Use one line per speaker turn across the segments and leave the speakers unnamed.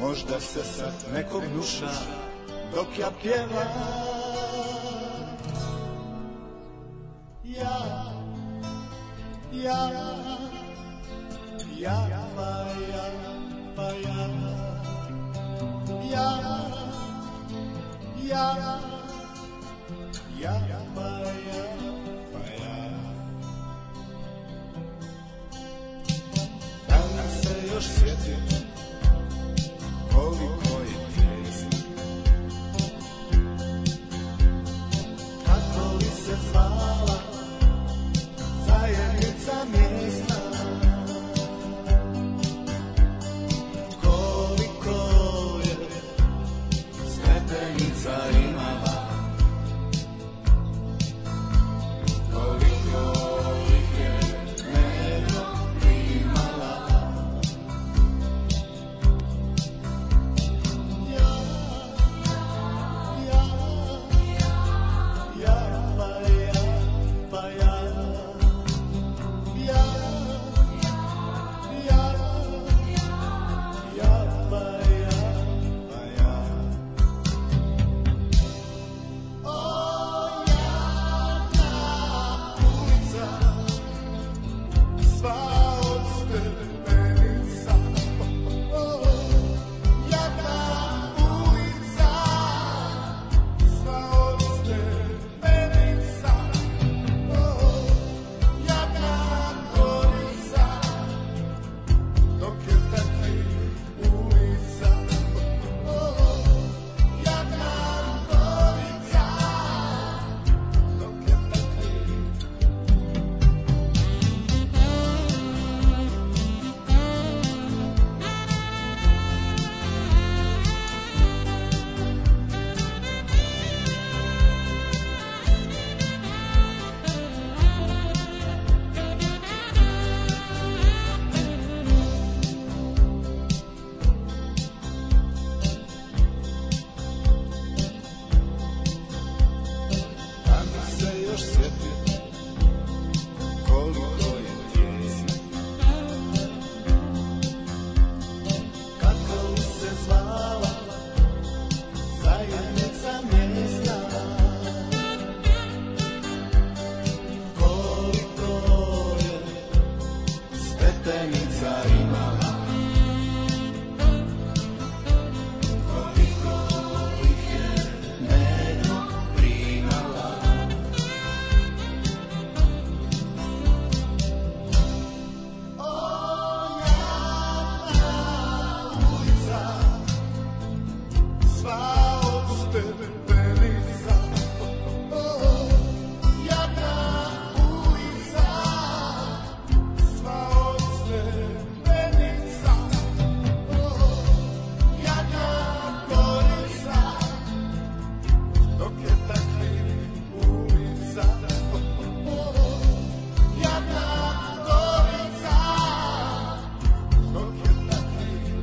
Možda se sad nekom duša dok ja pjevam Ja, ja, ja, pa ja, pa ja Ja, ja, ja, pa ja, pa ja Danas se još sjetim koliko je tjezno Kako li se zvala zajednica mjesna Koliko je stepenica imala Koliko ih je dnevno primala Sva od stepenica oh, oh, oh. Jadna ulica, sva od stepenica Jadna gorica, dok je takvih ulica Oh, Jadna gorica, dok je takvih Tamo se još sjetim koliko je tjesno Kako li se zvala zajednica mjesta Koliko je stepenica imala Koliko ih je dnevno primala Sva od stepenica oh, Jadna ulica Sva od stepenica oh, Jadna gorica Dok je takvi ulica oh, Jadna gorica Dok je takvi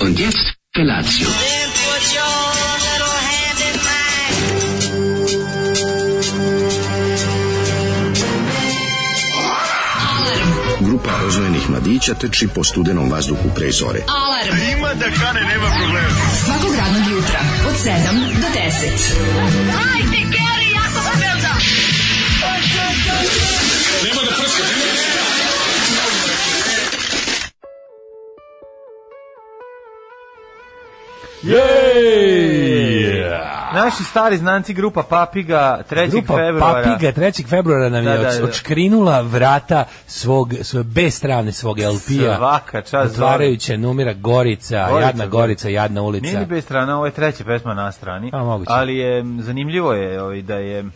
Und jetzt Felatio.
Then put your little hand in mine.
Grupa rozvojenih mladića teči po studenom vazduhu pre zore.
Alarm. Ima da kane, nema problema. Svakog radnog jutra, od 7 do 10. Hajde, Geri, jako se velda.
Jej!
Naši stari znanci grupa Papiga 3.
Grupa
februara.
Papiga 3. februara nam je
Da, da, da.
odškrinula vrata svog, svoje bestrane svog LP-a.
Svaka čast,
Otvarajuća numira Gorica,
Gorica,
jadna Gorica, jadna ulica.
Nije ni bez strana, ovo je treća pesma na strani.
A, moguće.
Ali je, m, zanimljivo je ovaj, da je hm,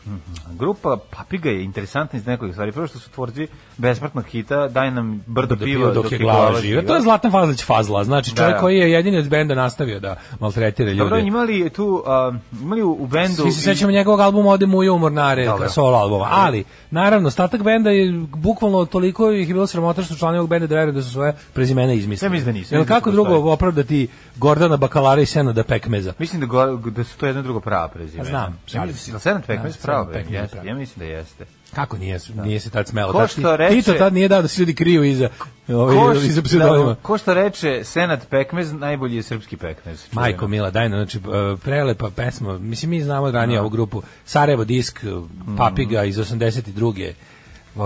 grupa Papiga je interesantna iz nekoliko stvari. Prvo što su tvorci besplatnog hita, daj nam brdo
da
piva
dok je glava živa. To je Zlatan Fazlić Fazla, znači čovjek
Da.
koji je jedini od benda nastavio da maltretira
Dobro,
ljude.
imali je tu, a, imali u- u bendu...
Svi se
i-
sećamo njegovog albuma Ode mu i umornare,
Dobro.
solo albuma. Ali, naravno, ostatak benda je bukvalno toliko ih je bilo sramota što članovi ovog benda da veruju da su svoje prezimena izmislili.
Ja mislim da nisu,
Jel
mislim da
kako
postoje.
drugo opravdati Gordana Bakalara i Sena da Pekmeza?
Mislim da, go, da su to jedno i drugo prava prezime.
A znam,
Ja
ali-
mislim da Senat Pekmez
Da,
pravo
Senad Pekmez
prezime.
je
Jeste,
pravo.
ja mislim da jeste.
Kako nije, nije se tad smelo.
Da. Ko
Tad
što
ti-
reče-
Tito tad nije dao da se ljudi kriju iza,
Ko,
ovaj,
š-
iza
da,
pseudonima.
ko što reče Senat Pekmez, najbolji je srpski Pekmez. Čuveno.
Majko Mila, dajno, znači e, prelepa pesma. Mislim mi znamo od
Da.
ranije ovu grupu Sarajevo disk e,
Mhm.
Papiga iz 82.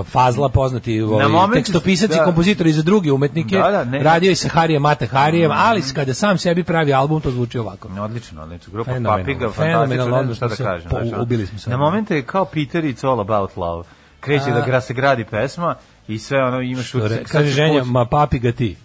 Fazla poznati ovaj,
moment-
tekstopisac
da.
i kompozitor i za druge umetnike.
Da, da, ne. Mhm.
radio je sa Harijem Mata Harijem, ali kada sam sebi pravi album to zvuči ovako.
Odlično, odlično. Grupa
Fenomenalno,
Papiga, fantastično,
fenomenalno,
ne znam šta da
odlično se
kažem.
po-
znaš, ono.
ubili smo se.
Na momente je kao Peter It's All About Love. Kreće da gra se gradi pesma i sve ono imaš...
Re-
utisak-
Kaže
sad-
ženja, ma papiga ti.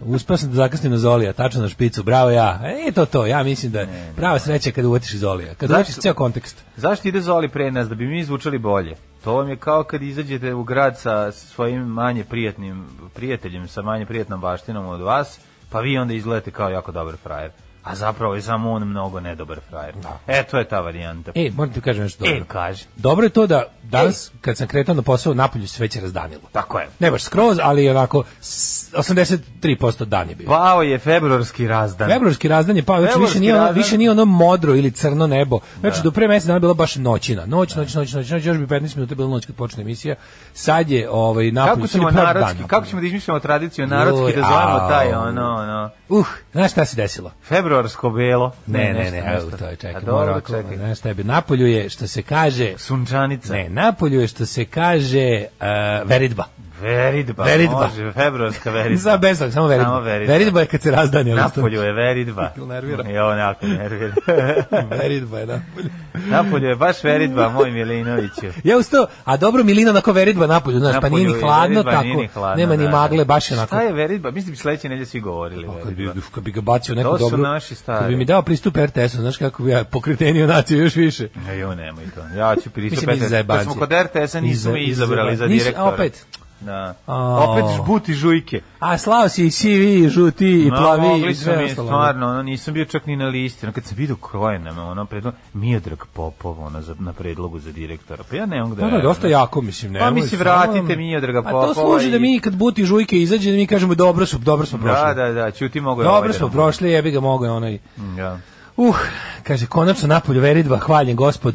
Uspeo sam da zakasnim na Zolija, tačno na špicu, bravo ja. E, to to, ja mislim da je prava sreća kada uvatiš iz Zolija, kada
Zašto-
uvatiš ceo kontekst.
Zašto ide Zoli pre nas? Da bi mi zvučali bolje. To vam je kao kad izađete u grad sa svojim manje prijatnim prijateljem, sa manje prijatnom baštinom od vas, pa vi onda izgledate kao jako dobar frajer. A zapravo je samo on mnogo nedobar frajer. E, to je ta varijanta.
Da. E, moram ti kažem nešto dobro.
E, kaži.
Dobro je to da danas, kad sam kretao na posao, napolju se već razdanilo.
Tako je.
Ne baš skroz, ali je onako s- 83% dan je bio.
Pao je februarski razdan.
Februarski razdan je pao, znači
Februarski
više nije, ono,
razdan. Da.
više nije ono modro ili crno nebo. Znači do pre mesec dana je bila baš noćina. Noć, noć, noć, noć, noć, još bi 15 minuta bila noć kad počne emisija. Sad je ovaj napolju
Kako
sad je
ćemo
prav dan
narodski,
napolju.
kako ćemo da izmišljamo tradiciju narodski
Joj,
da zovemo
au.
taj ono ono
Uh, znaš šta se desilo?
februarsko belo.
Ne, ne,
nešto,
ne,
nešto.
evo to je, čekaj,
A dobro,
mora ovako,
čekaj.
znaš šta je, bio. napolju je, što se kaže,
Sunčanica.
ne, napolju je, što se kaže, eh, veridba.
Veridba.
Veridba.
Može, februarska veridba.
Za bez toga, samo veridba.
Samo veridba.
Veridba je kad se razdani. ali isto-
Napolju je veridba.
Jel nervira?
Jo, jako nervira.
veridba je napolju.
Napolju je baš veridba, moj Milinoviću.
Ja usto, a dobro Milina onako veridba napolju, znaš, pa
Napolju
nije ni
je
hladno,
veridba,
tako,
nije ni hladno,
nema ni
da,
magle,
da.
baš je onako. Pa,
Šta je veridba? Mislim bi sledeće nedelje svi govorili
Kad bi,
veridba.
kad bi ga bacio u neku
To su
dobru,
naši stari.
kad bi mi dao pristup RTS-u, znaš kako bi ja pokretenio naciju još više.
Jo, E, nemoj to. Ja ću
Mislim,
pristupati.
iz
Kad
zajebancije.
smo kod RTS-a nisu
Iz-
me
iz
izabrali za
zajebancije. Nisu-
direktora.
a opet?
Da.
A.
Opet žbuti žujke.
A slao si i sivi, i žuti, i
Ma,
plavi,
mogli
i
su
sve
mi,
ostalo. da.
Stvarno, ono, nisam bio čak ni na listi. Ono, kad sam vidio Krojenama, ono, predlog, Miodrag Popov, ono, za, na predlogu za direktora. Pa ja ne mogu da...
Ono je dosta jako, mislim, ne.
Pa mi si vratite Miodraga Popova.
A to služi da
i-
mi kad buti žujke izađe, da mi kažemo dobro su, dobro smo prošli.
Da, da, da, ćuti mogu je ovaj
Dobro
da
smo
nam-
prošli, jebi ga mogo je onaj.
Da.
Uh, kaže, konačno napolju veridba, hvaljen gospod.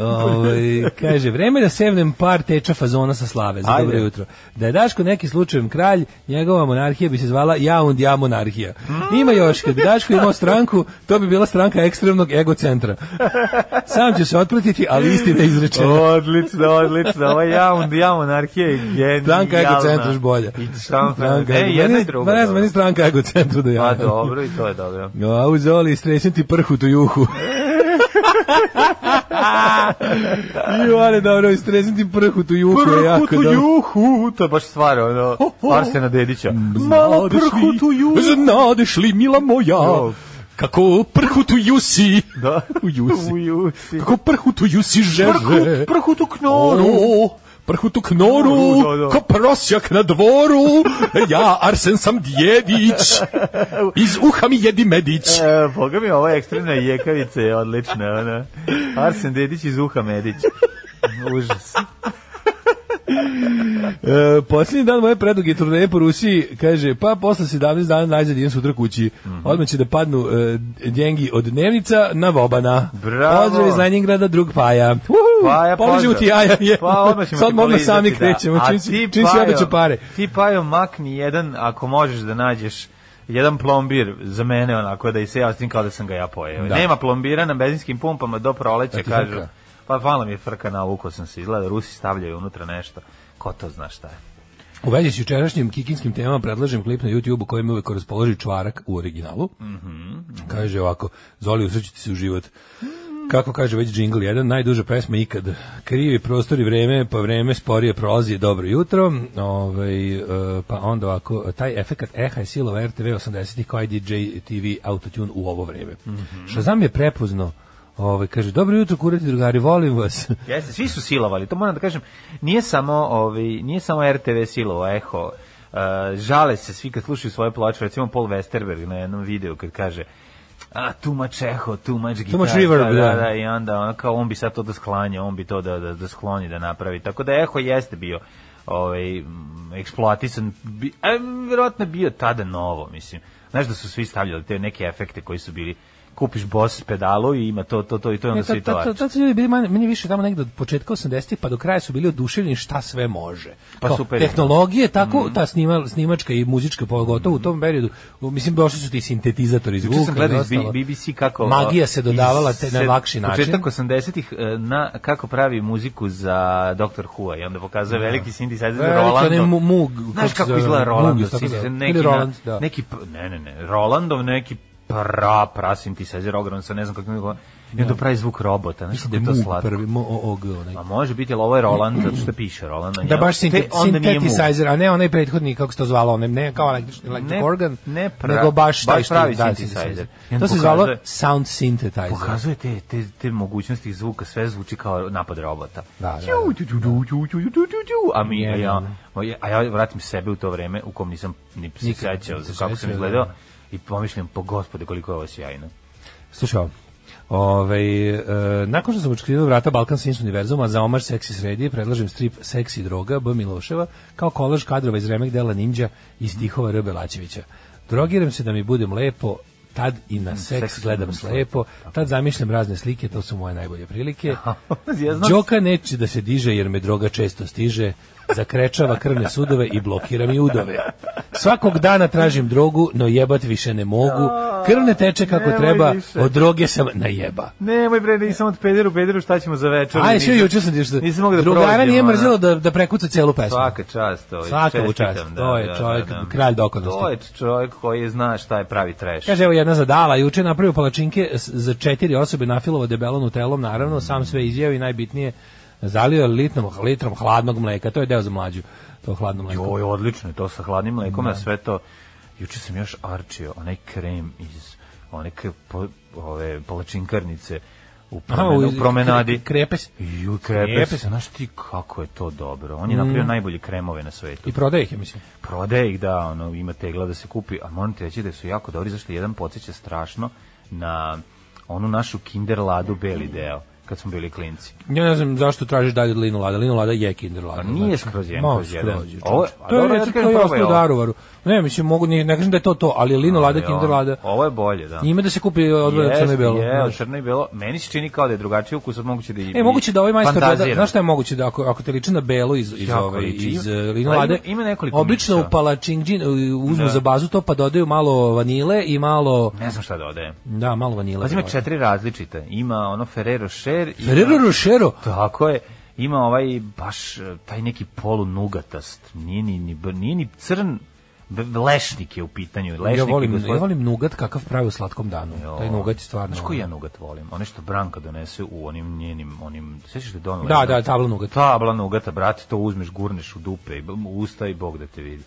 Ovaj, kaže, vreme da sevnem par teča fazona sa slave za
Ajde.
dobro jutro. Da je Daško neki slučajem kralj, njegova monarhija bi se zvala Jaund Ja monarhija.
Mm.
Ima još, kad bi Daško imao stranku, to bi bila stranka ekstremnog egocentra. Sam ću se otpratiti, ali da istina je izrečena.
Odlično, odlično. Ovo je jaun, ja monarhija je genijalna.
Stranka egocentra još bolja.
I štampa.
Stranka
E,
ego-
jedna i
meni-
druga.
Ma ne znam, meni stranka egocentra da ja.
Pa dobro, i to je dobro.
A u Ja, zoli stresem ti prhu tu juhu. I one dobro, stresem ti prhu tu juhu. je jako
Prhutu
ja, dobro.
juhu, Mm, to je baš stvar, ono, Arsena Dedića. Malo
Znadeš li-
prhutu juhu.
Znadeš li, mila moja,
Jo.
kako prhu tu jusi,
Ja. Da.
u jusi,
U jusi.
kako prhu tu jusi žeže.
Prhut, prhutu knoru.
Ono, prhutu knoru,
Da, da.
ko prosjak na dvoru, ja Arsen sam djević, iz uha mi jedi medić.
E, boga mi, ova ekstremna jekavica je odlična. Ona. Arsen Dedić iz Uha Medić. Užas.
E, posljednji dan moje preduge turneje po Rusiji, kaže, pa posle 17 dana najzad idem sutra kući.
Mhm.
Odmah će da padnu e, djengi od dnevnica na Vobana.
Bravo.
Pozdrav iz Leningrada, drug Paja. Uhu,
Paja,
poližemo
pozdrav.
ti jaja. Je.
Pa odmah ćemo
Sad
ti
odmah
polizati,
sami
da.
krećemo.
A
Čim,
ti,
si- čim si
Pajo,
obeću pare.
Ti Pajo makni jedan, ako možeš da nađeš jedan plombir za mene onako da i se ja ostim kao da sam ga ja pojeo.
Da.
Nema plombira na benzinskim pumpama do proleća,
Da ti
kažu.
frka?
Pa hvala mi je frka, navukao sam se, izgleda da Rusi stavljaju unutra nešto. Ko to zna šta je?
U vezi s jučerašnjim kikinskim temama predlažem klip na YouTube u kojem uvek raspoloži čvarak u originalu. Kaže ovako, Zoli, usrećite se u život. kako kaže već džingl jedan, najduža pesma ikad. Krivi prostor i vreme, pa vreme sporije prolazi, dobro jutro. Ovaj, e, pa onda ovako, taj efekat eha je silova RTV 80-ih kao i DJ TV autotune u ovo vreme. Što znam je prepozno, ovaj, kaže, dobro jutro kurati drugari, volim vas.
Jeste, svi su silovali, to moram da kažem. Nije samo, ovaj, nije samo RTV silovo, eho. Uh, žale se svi kad slušaju svoje ploče, recimo Paul Westerberg na jednom videu kad kaže a too much eho, too much guitar.
much reverb,
da,
da.
da. da, i onda ono kao on bi sad to da sklanja, on bi to da, da, da skloni, da napravi. Tako da eho jeste bio ovaj, m, eksploatisan, bi, a, verovatno je bio tada novo, mislim. Znaš da su svi stavljali te neke efekte koji su bili kupiš boss pedalu i ima to, to, to i to i onda
Ne,
svi
tad-
to
tad-
arče.
tad su ljudi bili manje, manje više tamo negde od početka 80-ih pa do kraja su bili oduševljeni šta sve može.
Pa super je. Mhm.
Tehnologije, tako, ta snima, snimačka i muzička pogotovo u tom periodu. u- Mislim, došli su ti sintetizatori zvuka.
Juče sam
i
gledao iz
ostalo.
B- BBC kako... uh,
Magija se dodavala
iz
te, na
sed-
lakši način.
Početak 80-ih e, na, kako pravi muziku za Dr. Who-a i onda pokazuje veliki synthesizer
Da. Veliki, onaj
Rolandom.
mu- mug, kako
Znaš
se
kako
zove,
izgleda
mug,
Rolandov
tako
synthesizer?
da.
Neki,
Ili Roland,
na,
da.
neki, p- ne, ne, ne, Rolandov neki pra, pra synthesizer ogrom, sa ne znam kako mi ga... I
Da.
onda pravi zvuk robota, znaš da je to
Moog
slatko.
Prvi, mo, o, og, onaj.
A može biti, ali ovo je Roland, zato što piše Roland na njemu.
Da baš
Te
sintet,
onda nije Moog.
sintetizer, a ne onaj prethodni, kako se to zvalo, ne, ne kao električni electric
Ne-
organ,
ne pra-
nego baš, taj
baš
što-
pravi
da,
synthesizer. I onda
To se zvalo
pokazuje-
sound synthetizer.
Pokazuje te, te, te mogućnosti zvuka, sve zvuči kao napad robota.
Da, da, da.
Ću, ću, ću, ću, ću, ću, ću, ću. A mi, a ja,
Jedan,
a ja- a ja vratim sebe u to vreme u kom nisam ni se
Nikad
sećao
nisam
za
se
kako sam
sećao,
izgledao
da.
i pomišljam, po gospode, koliko je ovo sjajno.
Slušaj, ovo. Ove, e, nakon što sam očkrivio vrata Balkan Sins univerzuma za omaž seksi sredi, predlažem strip Seksi droga B. Miloševa kao kolaž kadrova iz remek dela Ninja i stihova R. Belačevića. Drogiram se da mi budem lepo, tad i na seks
seks
Hmm, gledam
gledam
slepo, tad zamišljam razne slike, to su moje najbolje prilike.
Ja znam-
Đoka neće da se diže jer me droga često stiže, zakrečava krvne sudove i blokira mi udove. Svakog dana tražim drogu, no jebat više ne mogu. Krv ne teče kako
Nemoj
treba,
više.
od droge sam na jeba.
Nemoj bre, nisam od pederu, pederu, šta ćemo za večer?
Aj, sve juče sam ti što.
Da, Nisam mogao da
Drugara
prođem,
nije
ono.
mrzelo da, da prekuca celu pesmu.
Svaka čast, ovaj,
Svaka mu
čestitam, da,
čast, to je čovjek, kralj dokonosti.
To je čovjek koji zna šta je pravi trash.
Kaže, evo jedna zadala, juče je napravio palačinke s- za četiri osobe nafilovo debelo nutelom, naravno, sam sve izjeo i najbitnije zalio je litnom, litrom hladnog mleka, to je deo za mlađu, to hladno mleko.
Joj, odlično je to sa hladnim mlekom, a sve to. Juče sam još arčio onaj krem iz one k- po, ove palačinkarnice u,
Aha,
promena, u promenadi.
kre- Krepes.
Ju,
Krepe
krepe
se.
se, Mm. znaš ti kako je to dobro. On je napravio najbolje kremove na svetu.
I prodaje ih, ja mislim.
Prodaje ih da, ono, ima tegla da se kupi, a moram ti reći da su jako dobri, zašto jedan podsjeća strašno na onu našu kinder ladu beli deo, kad smo bili klinci.
Ja ne znam zašto tražiš dalje od Linu Lada. Linu Lada je Kinder Lada.
A nije
znači.
skroz jedan
Ma,
kroz jedan.
skroz je,
Ovo-
čoveče.
a
To je
dobro, ja ti
recept
kažem,
koji je
probaj
ostao u
ovo.
Daruvaru. Ne, mislim, mogu, ni- ne kažem da je to to, ali je Linu Lada,
Ali
Kinder
ovo-
Lada.
Ovo je bolje, da.
Ima da se kupi odvoje od
Jeste,
crno i belo.
Je, od
znaš.
crno i belo. Meni se čini kao da je drugačiji ukus, od moguće da i
E, moguće da ovaj majstor doda,
fantazira.
znaš šta je moguće da ako, ako te liči na belu iz, iz,
Jako
ove,
liči.
iz
Ima-
e, Linu
ali
Lade,
ima- ima nekoliko
obično
miksa.
u palačinđin e, uzmu
Da.
za bazu to, pa dodaju malo vanile i malo,
Ne znam šta dodaje.
da, malo vanile.
Pazi, Pa ima
dodaju.
četiri različite. Ima ono Ferrero Rocher. ima-
Ferrero Rochero,
Tako je. Ima ovaj baš eh, taj neki polu nugatast. Nije ni, ni, br- nije ni crn. b- Lešnik je u pitanju. Lešnik
ja
i
volim,
gospodin-
ja volim nugat kakav pravi u slatkom danu.
Jo.
Taj nugat je stvarno.
Znaš koji ja nugat volim? One što Branka donese u onim njenim, onim, sjećaš da je donela?
Da,
jedno-
da, tabla nugat.
Tabla nugata, brate, to uzmeš, gurneš u dupe, i b- u usta i Bog da te vidi.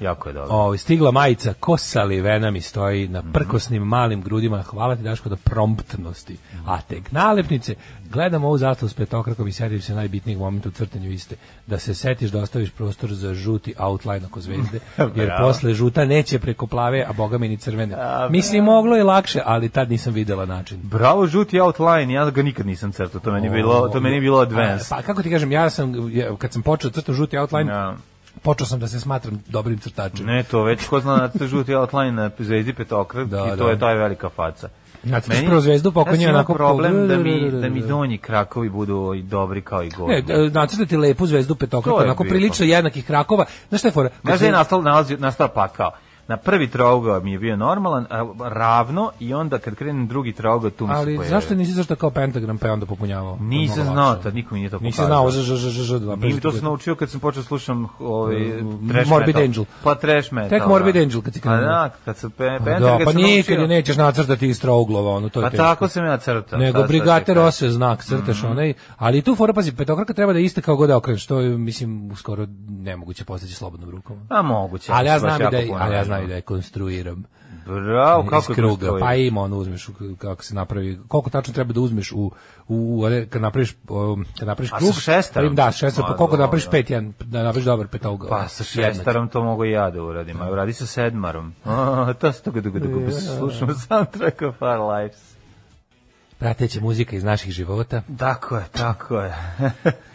Jako je dobro.
Ovaj stigla majica, kosa livena mi stoji na
Mhm.
prkosnim malim grudima. Hvala ti Daško da promptnosti. A tek nalepnice, gledam ovu zastavu s petokrakom i sedim se najbitnijeg momenta u crtanju iste. Da se setiš da ostaviš prostor za žuti outline oko zvezde, jer
Bravo.
posle žuta neće preko plave, a boga mi ni crvene. Mislim, moglo je lakše, ali tad nisam videla način.
Bravo, žuti outline, ja ga nikad nisam crtao, to meni je bilo, to meni je bilo advanced.
A, Pa kako ti kažem, ja sam, ja, kad sam počeo da crtam žuti outline,
Ja.
počeo sam da se smatram dobrim crtačem.
Ne, to već ko zna da žuti outline na zvezdi petokrat
Da,
i to
da.
je taj velika faca.
Nacrtaš prvo zvezdu, pa oko
ja sam
nje
imao
onako
problem da mi,
pogledaš.
da mi donji krakovi budu i dobri kao i gornji.
Ne, da, d- nacrtati lepu zvezdu petokraku,
To je
onako
bilo.
prilično jednakih krakova. Znaš šta je fora? Kad
Znaš da
se-
je nastala, nalazi, nastala pakao. Na prvi trougao mi je bio normalan, a, ravno i onda kad krenem drugi trougao tu mi se
Ali
pojavio.
zašto nisi zašto kao pentagram pa je onda popunjavao?
pa Nisam
Malo
znao
lakše.
tad, niko mi nije to pokazao.
Nisi znao za ž ž ž ž dva.
Nije Pa mi to sam naučio kad sam počeo slušam ovaj trash
da- Mm, Morbid
metal.
Angel.
Pa trash metal.
Tek Morbid Angel kad si
krenuo.
krenuo.
Pa da, kad sam pe,
Pa
Pentagram
da,
kad
pa
sam
nikad je
naučio.
nećeš nacrtati iz trouglova, ono, to je
Pa
teško.
tako sam ja crtao.
Nego
sad Mhm. šta
brigater
ću ja
ose znak, crteš onaj, ali i tu fora, pazi, petokraka treba da je ista kao god da okreneš, to je, mislim, skoro nemoguće postići slobodnom rukom.
kažem. A Pa moguće.
Ali ja
baš
znam i
jako
da je,
puno
ali ja
radim.
znam i da je konstruiram.
Bravo, kako
iz
je
kruga.
kruga.
Pa ima ono uzmeš u- kako se napravi, koliko tačno treba da uzmeš u u, u one- kad napraviš um, kad napraviš
A sa
krug.
šestarom?
Da, šestar,
Ma,
pa koliko da napraviš
dobro.
pet jedan, da napraviš dobar petog.
Pa sa šestarom to mogu i ja da uradim, a radi sa sedmarom. A, to se toga dugo dugo slušamo soundtrack of our lives.
Prateća muzika iz naših života.
Tako je, tako je.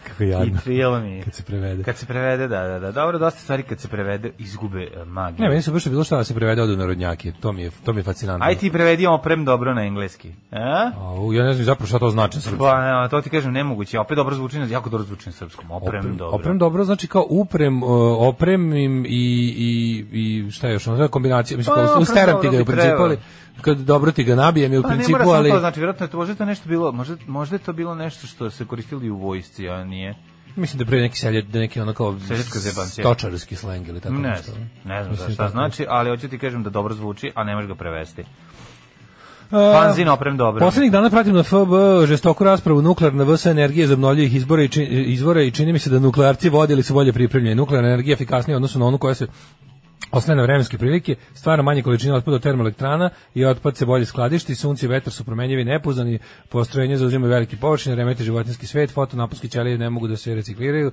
Kako
I filmi.
Kad se prevede.
Kad se prevede, da, da, da. Dobro, dosta stvari kad se prevede izgube e, magiju.
Ne, meni se baš bilo šta da se prevede od narodnjake. To mi je to mi je fascinantno.
Da. Aj ti prevedi ovo prem dobro na engleski. A?
Au, ja ne znam zapravo šta to znači srpski.
Pa, ne, to ti kažem, nemoguće. Opet dobro zvuči, na- jako dobro zvuči na srpskom. Oprem, dobro.
Oprem dobro znači kao uprem, uh, opremim i, i, i šta još, ono kombinacija, mislim,
Pa,
kao,
oprem
usteram ti
dobro
ga je u
bi
principu,
trebalo.
ali kad dobro ti ga nabijem je u
Pa ne
principu,
mora samo
ali...
to, znači, vjerojatno je to, možda je to nešto bilo, možda, možda je to bilo nešto što se koristilo i u vojsci, a nije.
Mislim da je pre neki selje, da neki ono kao
Seljačka zebancija.
stočarski sleng ili tako
Ne
nešto.
znam, ne znam
Mislim,
za šta
tako.
znači, ali hoću ti kažem da dobro zvuči, a ne možeš ga prevesti.
E,
Fanzin oprem dobro.
Poslednjih dana pratim na FB žestoku raspravu nuklearna VS energije iz obnovljivih izbora i čini, izvora i čini mi se da nuklearci vodili su bolje pripremljeni. Nuklearna energija je efikasnija u odnosu na onu koja se ostaje na vremenske prilike, stvara manje količine otpada od termoelektrana i otpad se bolje skladišti, sunce i vetar su promenjivi i nepouzdani, postrojenje zauzimaju velike površine, remete životinski svet, fotonaponske ćelije ne mogu da se recikliraju.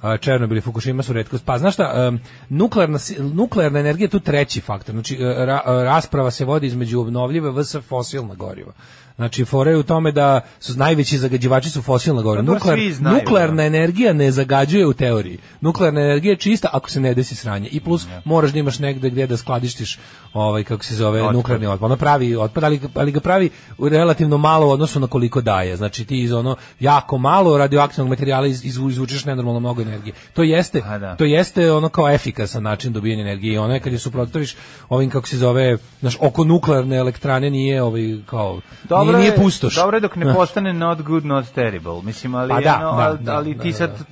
A, Černobil i Fukushima su redkost. Pa znaš šta, em, nuklearna, si- nuklearna energija je tu treći faktor. Znači, e, ra- e, rasprava se vodi između obnovljive vs. fosilna goriva. Znači, fora je u tome da su najveći zagađivači su fosilna goriva.
Pa dobro,
Nuklear,
svi znaju, da.
nuklearna energija ne zagađuje u teoriji. Nuklearna energija je čista ako se ne desi sranje. I plus moraš da imaš negde gde da skladištiš ovaj kako se zove
Otpad.
nuklearni otpad. Ona pravi otpad, ali, ga- ali ga pravi u relativno malo u odnosu na koliko daje. Znači ti iz ono jako malo radioaktivnog materijala iz, iz, izvučeš nenormalno mnogo energije. To jeste
A, da.
to jeste ono kao efikasan način dobijanja energije i ono je kad je suprotstaviš ovim kako se zove, znaš, oko nuklearne elektrane nije ovaj kao nije, nije
je-
pustoš.
Dobro je dok ne
Znaš.
postane not good, not terrible. Mislim, ali,
Pa da,
ono,
da,
ali,
da,
ali
da,
ti
da,
sad...
da.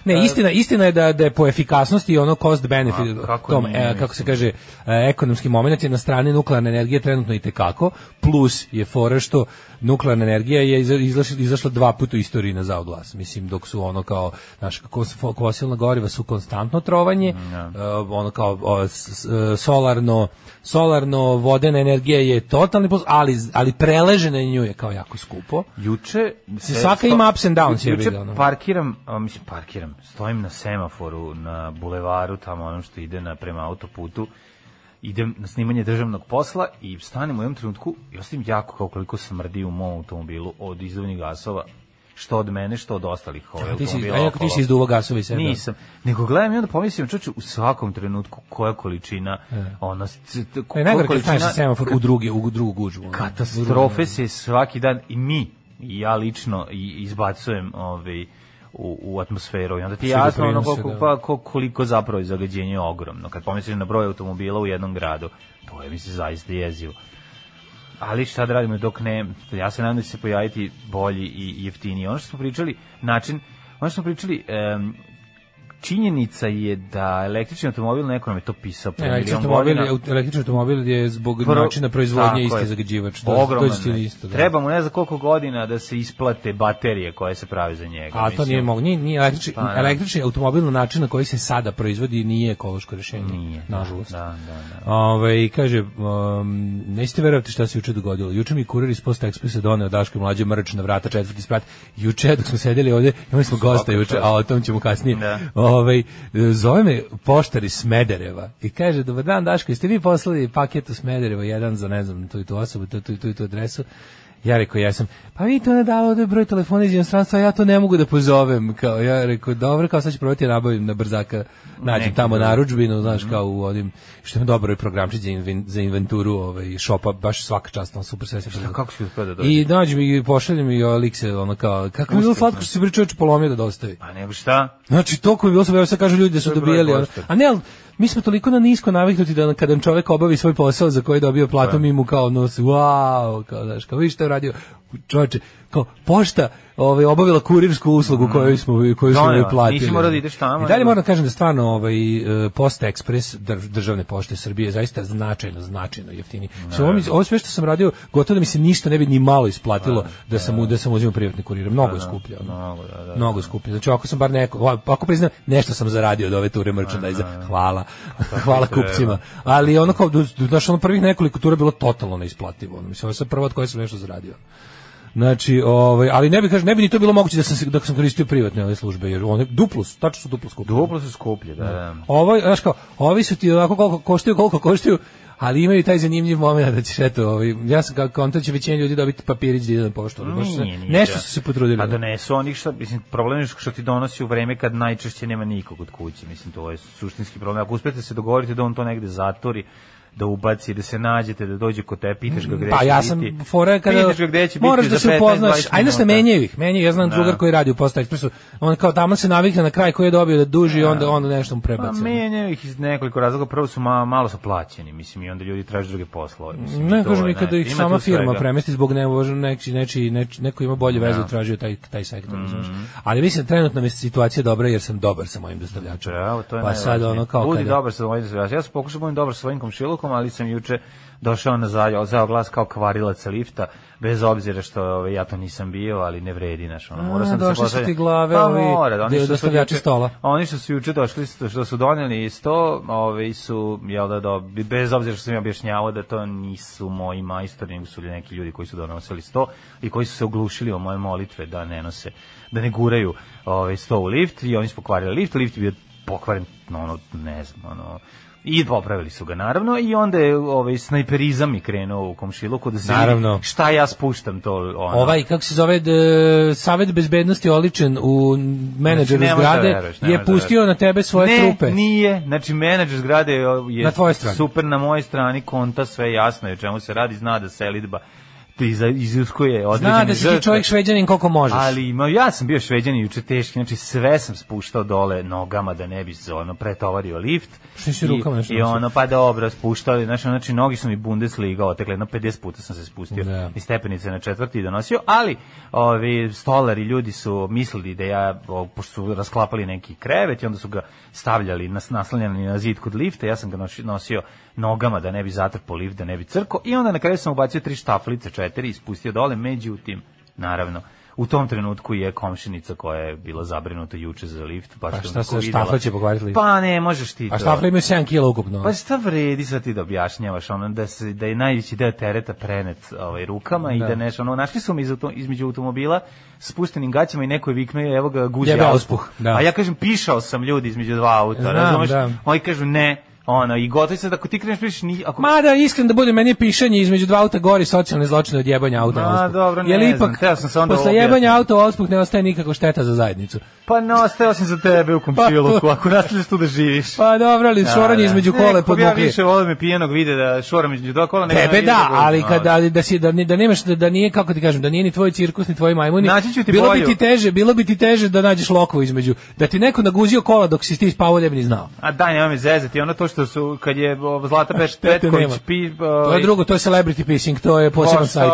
E,
Ne, istina, istina je da, da je po efikasnosti i ono cost benefit,
A, kako
tom,
nije,
e, kako se kaže, e, ekonomski moment je na strani nuklearne energije trenutno i tekako, plus je fora što nuklearna energija je iza- izašla, izašla dva puta u istoriji na zao glas. Mislim, dok su ono kao, znaš, kako su fo- fosilna goriva su konstantno trovanje,
Mm, da.
e, ono kao o, s- s- e, solarno, solarno vodena energija je totalni plus, ali, ali preležena nju je kao jako skupo.
Juče...
Mislim, svaka ima ups and downs, jebi
Juče
ga, ono.
parkiram, a, mislim, parkiram, stojim na semaforu, na bulevaru, tamo onom što ide na, prema autoputu, idem na snimanje državnog posla i stanem u jednom trenutku i ostavim jako kao koliko smrdi u mom automobilu od izduvnih gasova, što od mene, što od ostalih ovaj,
A ti si,
automobila.
a jako ti
okolo.
si izduvo gasovi sebe.
Nisam. Nego gledam i onda pomislim, čoče, u svakom trenutku koja količina, ono, c- c-
Ne,
koja
E. najgore kad
količina
staneš na semafor u drugi, u drugu gužvu. ono.
katastrofe se svaki dan i mi, i ja lično, i- izbacujem ovaj, u, u atmosferu. I onda ti je
Sve
jasno ono
doprinose,
koliko,
da.
pa, ko- koliko zapravo je zagađenje ogromno. Kad pomisliš na broj automobila u jednom gradu, to je mi se zaista jezivo. Ali šta da radimo dok ne, ja se nadam da će se pojaviti bolji i jeftiniji. Ono što smo pričali, način, ono što smo pričali, em, činjenica je da električni automobil, neko nam je to pisao pre
Ne, E, električni
milion
automobil,
godina.
je- električni automobil je zbog
Pro-
načina proizvodnje
Tako
isti
je.
zagađivač. To-
Ogroman.
to je
je.
isto, da.
Trebamo ne znam koliko godina da se isplate baterije koje se prave za njega.
A to
mislim.
nije mogu, nije, nije električni,
Pa, da.
električni automobil na način na koji se sada proizvodi nije ekološko rješenje,
Nije.
nažalost.
Da, da, da.
Ove, i kaže, um, nećete verovati šta se juče dogodilo. Juče mi je kurir iz Post Expressa doneo Daško i mlađe mrč na vrata četvrti sprat. Juče dok smo sedeli ovdje, imali smo gosta juče, a o tom ćemo kasnije.
Da.
Ovaj, zove me poštar iz Smedereva i kaže, dobar dan Daško, jeste vi poslali paket u Smederevo, jedan za ne znam tu i tu osobu, tu, tu, i tu i tu adresu. Ja rekao, jesam. Pa vi to ne dalo da je broj telefona iz inostranstva, a ja to ne mogu da pozovem. Kao, ja rekao, dobro, kao sad ću probati da nabavim na brzaka, nađem
Neki
tamo
drugi.
narudžbinu, znaš, kao u onim, što ima dobro i programčić za, inven- za inventuru ovaj, šopa, baš svaka čast, on super sve se prodaje.
Kako si uspio da dođe?
I nađem i pošaljem i Alikse, ono kao, kako mi je bilo slatko što se pričao polomio da dostavi.
Pa nego šta?
Znači, toliko je bilo sam, evo sad kažu ljudi da su
To je broj
dobijali. ono.
pošte.
A ne, ali, mi smo toliko na nisko naviknuti da kad nam čovjek obavi svoj posao za koji je dobio platu,
Da.
mi mu kao nos, wow, kao znaš, kao vidiš šta je uradio, čovječe, kao pošta, ovaj obavila kurirsku uslugu
Mm.
koju smo koju smo
Donela,
joj platili.
nisi morao da ideš tamo,
I dalje
nego-
moram da kažem da stvarno ovaj e, Post Express drž- državne pošte Srbije je zaista značajno značajno jeftini.
Da,
Sve ovo, mi- ovo sve što sam radio gotovo da mi se ništa ne bi ni malo isplatilo da sam u- da sam uzimao privatni kurir. Mnogo je skuplje. ono.
Mnogo, da, da.
Mnogo skuplje. Znači ako sam bar neko, ako priznam nešto sam zaradio od ove ture merchandise,
Da,
hvala. hvala kupcima. Ali ono kao do- do- znaš, ono prvih nekoliko tura je bilo totalno neisplativo. Ono mislim ovo je sad prva od koje sam nešto zaradio. Znači, ovaj, ali ne bi kažem, ne bi ni to bilo moguće da sam se- da sam koristio privatne ove službe jer one duplo, su, tačno su duplo skuplje.
Duplo su skuplje, da, da.
Ovo, je, znaš kao, ovi su ti ovako koliko koštaju, koliko koštaju, ali imaju taj zanimljiv moment da ćeš eto, ovi, ja sam kao konta će većina ljudi dobiti papirić da ide na poštu. ali baš se-
Nije, nije,
nešto
da.
su se potrudili.
Pa
da.
donesu oni šta, mislim, problem je što ti donosi u vreme kad najčešće nema nikog od kuće, mislim, to je suštinski problem. Ako uspete se dogovoriti da on to negde zatvori, da ubaci, da se nađete, da dođe kod te, pitaš ga gde
Pa
će
ja
biti.
sam fora je kada
Pitaš ga gde će biti
moraš
za
da se
15-20
upoznaš. Ajde
minuta.
što
Da.
menjaju ih, menjaju. Ja znam drugar koji radi u Posta Expressu. On kao tamo se navikne na kraj koji je dobio da duži onda onda nešto mu
Pa
prebaci.
menjaju ih iz nekoliko razloga, prvo su ma, malo su plaćeni, mislim, i onda ljudi traže druge poslove. Mislim, i
Ne
to
kažem
je,
mi kada
ne,
ih
ima
sama
tu
firma
svega.
premesti zbog nevožnje neki neči neč- neko ima bolje
Da.
vezu tražio taj taj sektor,
Mhm.
razumeš. Ali mislim trenutno mi je situacija dobra jer sam dobar sa mojim dostavljačem.
Bravo, to je
pa sad
najvažnije.
ono kao
Budi
kada-
dobar sa svojim zvijačima. Ja sam pokušao da budem dobar sa svojim komšilukom, ali sam juče došao na zao, zao glas kao kvarilac lifta, bez obzira što ovaj, ja to nisam bio, ali ne vredi, znaš, ono, morao
A,
sam da se
došli su
postavim-
ti glave
pa,
ovi
mora, da, oni
de-
što su
dostavljači
juče-
stola.
Oni što su juče došli, što što su doneli iz to, ovaj, su, jel da, do, bez obzira što sam im objašnjavao da to nisu moji majstori, nego su neki ljudi koji su donosili sto i koji su se oglušili o moje molitve da ne nose, da ne guraju ovaj, sto u lift i oni su pokvarili lift, lift je bio pokvaren, no, ono, ne znam, ono, I popravili su ga naravno i onda je ovaj snajperizam i krenuo u komšiluku da se vidi
Naravno.
šta ja spuštam to ono.
Ovaj, kako se zove, d- Savet bezbednosti oličen u menadžeru
nemoj da
zgrade
veruješ, nemoj
je
da
pustio
veruješ.
na tebe svoje
ne,
trupe.
nije. Znači, menadžer zgrade je, je
Na tvojoj strani.
super na mojoj strani, konta sve jasno je o čemu se radi, zna da selidba te iza- iziskuje određene
Zna da si ti
žrtve.
čovjek šveđanin koliko možeš.
Ali ma, ja sam bio šveđan juče teški, znači sve sam spuštao dole nogama da ne bi se ono pretovario lift.
Što si
I-
rukama nešto
I
nosio?
ono pa dobro spuštali, znači, znači nogi su mi Bundesliga otekle, jedno 50 puta sam se spustio
Da.
iz stepenice na četvrti i donosio, ali ovi stolari ljudi su mislili da ja, o, pošto su rasklapali neki krevet i onda su ga stavljali, nas, naslanjali na zid kod lifta, ja sam ga noši- nosio nogama da ne bi zatrpo lift, da ne bi crko i onda na kraju sam ubacio tri štaflice, četiri i spustio dole, međutim, naravno, U tom trenutku je komšinica koja je bila zabrinuta juče za lift. baš
Pa šta
onako
se,
videla.
štafla će pokvariti lift?
Pa ne, možeš ti
A
to.
štafla imaju 7 kila ukupno.
Pa šta vredi sad ti da objašnjavaš ono da se da je najveći deo tereta prenet ovaj rukama i
Da.
da nešto ono našli su mi iz auto, između automobila s puštenim gaćama i neko je viknuo evo ga guzi
Jebe
auspuh.
auspuh, da.
A ja kažem pišao sam ljudi između dva auta,
Znam,
razumeš?
da.
Oni kažu ne, ono i gotovo sad ako ti kreneš da pišeš ni ako
Mada, iskren da budem, meni je pišanje između dva auta gori socijalne zločine od jebanja auta.
Ma,
na usput.
dobro, ne
Jer
znam,
ipak,
teo sam se onda
posle
ovo
jebanja
objasniti.
auta u ospuh ne ostaje nikako šteta za zajednicu.
pa ne ostao sam za tebe u komšiluku ako nastaviš tu da živiš.
Pa dobro, ali
Da,
šoranje
da.
između
Nekako
kole
bi
podmukli.
Ja više volim me pijenog vide da šoram između dva kola. nego
Tebe
vidim
da,
ga
ali
guzim, ono.
kada da si da ne- da nemaš da, da nije kako ti kažem, da nije ni tvoj cirkus ni tvoji majmuni.
Naći ću ti
bilo
bolju.
bi ti teže, bilo bi ti teže da nađeš lokvu između. Da ti neko naguzio kola dok si ti spavao, ne bi ni znao.
A daj, nemoj me zezati, ono to što su, kad je o, Zlata Peš
Tete
Petković
nema.
pi...
To je drugo, to je celebrity pissing, to je poseban sajt.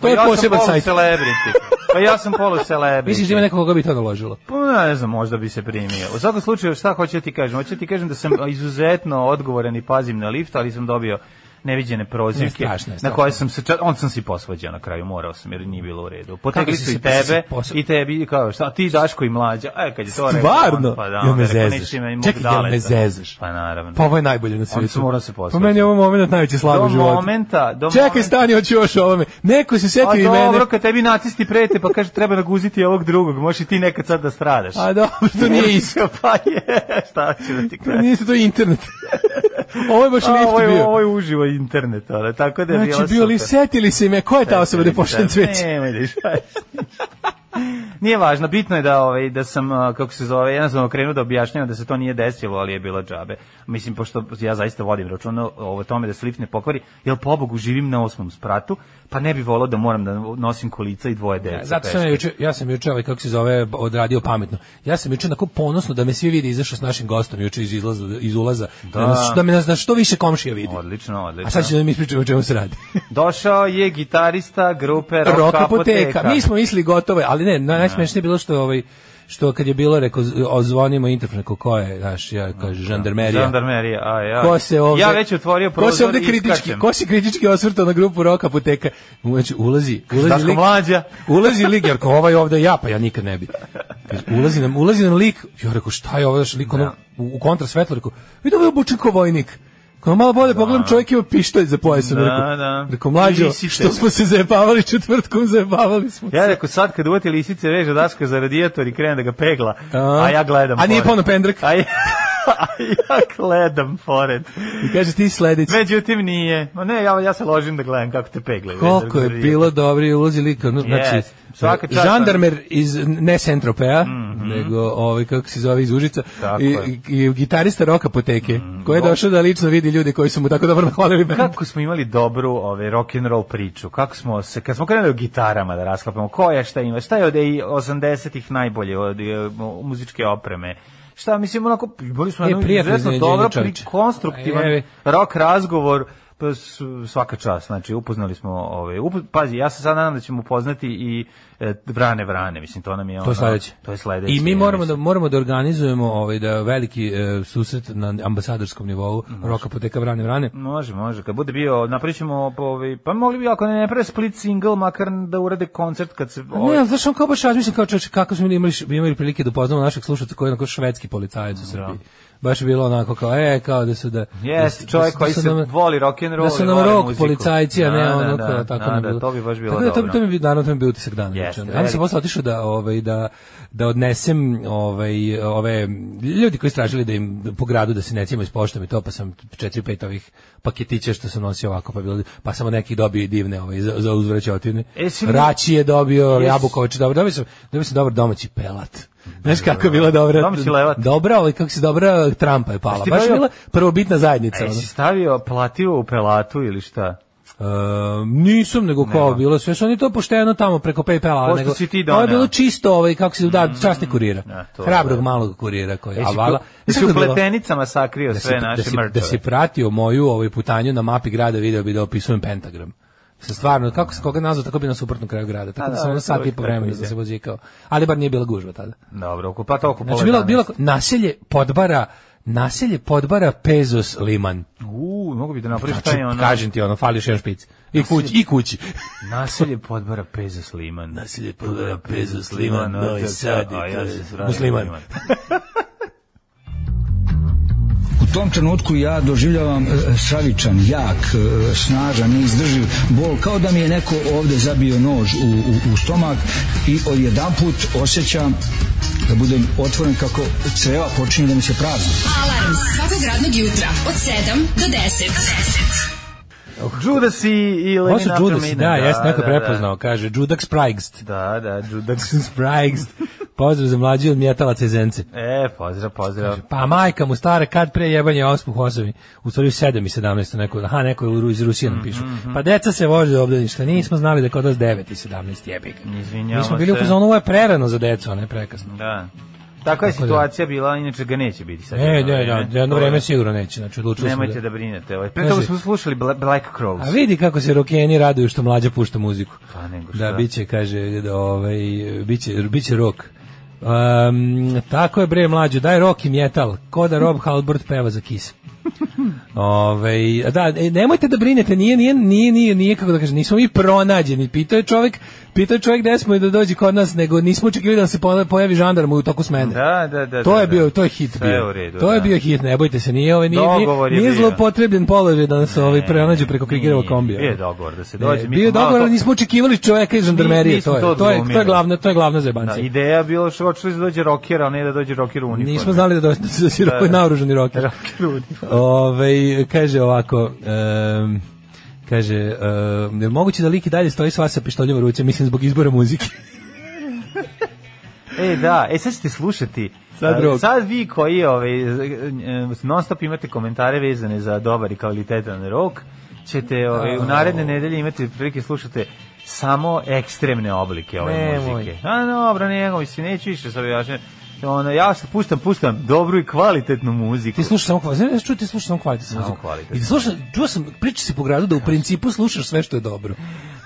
To je
Pa ja
poseban
sam
sajt.
celebrity. Pa ja sam polu celebrity.
Misliš da ima nekog koga bi to naložilo?
Pa ne znam, možda bi se primio. U svakom slučaju, šta hoću ti kažem? Hoću ti kažem da sam izuzetno odgovoran i pazim na lift, ali sam dobio neviđene prozivke
Ne, strašno je, strašno
na koje sam se ča... on sam si posvađao na kraju morao sam jer nije bilo u redu potekli
Kako si
su
se-
i tebe
si posvađao?
i tebi i kao šta ti Daško i mlađa e kad je to rekao
Stvarno?
on, pa da
Jel me
onda rekao,
zezeš?
nećeš ima i mog
Čekaj, jel me
daleta.
zezeš?
pa naravno
Pa ovo je najbolje na svijetu.
se mora se posvađati.
Pa meni je ovo moment najveći slab u
do
životu.
momenta do
Čekaj,
momenta-
stani, hoću još o ovome. Neko se
A
setio i mene.
dobro, kad tebi nacisti prete, pa kaže treba naguziti ovog drugog, možeš i ti nekad sad da stradaš.
A dobro, to nije isto.
pa je, šta ću da ti
To
kažem.
nije isto, to je internet. ovo je baš
A, Ovo
lift
je,
bio.
ovo je uživo internet, ali tako da je bilo
Znači, bio li
super.
setili se ime, ko je ta osoba da je pošten
Setili se.
cveće?
Nemoj da išpaš. Nije važno, bitno je da ovaj da sam a, kako se zove, ja sam okrenuo da objašnjavam da se to nije desilo, ali je bilo džabe. Mislim pošto ja zaista vodim računa o tome da se lift ne pokvari, jel pobogu živim na osmom spratu, pa ne bi voleo da moram da nosim kolica i dvoje dece.
Zato sam ja
peške.
juče, ja sam juče ovaj kako se zove odradio pametno. Ja sam juče onako ponosno da me svi vide izašao s našim gostom juče iz izlaza iz ulaza da, da, nas, da me nas, da što više komšija vidi.
Odlično, odlično.
A sad ćemo da mi ispričamo o čemu se radi.
Došao je gitarista grupe Rock,
Roka
apoteka.
apoteka. Mi smo mislili gotovo, je, ali ne, na- najsmešnije je bilo što ovaj što kad je bilo rekao z- ozvonimo interfon rekao ko je, znaš, ja kaže žandarmerija.
Žandarmerija, a ja.
Ko se ovde,
Da. Ja već otvorio prozor
Ko se ovde
i
kritički,
iskačem.
ko se kritički osvrtao na grupu Roka apoteka? Znači, ulazi, ulazi
Daško
lik,
mlađa.
Ulazi lik, jer kao ovaj ovde ja, pa ja nikad ne bi. Ulazi nam, ulazi nam lik, ja rekao šta je ovo, znaš, lik ono,
Da.
u, u kontra svetlo, rekao, vidi ovo je obučen ko vojnik. Kao malo bolje pogledam, čovjek ima pištolj za pojasom.
Da,
rekao,
da.
Rekao, mlađo,
I lisice.
što smo se zajebavali četvrtkom, zajebavali smo
Ja rekao sad kad uvati lisice veže Daška za radijator i krene da ga pegla, a, ja gledam.
A nije
pored.
ponovno pendrek.
A ja, a ja gledam pored.
I kaže, ti sledeći.
Međutim nije. Ma ne, ja, ja se ložim da gledam kako te peglaju.
Koliko je bilo dobri ulozi lika. No, znači,
Jest. Svaka čast. Mhm.
žandarmer iz, ne Sentropea, nego ovaj, kako se zove iz Užica,
Tako
i,
je. Mhm.
i, gitarista roka poteke, koji je došao da lično vidi ljudi koji su mu tako dobro nahvalili band.
Kako smo imali dobru ove rock and roll priču. Kako smo se kad smo krenuli o gitarama da rasklapamo ko je šta ima, šta je od 80-ih najbolje od e, muzičke opreme. Šta mislim onako bili smo
E,
jedno
prijatno
izuzetno
iznenađenje, E,
dobro pri
čoveče.
konstruktivan
Evi.
rock razgovor pa s- svaka čast, znači upoznali smo ove upo- pazi, ja se sad nadam da ćemo upoznati i e, Vrane Vrane, mislim to nam je ono.
To je sledeće.
To je sledeće.
I mi
ja
moramo da
mislim.
moramo da organizujemo ovaj da veliki e, susret na ambasadorskom nivou roka poteka vrane
Mhm.
vrane.
Može, može. Kad bude bio, napričamo, pa, ovaj, pa mogli bi, ako ne naprave split single, makar da urade koncert kad se... ovaj,
Ne, ali znaš, on kao baš razmišljam kao čovječe, kako smo mi imali, imali prilike da upoznamo našeg slušaca koji je onako švedski policajac
Da.
u Srbiji. Baš je bilo onako kao, e, kao da su da...
Jes,
da su-
čovjek
da su
koji se
nam-
voli rock'n'roll
Da
i
su nam
voli
rock
muziku.
policajci, a
Da,
ne
da,
ono
da,
kao, tako
da,
nam
da,
bilo.
to bi baš bilo
Tako da, to,
dobro.
to mi bi, naravno, to mi bi utisak dana.
Jeste,
Jeste. Ja sam
velik.
posle otišao da, ovaj, da, da odnesem ovaj, ove ljudi koji su tražili da im po gradu da se ne cijemo iz poštom i to, pa sam četiri, pet ovih paketića što sam nosio ovako, pa, bilo, pa samo neki dobio i divne ovaj, za, za uzvraćotine.
E, si mi-
Rači je dobio,
Jes.
Jabuković, dobro, dobio sam, dobio sam dobar domaći pelat. Znaš kako je bila dobra,
Domaći levat.
dobra, ovaj, kako se dobra trampa je pala.
Jesi ti
Baš je
dobio-
bila prvobitna
E,
zajednica. ono.
si stavio plativo u pelatu ili šta?
E, nisam nego kao bilo sve su oni to pošteno tamo preko PayPala
Pošto
nego
si ti
to je
doneo.
bilo čisto ovaj kako se da časni kurira
da, to je
hrabrog
da.
malog kurira koji
E,
a
si
vala
pl- si
Znaš
u
kako je bilo?
pletenicama sakrio
da si,
sve naše
da, si,
mrtve.
da si pratio moju ovaj putanju na mapi grada video bi da opisujem pentagram sa stvarno kako se koga nazvao tako bi na suprotnom kraju grada tako
A,
da,
da,
sam ono
to
sat i
uvijek tako
po vremena
ide.
da se vozikao ali bar nije bila gužva tada
Dobro, oko- pa to oko
znači
pola
bilo
11.
bilo naselje podbara naselje podbara Pezos Liman
U, mogu bi da napraviš
Znači,
taj ono...
kažem ti ono, fališ jedan špic. I kući, i kući.
Naselje podbara Peza Sliman.
Nasilje podara pezu
Sliman, Novi Sad i A ja to se je sravnim musliman.
musliman.
Sliman.
U tom trenutku ja doživljavam e, stravičan, jak, e, snažan, neizdrživ bol, kao da mi je neko ovde zabio nož u, u, u stomak i odjedanput osjećam da budem otvoren kako creva počinju da mi se prazne.
Alarm svakog radnog jutra od 7 do 10.
Judas i, i
Oh, Ovo
Lenin
su Judas, da, jes, neko
da,
prepoznao, kaže, Judak Sprigst.
Da, da, Judas.
Sprigst. Pozdrav za mlađi od mjetalaca i zence.
E, pozdrav, pozdrav.
Pa majka mu stara, kad pre jebanje ospuh osobi, u stvari u 7 i 17, neko, aha, neko je u Ru- iz Rusije
Mm,
napišu. Pa deca se vože do obdaništa, nismo znali da je kod vas 9 i 17 jebik.
Izvinjamo
Mi smo bili u
se.
fazonu, ovo je prerano za decu, a ne prekasno.
Da. Takva je
Tako da.
situacija bila, inače ga neće biti sad.
Ne,
jedno
ne,
vreme.
da, jedno
To je-
vreme sigurno neće, znači odlučili smo da...
Nemojte da brinete. Ovaj. Pre
Kaže-
toga smo slušali Bla- Black Crowes.
A vidi kako se rokeni raduju što mlađa pušta muziku.
Pa nego šta.
da biće kaže da ovaj biće biće rok. Um, tako je bre mlađo, daj rock i metal, ko da Rob Halbert peva za Kiss. Ove, da, e, nemojte da brinete, nije, nije, nije, nije, nije, kako da kažem, nismo mi pronađeni, pitao je čovjek, pitao je čovjek gde smo i da dođe kod nas, nego nismo očekivali da nam se pona- pojavi žandarm u toku smene.
Da, da, da.
To
da,
je
da.
bio, to je hit
Sve
bio.
u redu,
to je
da.
bio hit, ne bojte se, nije ovaj nije, nije,
Dogovor je
nije
bio.
zloupotrebljen položaj da nas ovaj prenađu preko Krigerova
E, Nije,
kombija.
Bio je dogovor da se
Ne,
dođe. mi
bio je
smo malo
dogovor, ali
to-
nismo očekivali čoveka iz žandarmerije,
nismo
to je,
to
to je, to je
odglumili.
glavna, to je glavna zebanca.
Da, ideja je bila što hoćeš da dođe rocker, a ne da dođe rocker u uniformi.
Nismo znali da dođe da se sirop
Da, da.
naoružani roker.
Rocker u uniformi.
Ove, kaže ovako, em, kaže, um, je moguće da lik i dalje stoji s vas sa pištoljima u ruci, mislim zbog izbora muzike.
E, da, e sad ćete slušati.
Sad
e,
drugog.
sad vi koji ovaj, e, non stop imate komentare vezane za dobar i kvalitetan rok, ćete ovaj, u naredne nedelje imati prilike slušate samo ekstremne oblike ove
Nemoj.
muzike. A dobro, nego, mislim, neću više sad ja še- ono, ja se puštam, puštam dobru i kvalitetnu muziku.
Ti slušaš samo kvalitet, znaš čuo ti slušaš samo kvalitet.
Samo kvalitetnu.
I da slušaš, čuo sam, priča si po gradu da u principu slušaš sve što je dobro.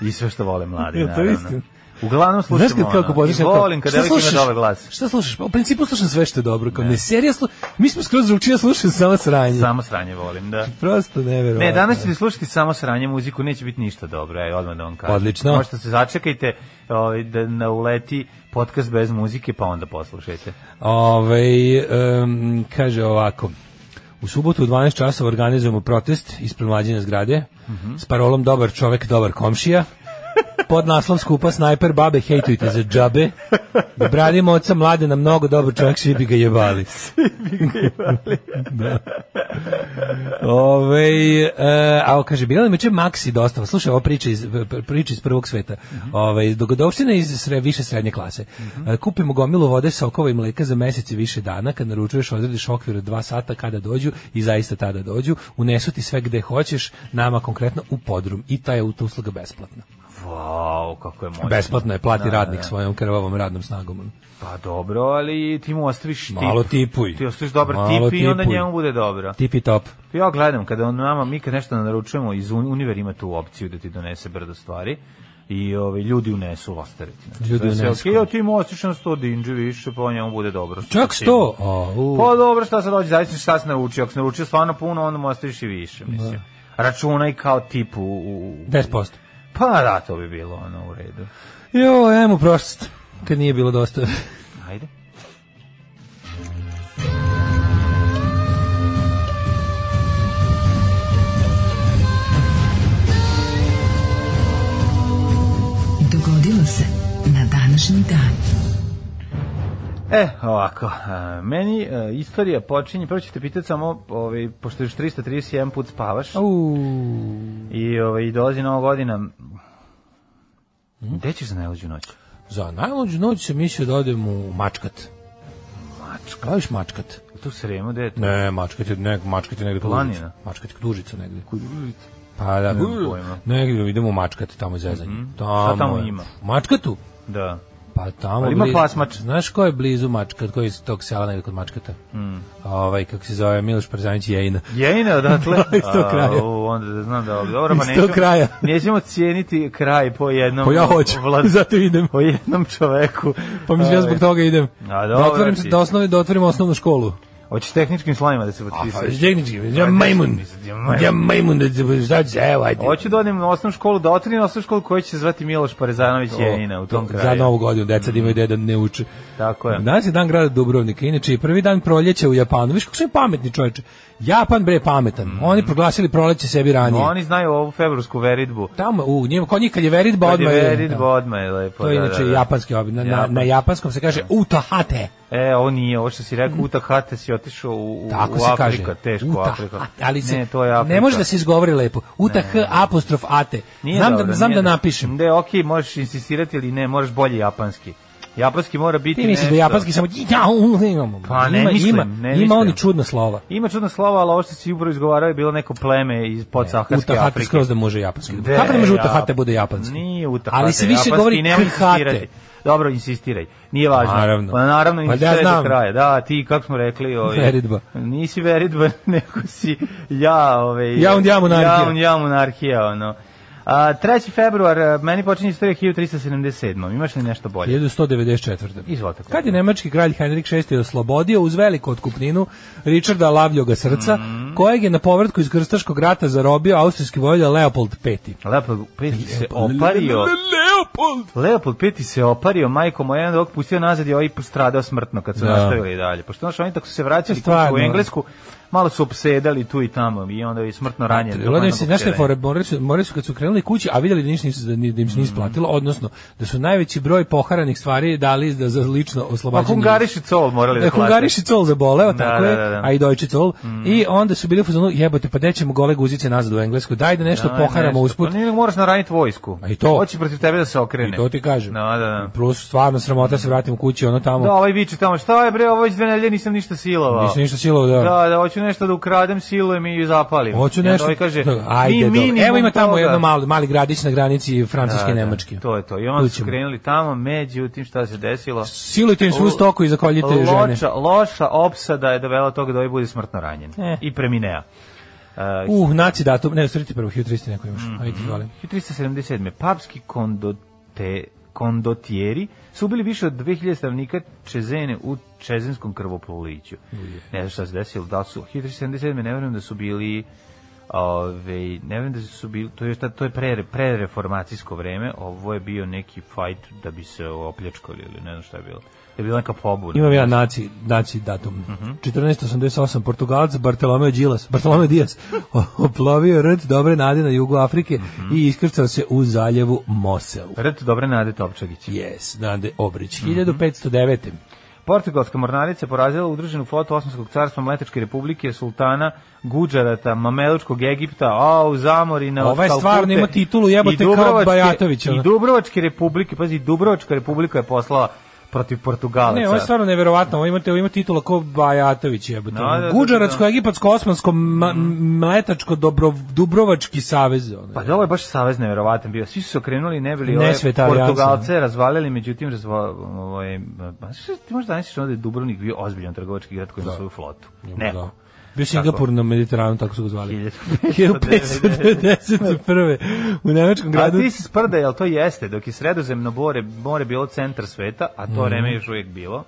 I sve što vole mladi,
Jel to
naravno.
istina?
Uglavnom slušamo
Znaš kad kako
ono. I
podrišem
volim kada devojka ima dobar glas.
Šta slušaš? Pa u principu slušam sve što je dobro. Kao ne, serija slu... Mi smo skroz drugačije ja slušam samo sranje.
Samo sranje volim, da.
Prosto neverovatno.
Ne, danas ćete slušati samo sranje muziku, neće biti ništa dobro, ej, odmah da vam kažem.
Odlično.
Možete se začekajte ovaj, da na uleti podcast bez muzike, pa onda poslušajte.
Ovaj, em, kaže ovako. U subotu u 12 časova organizujemo protest ispred mlađene zgrade
Mhm.
s parolom dobar čovek, dobar komšija. Pod naslov skupa snajper babe hejtujte za džabe. Da bradimo oca mlade na mnogo dobar čovek, svi bi ga jebali. Ove, e, a o, kaže, bila nam juče Maxi dostava, slušaj, ova priča iz, pr- priča iz prvog sveta, Ovaj, dogodovština iz sre, više srednje klase. E, kupimo gomilu vode, sokova i mleka za mesec i više dana, kad naručuješ, odrediš okvir od dva sata kada dođu i zaista tada dođu, unesu ti sve gde hoćeš, nama konkretno u podrum i ta je u- ta usluga besplatna.
Vau, kako je moćno.
Besplatno je, plati
Da,
radnik
da.
svojom krvavom radnom snagom.
Pa dobro, ali ti mu ostaviš tip.
Malo tipuj.
Ti ostaviš dobar
Malo
tip i onda
tipuj.
njemu bude dobro.
Tipi top.
Ja gledam, kada on nama, mi kad nešto naručujemo, iz Un- Univer ima tu opciju da ti donese brdo stvari i ovaj, ljudi unesu ostariti. Znači,
Ljudi
to je sve
unesu.
okej, ja ti mu ostaviš na 100 dinđe više, pa njemu bude dobro.
Čak
Sa tim.
sto. A, u.
Pa dobro, šta se dođe, zavisno šta se naručio. Ako se naručio stvarno puno, onda mu ostaviš i više,
Da.
mislim. Računaj kao tipu u... u-
10%.
Pa da, to bi bilo ono u redu.
Jo, ajmo prošlost, kad nije bilo dosta.
Ajde.
Dogodilo se na današnji dan.
E, ovako, a, meni e, istorija počinje, prvo ću te pitati samo, ovaj, pošto još 331 put spavaš
Au.
i ovaj, dolazi nova godina, gde ćeš za najluđu noć?
Za najluđu noć sam mislio da odem u Mačkat. Mačkat? Voliš Mačkat?
Tu sremu, gde je to?
Ne, Mačkat je, ne, Mačkat je negde kod
Planina?
Užica. Mačkat je kod Užica negde. Kod Pa da,
Nemam pojma. Mhm.
negde idemo u Mačkat, tamo je zezanje. tamo,
Šta tamo
je.
ima?
U Mačkatu?
Da.
Pa tamo
Ali ima
blizu-
klasmač.
Znaš ko je blizu Mačkat, koji je iz tog sela negde kod Mačkata?
Mhm.
Ovaj, kako se zove, Miloš Przanić Jejina.
Jejine, odatle?
Da, Iz tog
A,
kraja.
u, onda da znam da, dobro, pa
Iz tog
nećemo,
kraja.
nećemo cijeniti kraj po jednom...
Pa ja hoću,
vlad-
zato idem.
po jednom čoveku.
Pa mislim ja zbog toga idem.
A,
da
dobro
otvorim, se-
ti.
da, osnovim, da otvorim osnovnu školu.
Ovaj, Hoćeš tehničkim slavima da se
Pa,
potpisaš?
tehnički, ja majmun. Ja majmun, da znači, evo, ajde.
Hoću da odem na osnovnu školu, da otvorim osnovnu školu koja će se zvati Miloš Parezanović Jejina u tom
Za
kraju.
novu godinu, deca da imaju gde da ne uče.
Tako je.
Danas je dan grada Dubrovnika, inače i prvi dan proljeća u Japanu. Viš kako su oni pametni čovječe. Japan bre je pametan. Oni proglasili proljeće sebi ranije.
Mm. Pa Oni znaju ovu februarsku veridbu.
Tamo, u njima, kod njih kad je veritba
Kad je
odmah je-
veridba
da.
odmah je lepo.
To je
da,
inače
da, da.
japanski obi. Na, na,
Japan. Da.
na japanskom se kaže utahate.
E, ovo nije, ovo što si rekao, Uta Hate si otišao u, u,
Mm. Tako
u
se
Afrika,
kaže.
teško
Utah,
Afrika.
a- Ali se,
ne, to je Afrika.
ne može da se izgovori lepo. Utah apostrof ate.
Nije
znam
dobro,
da, znam
nije
da
dobro.
napišem.
Da, okej, možeš insistirati ili ne, možeš bolje japanski. Japanski mora biti
Ti misliš da
nešto-
japanski samo ja, u, imamo.
Pa ne
ima,
mislim,
ima,
ne
ima
mislim.
oni čudna slova.
Ima čudno slova, ali ovo što si upravo izgovarao je bilo neko pleme iz podsaharske
Utahate
Afrike.
skroz da može japanski.
De,
Kako ne može
ja-
Utahate bude japanski?
Nije Utahate.
Ali se više
japanski,
govori
nemoj
Khate.
insistirati. Dobro, insistiraj. Nije važno.
Naravno.
Pa naravno,
Pa da,
insistiraj do
znam.
kraja. Da, ti, kako smo rekli... Ovaj,
Veridba.
Nisi veridba, nego si ja... Ovaj,
Ja und ja monarhija.
Ja und ja monarhija, ono. A, 3. februar, a, meni počinje istorija 1377. Imaš li nešto bolje?
1194.
Izvolite. kolega.
Kad je nemački kralj Henrik VI oslobodio uz veliku otkupninu Richarda Lavljoga srca,
Mhm.
kojeg je na povratku iz krstaškog rata zarobio austrijski vojvoda Leopold V.
Leopold V se opario...
Leopold!
Leopold V se opario, majko moja, jedan dok pustio nazad i ovaj postradao smrtno kad su
Da.
nastavili dalje. Pošto znaš, oni tako su se vraćali kući u
Stvarno.
Englesku, malo su obsedali tu i tamo i onda je smrtno ranjen.
Gledaju se, znaš šta je fora? morali su, morali su kad su krenuli kući, a vidjeli da, ništa nisu, da, ni- da im
Mm.
se nije isplatilo, odnosno da su najveći broj poharanih stvari dali za, za lično
Pa
oslobađanje.
Hungariš i Col morali da
E,
plate.
Hungariš i col zaboleo,
Da,
tako
da,
je,
da, da.
a i Deutsche col. I onda su bili u fazonu, jebote, pa gde ćemo gole guzice nazad u Englesku, daj da nešto
Aj,
poharamo
nešto.
usput.
Pa nije, moraš naraniti vojsku.
A i to.
Hoće protiv tebe da se okrene.
I to ti kažem.
Da, da, da.
Plus stvarno sramota se vratim kući, ono tamo.
Da, ovaj viče tamo, šta je bre, ovo već dve nedelje nisam ništa silovao.
Nisam ništa silovao, da.
Da, da, hoću nešto da ukradem, silujem i zapalim. I
Hoću
onda
nešto. Da,
ovaj kaže, mi
Ajde, mi,
minimum
Evo ima tamo
toga.
jedno mali, mali gradić na granici
Da,
francuske
da,
i nemačke.
To je to. I onda
Tu
su
ćemo.
krenuli tamo, međutim šta se desilo?
Silujte im svu stoku i zakoljite žene.
Loša, loša opsada je dovela do toga da ovaj bude smrtno ranjen.
E.
I preminea. Uh,
Uh, naci datum, ne, sriti prvo, 1300 neko imaš.
Mhm.
Ajde, izvoli.
1377. Papski kondote, kondotjeri su ubili više od 2000 stavnika Čezene u Čezenskom krvopoliću. Ne znam šta se desilo, da li su 1377. ne verujem da su bili ove, ne verujem da su bili, to je, šta, to je pre, prereformacijsko vreme, ovo je bio neki fajt da bi se opljačkali ili ne znam šta je bilo. Je bila neka pobuna.
Imam ja naci, naci datum.
Mhm.
1488, Portugalac Bartolomeo Gilas, Bartolomeo Dias, oplovio rt dobre nade na jugu Afrike
Mhm.
i iskrcao se u zaljevu Mosel.
Rt dobre nade Topčagić.
Yes, Nade Obrić.
Mhm.
1509.
Portugalska mornarica porazila udruženu flotu Osmanskog carstva Mletačke republike, sultana Guđarata, Mamelučkog Egipta, a u zamorina od
Ova je
Kalkute
Ovaj stvarno ima titulu, jebote,
i
kao
Dubrovačke-
Bajatović, ono.
I Dubrovačke republike, pazi, Dubrovačka republika je poslala protiv Portugalaca.
Ne, ovo je stvarno neverovatno. Ovo imate, ovo ima titula ko Bajatović jebote.
Da, da, da,
Guđaratsko,
da. Mhm.
egipatsko, osmansko, ma, mletačko, dobro, Dubrovački savez. Ono.
Pa da, ovo je baš savez neverovatan bio. Svi su se okrenuli, ne bili ove
Nesveta alijansa,
Portugalce razvalili, međutim, razva, ovaj, ma, šta ti možda danas da je Dubrovnik bio ozbiljan trgovački grad koji ima svoju flotu. Ne.
Da. Bio Singapur na Mediteranu, tako su ga zvali. 1591.
1591.
U nemačkom
A
gradu.
ti si sprda, jel to jeste, dok je sredozemno more, more bilo centar sveta, a to vreme je još uvijek bilo,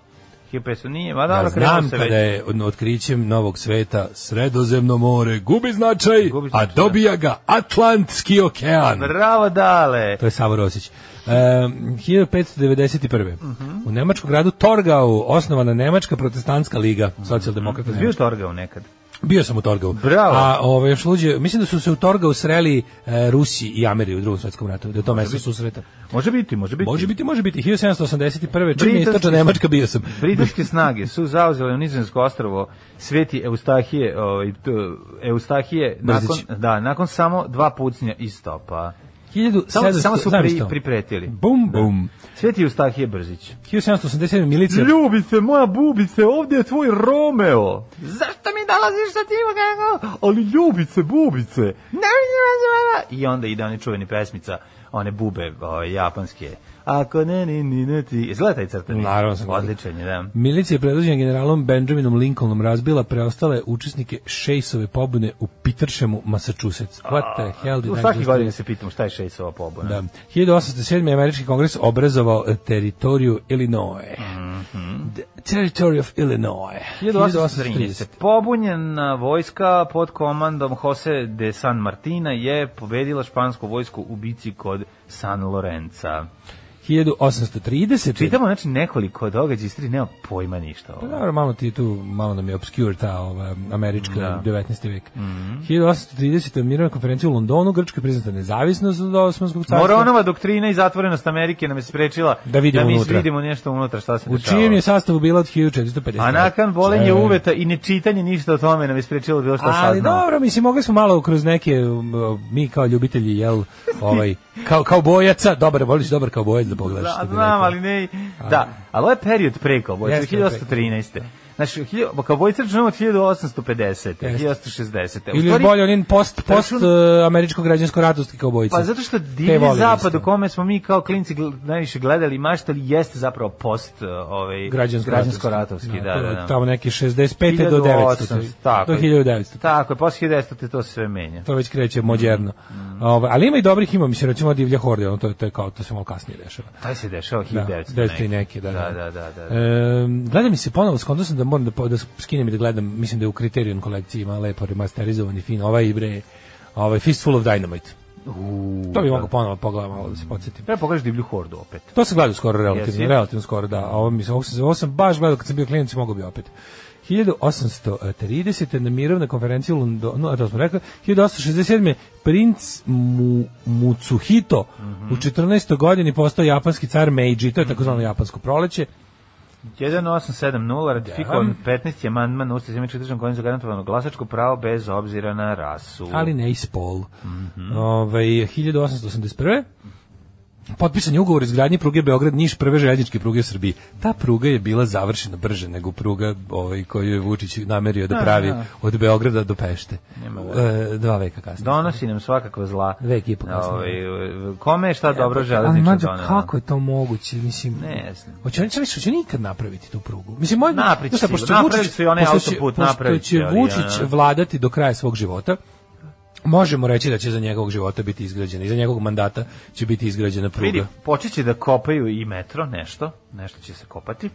1500 nije, ma
Mhm. Ja
dobro, krenulo
znam
se
kada
već.
je od- otkrićem novog sveta Sredozemno more gubi značaj,
Gubi
a
značaj, da.
dobija ga Atlantski okean.
Bravo, dale!
To je Savo Rosić. E, 1591.
Mhm.
U nemačkom gradu Torgau osnovana Nemačka protestantska liga socijaldemokrata.
Mhm. Bio
Nemačka.
torgao nekad.
Bio sam u Torgau.
Bravo.
A ovaj još luđe, mislim da su se u Torgau sreli e, Rusi i Ameri u Drugom svetskom ratu, da je to mesto susreta.
Može biti, može biti.
Može biti, može biti. 1781. Čim je
Britanski-
istočna Nemačka bio sam.
Britanske snage su zauzele Nizozemsko ostrvo Sveti Eustahije, ovaj, t- Eustahije nakon,
Brzić.
da, nakon samo dva pucnja i stopa.
1700,
Samo, samo su
znam
pri,
isto.
pripretili.
Bum, bum.
Sveti Eustahije Brzić.
1787. milicija
Ljubice, moja bubice, ovdje je tvoj Romeo. Zašto mi dolaziš sa tim kako? Ali ljubice, bubice. Ne, ne, ne, ne, ne. I onda ide oni čuveni pesmica, one bube ove, japanske. Ako ne, ni, ni, ne, ti. Izgleda taj crtani.
Naravno sam gledao.
Odličan je, da.
Milicija je predvođena generalom Benjaminom Lincolnom razbila preostale učesnike Šejsove pobune u Petershemu, Massachusetts. What the hell did
U
I
svaki
just
godin
do?
se pitamo šta je Šejsova pobuna.
Da. 1807. je američki kongres obrazovao eh, teritoriju Illinois.
Mhm.
The territory of Illinois.
1813.
1830.
Pobunjena vojska pod komandom Jose de San Martina je pobedila špansku vojsku u bici kod San Lorenza.
1830.
Čitamo znači nekoliko događaja iz tri, nema pojma ništa.
Pa
Ovo.
Dobro, malo ti tu, malo nam je obscure ta ova, američka
Da.
19. vek.
Mhm.
1830. mirovna konferencija u Londonu, Grčka je priznata nezavisnost od Osmanskog carstva.
Moronova doktrina i zatvorenost Amerike nam je sprečila
Da vidimo
mi
unutra.
vidimo nešto unutra šta se
U
dešava.
čijem je Da. sastavu bila od 1450.
A nakon bolenje uveta i nečitanje ništa o tome nam je sprečilo da bilo šta
Ali
saznamo.
dobro, mislim, mogli smo malo kroz neke, um, mi kao ljubitelji, jel, ovaj, kao, kao bojaca, dobar, voliš dobar kao bojac da pogledaš. što
Da,
bi
znam,
rekao.
ali ne... Da, ali ovo je period pre Kaubojca,
Jeste,
1813. Znači, hilj- Kaubojca računamo od 1850.
Jeste.
1860. U
Ili još
stvari-
bolje, onin post, post
Račun-
uh, američko građansko ratovski kao bojica.
Pa zato što divni zapad u kome smo mi kao klinci gl- najviše gledali i maštali jeste zapravo post uh, ovaj, građansko-ratovski. Da,
to
da,
je
da.
Tamo neki 65. do 900.
Tako,
do
je.
1900.
Tako je, posle 1900 te to sve menja.
To već kreće moderno.
Mm.
Ovaj, ali ima i dobrih, ima, mislim, recimo divlja horde, ono, to, je- to je kao, to se malo kasnije dešava.
Taj se dešava
Da,
1900.
900 i neke, da.
Da, da, da. da.
Ehm, gleda mi se ponovo, skontao sam da moram da, po- da skinem i da gledam, mislim da je u Criterion kolekciji ima lepo remasterizovan i fin, ovaj i bre, ovaj Fistful of Dynamite.
U,
To bi
da.
mogao ponovo pogledam, malo da se podsjetim.
Treba pogledaš divlju hordu opet.
To sam gledao skoro relativno,
Jesi?
relativno skoro, da. A Ovo, mislim, ovo, sam, ovo sam baš gledao kad sam bio klinac, mogu bi opet. 1830. na mirovna konferencija u Londonu, a to smo rekli, 1867. princ Mu, Mutsuhito u 14. godini postao japanski car Meiji, to je takozvano japansko proleće,
1870 ratifikovan
Da.
15. amandman Ustav zemlje četržan kojim zagarantovano glasačko pravo bez obzira na rasu.
ali ne i spol. Ovaj, 1881. Potpisan je ugovor o izgradnji pruge Beograd-Niš, prve željezničke pruge u Srbiji. Ta pruga je bila završena brže nego pruga ovaj, koju je Vučić namerio da pravi od Beograda do Pešte. E, dva veka kasnije.
Donosi nam svakakva zla.
Vek i po kasnije.
Ovaj, kome je šta dobro
Ali
železnička
mađo,
donela?
kako je to moguće? Mislim,
Ne znam.
Hoće oni će će nikad napraviti tu prugu. Mislim moj
Napravit će
Znaš šta,
sigurno.
pošto će
Napravit
Vučić-
su i onaj
pošto će-
autoput,
pošto
napravit
će
će, ali,
Vučić
ono.
vladati do kraja svog života. Možemo reći da će za njegovog života biti izgrađena, i za njegovog mandata će biti izgrađena pruga.
Vidi, počet će da kopaju i metro, nešto, nešto će se kopati,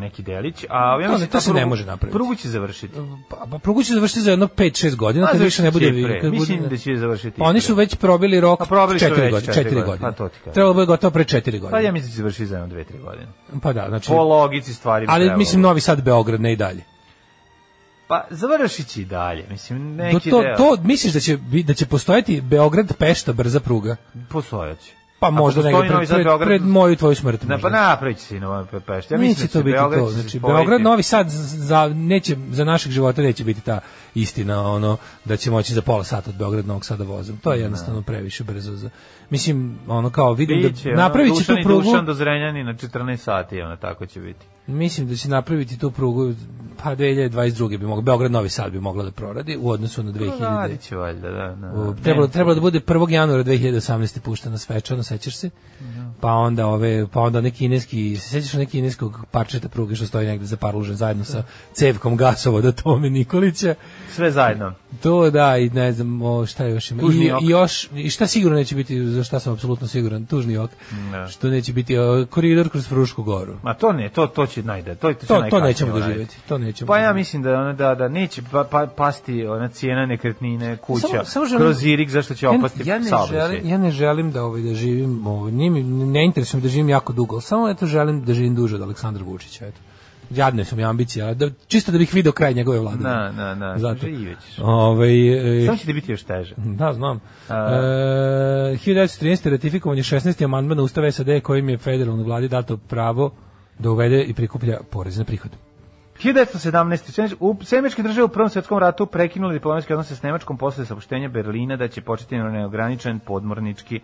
neki delić, a ja
To ne-
mislim
to
da
se ne
prugu-
može napraviti.
Prugu će završiti.
Pa, pa prugu će završiti za jedno 5-6 godina,
A
kad više ne bude...
završit će i pre.
kad bude-
Pa, znači, Mislim da će završiti
Pa
i
oni
pre.
su već probili rok
A probili su
4
već
godine.
četiri
4
godine,
godine.
pa to ti kažem.
Trebalo bi gotovo pre 4 godine.
Pa ja mislim da će završiti za jedno 2-3 godine.
Pa da, znači...
Po logici stvari. bi
Ali
trebalo.
mislim Novi Sad, Beograd, ne i dalje.
Pa završit će i dalje, mislim,
To,
neki
to,
deo.
to misliš da će, bi- da će postojati Beograd-Pešta brza pruga?
Postojat
Pa možda negde pred, pred, pred moju i tvoju smrt.
Ne, pa
možda.
napravit će se i Novi Pešt. Ja
Neće
mislim da
to
će
biti
Beograd
to.
će se
Znači,
spojiti.
Beograd, Novi Sad, za, neće, za našeg života neće biti ta istina, ono, da će moći za pola sata od Beograd Novog Sada vozom. To je
Da.
jednostavno previše brzo. Za, mislim, ono, kao vidim
Biće,
da
ono,
napravit će tu
Dušan i
prugu,
Dušan do Zrenjanina 14 sati, ono, tako će biti.
mislim da će napraviti tu prugu, pa 2022. bi mogla, Beograd Novi Sad bi mogla da proradi u
Pa
odnosu
da,
na 2000.
Radit će valjda, da. da.
Uh, Trebalo, trebalo da bude 1. januara 2018. puštena svečano, sećaš se?
Da.
Pa onda ove, pa onda neki kineski, se sećaš neki kineskog parčeta pruge što stoji negde za parlužen zajedno sa cevkom gasovoda Tome Nikolića.
Sve zajedno.
To da, i ne znam o, šta još ima.
Tužni
I,
ok.
I još, i šta sigurno neće biti, za šta sam apsolutno siguran, tužni ok,
Da.
što neće biti o, koridor kroz Frušku goru.
Ma to ne, to to će najde, to će
To, to
najkasnije
nećemo
uraditi.
doživjeti. To nećemo
Pa ja
doživjeti.
mislim da ona da da neće pa, pa pasti ona cijena nekretnine, kuća,
Samo- samo želim-
kroz Irik zašto će opasti
ja, ja ne
saobraćaj.
želim, ja ne želim da ovaj da živim, ovaj nije mi- ne interesuje me da živim jako dugo, ali samo eto želim da živim duže od Aleksandra Vučića, eto. Jadne su mi ambicije, ali da, čisto da bih video kraj njegove vlade.
Na, na, na,
Zato.
živjet ćeš.
Ovaj, e,
Samo će ti biti još teže.
da, znam. E, 1913. ratifikovan je 16. amandman na Ustava SAD kojim je federalnoj vladi dato pravo da uvede i prikuplja porez na prihod.
1917. Semič- U Semičke države u Prvom svjetskom ratu prekinuli diplomatske odnose s Nemačkom posle saopštenja Berlina da će početi neograničen podmornički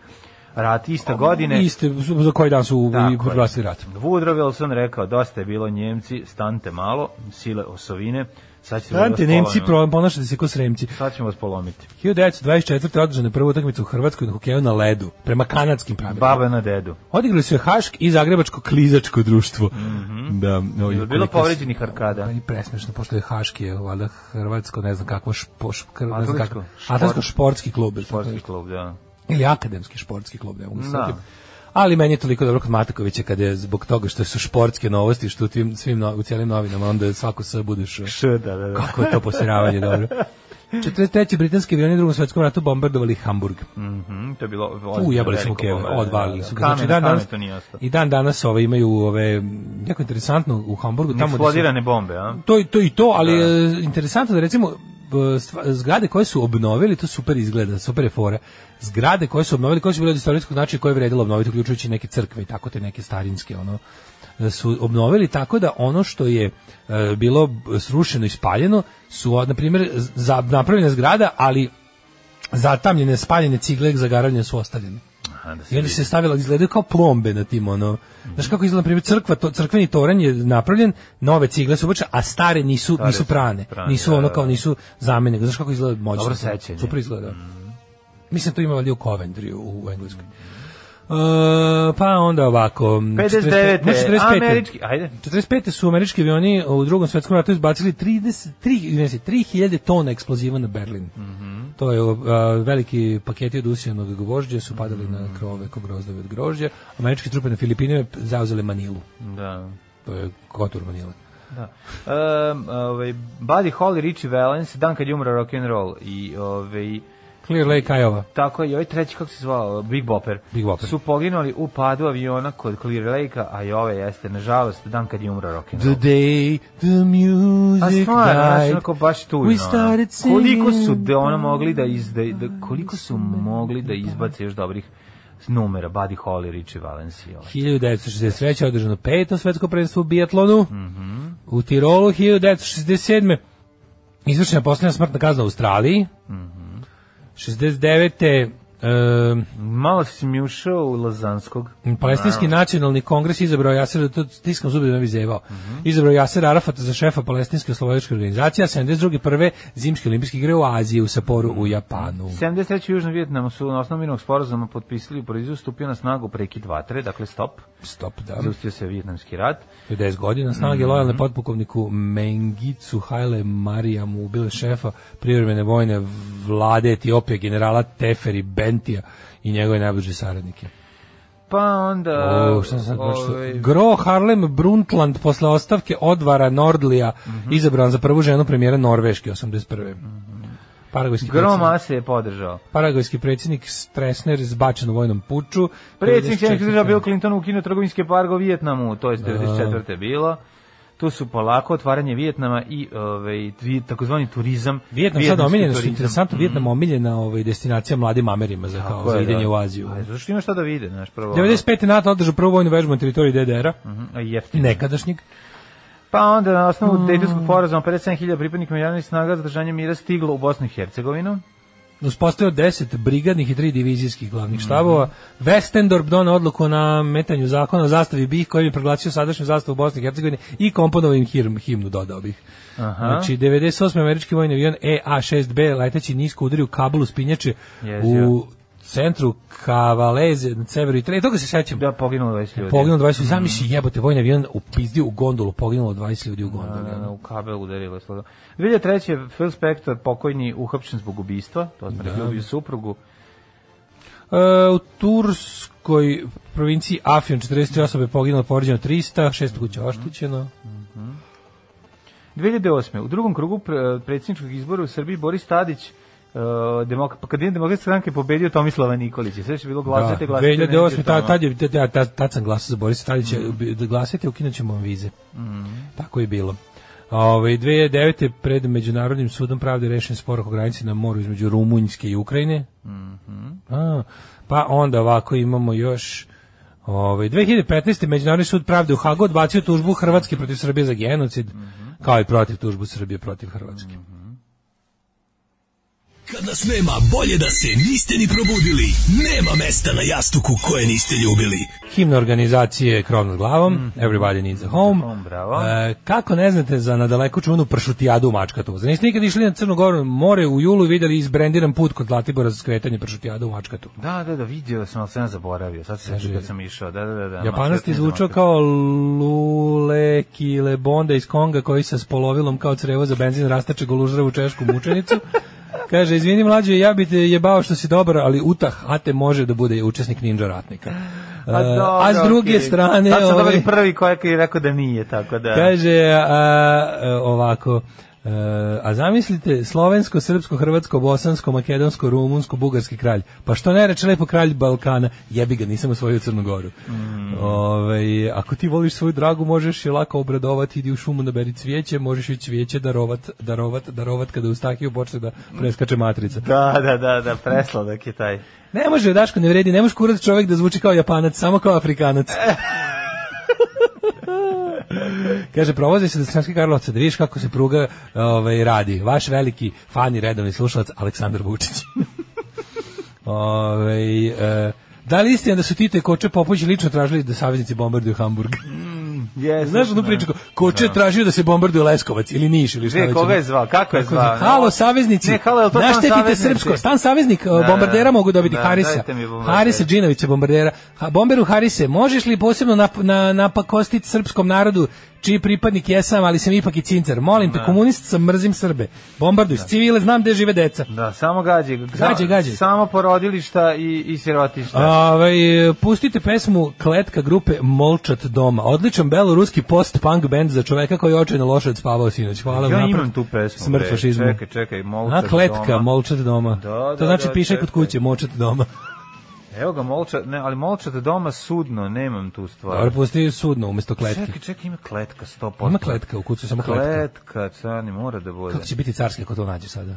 rat iste godine.
Iste, za koji dan su
Tako
i
je.
proglasili rat.
Woodrow Wilson rekao, dosta je bilo Njemci, stante malo, sile osovine, sad ćete da vas
Ante, Nemci,
polomimo.
pro- ponašate se ko sremci.
Sad ćemo vas polomiti.
1924. održana je prva utakmica u Hrvatskoj na hokeju na ledu, prema kanadskim pravilima.
Baba na dedu.
Odigrali su je Hašk i Zagrebačko klizačko društvo. Da, no,
Mhm. Je li bilo povređenih arkada?
Meni Pa presmešno, pošto je Haški, je, valjda Hrvatsko, ne znam kakvo, špo, špor, ne znam
Atletsko.
kako, Atletsko
Šport.
športski klub. ili tako
Sportski
nešto.
klub, da.
Ili akademski športski klub, ne mogu se
Da.
setiti. Ali meni je toliko dobro kod Matakovića kada je zbog toga što su športske novosti, što u, tim, svim, no- u cijelim novinama, onda svako sve budeš...
Š, da, da, da.
Kako je to posiravanje dobro. 43. britanski avioni u drugom svjetskom ratu bombardovali Hamburg.
Mhm, to je bilo
U,
ozbiljno
jebali
veliko
smo keve,
bombardovanje.
odvalili su. ga.
Kamen,
Znači, dan
kamen
danas,
to nije ostalo.
I dan danas ove imaju ove, jako interesantno u Hamburgu. Tamo gde su- Znači,
Eksplodirane bombe, a?
to, i- to i to, ali e, interesantno da recimo e, stva- zgrade koje su obnovili, to super izgleda, super je fora. Zgrade koje su obnovili, koje su bile od istorijskog značaja, koje je vredilo obnoviti, uključujući neke crkve i tako te neke starinske, ono, e, su obnovili tako da ono što je e, bilo b- srušeno i spaljeno su, o, na primjer, z- za, napravljena zgrada, ali zatamljene, spaljene cigle, zagaravljene su ostavljene.
Aha, da se
I onda
vidi.
se stavila, izgledaju kao plombe na tim, ono. Znaš kako izgleda, na primjer, crkva, to, crkveni toren je napravljen, nove cigle su obačene, a stare nisu, nisu
su
prane.
prane,
nisu
da,
ono
da,
kao,
da.
nisu zamene. Znaš kako izgleda moćno.
Dobro sećanje. Mm.
Super izgleda. Mislim, to ima valjda u Coventry u, u Engleskoj. E, pa onda ovako
59.
45.
Američki, ajde.
45. su američki avioni u drugom svetskom ratu izbacili 30 tri- ne znam, 3000 tona eksploziva na Berlin.
Mhm.
To je a, veliki paketi od usijanog gvožđa su padali
Mhm.
na krove ko grozdove od grožđa. Američke trupe na Filipinima zauzele Manilu.
Da.
To je kotor Manile.
Um, ovaj, Buddy Holly, Richie Valens, dan kad je umro rock and roll i ovaj,
Clear Lake, Iowa.
tako je, i ovaj treći, kako se zvao, Big Bopper,
Big Bopper.
su poginuli u padu aviona kod Clear Lake-a, a i ovaj jeste, nažalost, dan kad je umro rock and
Da,
roll.
day the
A
music
stvarno, znaš, onako baš tužno.
We started
ono. Koliko su
singing.
da ono mogli da, iz, da, da- koliko su mogli da izbace još dobrih numera, Buddy Holly, Richie Valens i ovaj.
1963. održano peto svetsko prvenstvo u biatlonu. U Tirolu 1967. Izvršena posljedna smrtna kazna u Australiji. 69. Ehm,
Malo si mi ušao u Lazanskog.
Palestinski nacionalni kongres izabrao Jasera, to tiskam zubi da ne bi zevao, izabrao Jasera Arafata za šefa palestinske slovodačke organizacije, a 72. prve zimske olimpijske igre u Aziji, u Saporu, u Japanu.
73. Južni Vjetnam su na osnovu mirovnog sporazuma potpisali u Parizu, stupio na snagu prekid vatre, dakle stop,
Stop, da.
zaustio se vjetnamski rat.
50 godina snage
Mhm.
lojalne potpukovniku Mengicu Haile Marijamu, bile šefa privremene vojne vlade Etiopije, generala Teferi Bentija i njegove najbliže saradnike.
Pa onda...
O, šta sam sad pročitao?
ovaj,
Gro Harlem Brundtland posle ostavke odvara Nordlija,
Mhm.
izabran za prvu ženu premijera Norveške 81. Paragojski
Gro
predsjednik,
mase je podržao.
Paragojski predsjednik Stresner zbačen u vojnom puču.
Predsjednik Sjedinjenih
94.
država Bill Clinton ukinuo trgovinske pargo Vijetnamu, to je
Da.
94. bilo. Tu su polako otvaranje Vijetnama i ovaj, tvi- takozvani turizam.
Vijetnam sad
vijetnamski
omiljen, što je
turizam. Mm-hmm.
interesantno, Vijetnam omiljena ovaj, destinacija mladim Amerima za, kao,
Tako
za
je,
idenje
da.
u Aziju.
Pa, zato što ima šta da vide, znaš, prvo.
95. NATO održao prvu vojnu vežbu na teritoriji DDR-a,
Mhm, jeftino.
nekadašnjeg.
Pa onda na osnovu mm. Dejtonskog sporazuma 57.000 pripadnika međunarodnih snaga za držanje mira stiglo u Bosnu i Hercegovinu.
da uspostavio 10 brigadnih i 3 divizijskih
Mm-hmm.
glavnih štabova. Westendorp donao odluku na metanju zakona o zastavi BiH koji je proglasio sadašnju zastavu Bosne i Hercegovine i komponovao im hir- himnu dodao bih. Znači, 98. američki vojni avion E EA-6B leteći nisko udario kabel u spinjače
Jezio.
u centru Kavaleze na severu i toga se sećam.
Da, poginulo 20 ljudi.
Poginulo 20
Mm.
ljudi. Zamisli jebote, vojni avion upizdio u gondolu, poginulo 20 ljudi u gondoli.
Da,
ono.
da, u kabel udarilo je sloga. 2003. je Phil Spector pokojni uhapšen zbog ubistva, to smo
Da.
rekli, ubio suprugu. da.
E, u Turskoj provinciji Afjon 43 osobe poginulo, povređeno 300, šest kuća oštećeno.
2008. u drugom krugu pre- predsjedničkog izbora u Srbiji Boris Tadić Uh, demok kandidat demokratske stranke je pobedio Tomislava Nikolića. Sve što je bilo glasate,
da,
glasate.
2008. Tad, tad, je, tad, ja- tad, tad sam glasao za Borisa Tadića, bi- da glasajte, ukinut ćemo vam vize. Tako je bilo. Ovaj, Ove, 2009. je pred Međunarodnim sudom pravde rešen spor oko granice na moru između Rumunjske i Ukrajine. A, pa onda ovako imamo još... ovaj, Ove, 2015. Međunarodni sud pravde u Hagu odbacio tužbu Hrvatske protiv Srbije za genocid, kao i protiv tužbu Srbije protiv Hrvatske.
Kad nas nema, bolje da se niste ni probudili. Nema mesta na jastuku koje niste ljubili.
himna organizacije Krov nad glavom, Everybody Needs a Home.
Mhm. Home, bravo.
E, kako ne znate za na daleko čuvenu pršutijadu u Mačkatovu? Znači niste nikad išli na Crnu Goru more u julu i vidjeli izbrendiran put kod Zlatibora za skretanje pršutijadu u Mačkatovu?
Da, da, da, vidio sam, ali sam ja zaboravio. Sad se sećam kad sam išao. Da, da, da. da
Japanac ti
Makedonija,
zvučao
Makedonija.
kao Lule Kile Bonda iz Konga koji sa spolovilom kao crevo za benzin rastače golužravu češku mučenicu. Kaže, izvini mlađe, ja bi te jebao što si dobar, ali Utah Ate može da bude učesnik ninja ratnika. E,
A, Pa dobro,
a s druge
okej.
strane...
Sad sam
ovaj-
dobili prvi kojak i rekao da nije, tako da...
Kaže a, a, ovako e, a zamislite slovensko, srpsko, hrvatsko, bosansko, makedonsko, rumunsko, bugarski kralj. Pa što ne reče lepo kralj Balkana? Jebi ga, nisam osvojio Crnu Goru. Ovaj, ako ti voliš svoju dragu, možeš je lako obradovati, idi u šumu naberi cvijeće, možeš i cvijeće darovat, darovat, darovat kada u stakiju počne da preskače matrica.
Da, da, da, da, presladak je taj.
Ne može, Daško, ne vredi, ne može kurat čovjek da zvuči kao japanac, samo kao afrikanac. Kaže, provozi se do Sremske Karlovca da vidiš kako se pruga ovaj, radi. Vaš veliki fan i redovni slušalac Aleksandar Vučić. ovaj e, da li istina da su Tito i Koče Popović lično tražili da saveznici bombarduju Hamburg?
Yes,
Znaš da onu priču, ko- Koče je tražio da se bombarduje Leskovac ili Niš ili šta
Gde,
već
koga
ono.
je zvao? Kako je zvao?
Halo, saveznici.
Da, Ne, halo, je li to stan
Naštetite
saveznici?
srpsko. Stan saveznik, e,
da,
bombardera mogu dobiti
da,
Harisa.
dajte mi bombardera.
Harisa Džinovića, bombardera. Ha, bomberu Harise, možeš li posebno nap, na, napakostiti srpskom narodu, čiji pripadnik jesam, ali sam ipak i cincar. Molim
Da.
te, komunist sam, mrzim Srbe. Bombarduj civile, znam gde žive deca.
Da, samo gađe.
Gađe, gađe.
Samo porodilišta i, i sirotišta.
Ovaj, e, pustite pesmu Kletka grupe Molčat doma. Odličan beloruski post-punk band za čoveka koji je očajno loše odspavao sinoć. Hvala
ja
unapred.
imam tu pesmu.
Smrt
bre.
fašizmu.
Čekaj, čekaj,
A
Molčar
kletka,
doma.
molčat doma.
Da, da,
to znači
da,
piše kod
čekaj.
kuće, molčat doma.
Evo ga Molčar, ne, ali Molčar doma sudno, nemam tu stvar.
Dobro, pusti sudno umesto kletke.
Pa. Čekaj, čekaj, ima kletka, 100%.
Ima kletka, u kuću samo kletka.
Kletka, cani, mora da bude.
Kako će biti carski ako to nađe sada?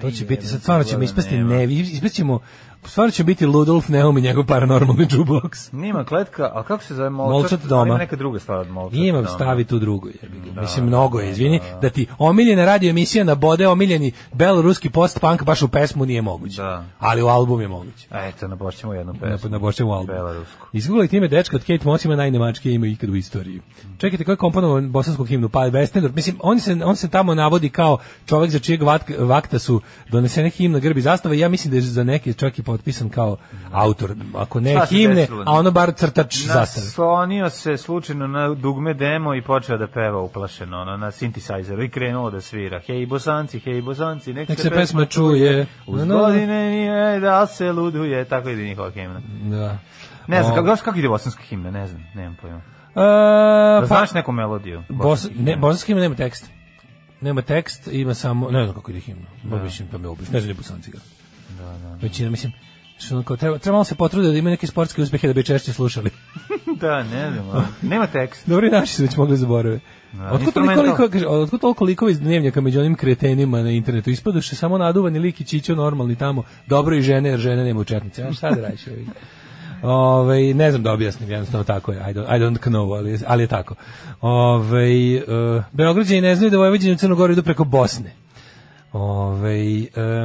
To će
Aj,
biti, sad
jebote,
stvarno ćemo
izgleda
ispasti
nema.
nevi, ispaćemo stvarno će biti Ludolf Neum i njegov paranormalni jukebox.
Nima kletka, a kako se zove Molčat?
Molčat
Ali
doma.
Ima neka druga stvar od Molčat doma.
Imam
Da,
stavi tu drugu, jebi ga. Mislim, mnogo je, izvini, da ti omiljena radio emisija na bode omiljeni beloruski post-punk baš u pesmu nije moguće.
Da.
Ali u album je moguće.
A Eto, nabošćemo jednu
Na,
pesmu.
na bošćem u album.
Belorusku.
Izgooglajte ime dečka od Kate Moss ima najnemačkije ime ikad u istoriji. Čekajte, ko je komponovao bosansku himnu? Pa Westendor. Mislim, on se, on se tamo navodi kao čovjek za čijeg vat- vakta su donesene himna grbi zastave. Ja mislim da je za neke čak i potpisan kao autor. Ako ne
Šta se
himne,
desilo?
a ono bar crtač zastave.
Naslonio se slučajno na dugme demo i počeo da peva uplašeno ono, na synthesizeru i krenuo da svira. Hej bosanci, hej bosanci, nek,
Nek se pesma čuje.
Uz
Na, na, na.
godine nije da se luduje, tako ide njihova himna.
Da.
Ne znam,
O.
kako, kako ide bosanska himna, ne znam, nemam pojma.
A,
Da
pa,
znaš neku melodiju?
Bos,
bosanske himne?
ne, bosanska himna nema tekst. Nema tekst, ima samo, ne znam kako ide himna. Da. Mislim, pa me obiš, ne znam je bosanci ga. Da, da. Većina, mislim, što ono kao, treba, treba malo se potrude da imaju neke sportske uspehe da bi češće slušali.
Da, ne znam, ali nema teksta.
Dobri naši su već mogli zaborave. Da, otkud toliko
instrumental.
likova, kaže, otkud toliko likova iz dnevnjaka među onim kretenima na internetu? Ispadoše samo naduvani lik i čićo normalni tamo, dobro i žene, jer žene nema u četnici. A šta da radiš? evi ga. Ove, ne znam da objasnim, jednostavno tako je. I don't, I don't know, ali, je- ali je tako. Ove, uh, Beograđani ne znaju da Vojvođani u Crnogoru idu preko Bosne. Ove,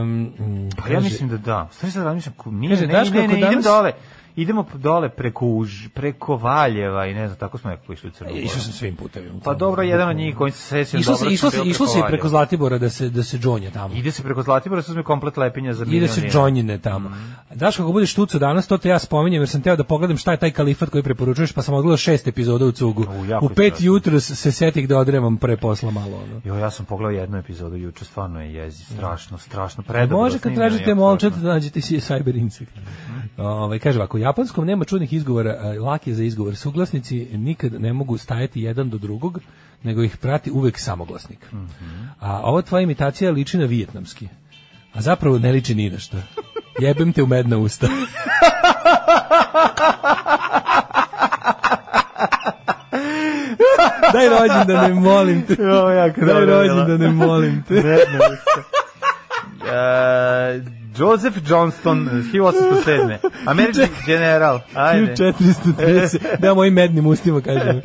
um,
Pa ja mislim da da. Stvari sad razmišljam, ku- nije,
Kaže,
ne,
Daško,
ne, ne,
ako
idem
danas-
dole. Idemo p- dole preko, Už, preko Valjeva i ne znam, tako smo nekako išli u Crnu Goru.
Išao sam svim putevima.
Pa dobro, jedan od njih koji se sećam
Išlo se,
dobro.
išlo
sam
se,
bio
išlo se i
Valjeva.
preko Zlatibora da se, da se džonja tamo.
Ide se preko Zlatibora, sad uzme komplet lepinja za milion. Mhm.
Ide se džonjine tamo. Znaš kako budeš tuco danas, to te ja spominjem jer sam teo da pogledam šta je taj kalifat koji preporučuješ, pa sam odgledao šest epizoda u cugu.
U, jako
u
je
pet
strašno.
jutro se setih da odremam pre posla malo. Ono.
Jo, ja sam pogledao jednu epizodu juče, stvarno je jezi, strašno, strašno, predobro.
Da. Može kad
snimljeno,
tražite
jako
molčat,
strašno.
da nađete si cyber insect. Ovaj kaže ovako, u japanskom nema čudnih izgovora, a lak je za izgovor. Suglasnici nikad ne mogu stajati jedan do drugog, nego ih prati uvek samoglasnik. A ova tvoja imitacija liči na vijetnamski. A zapravo ne liči ni na što. Jebem te u medna usta. Daj rođen da ne molim te.
Jo, jako
Daj
dobro,
rođen
jel?
da ne molim te.
Bedne usta. E, Joseph Johnston, 1807. Američki general. Ajde.
1430, da mojim mednim ustima kažem.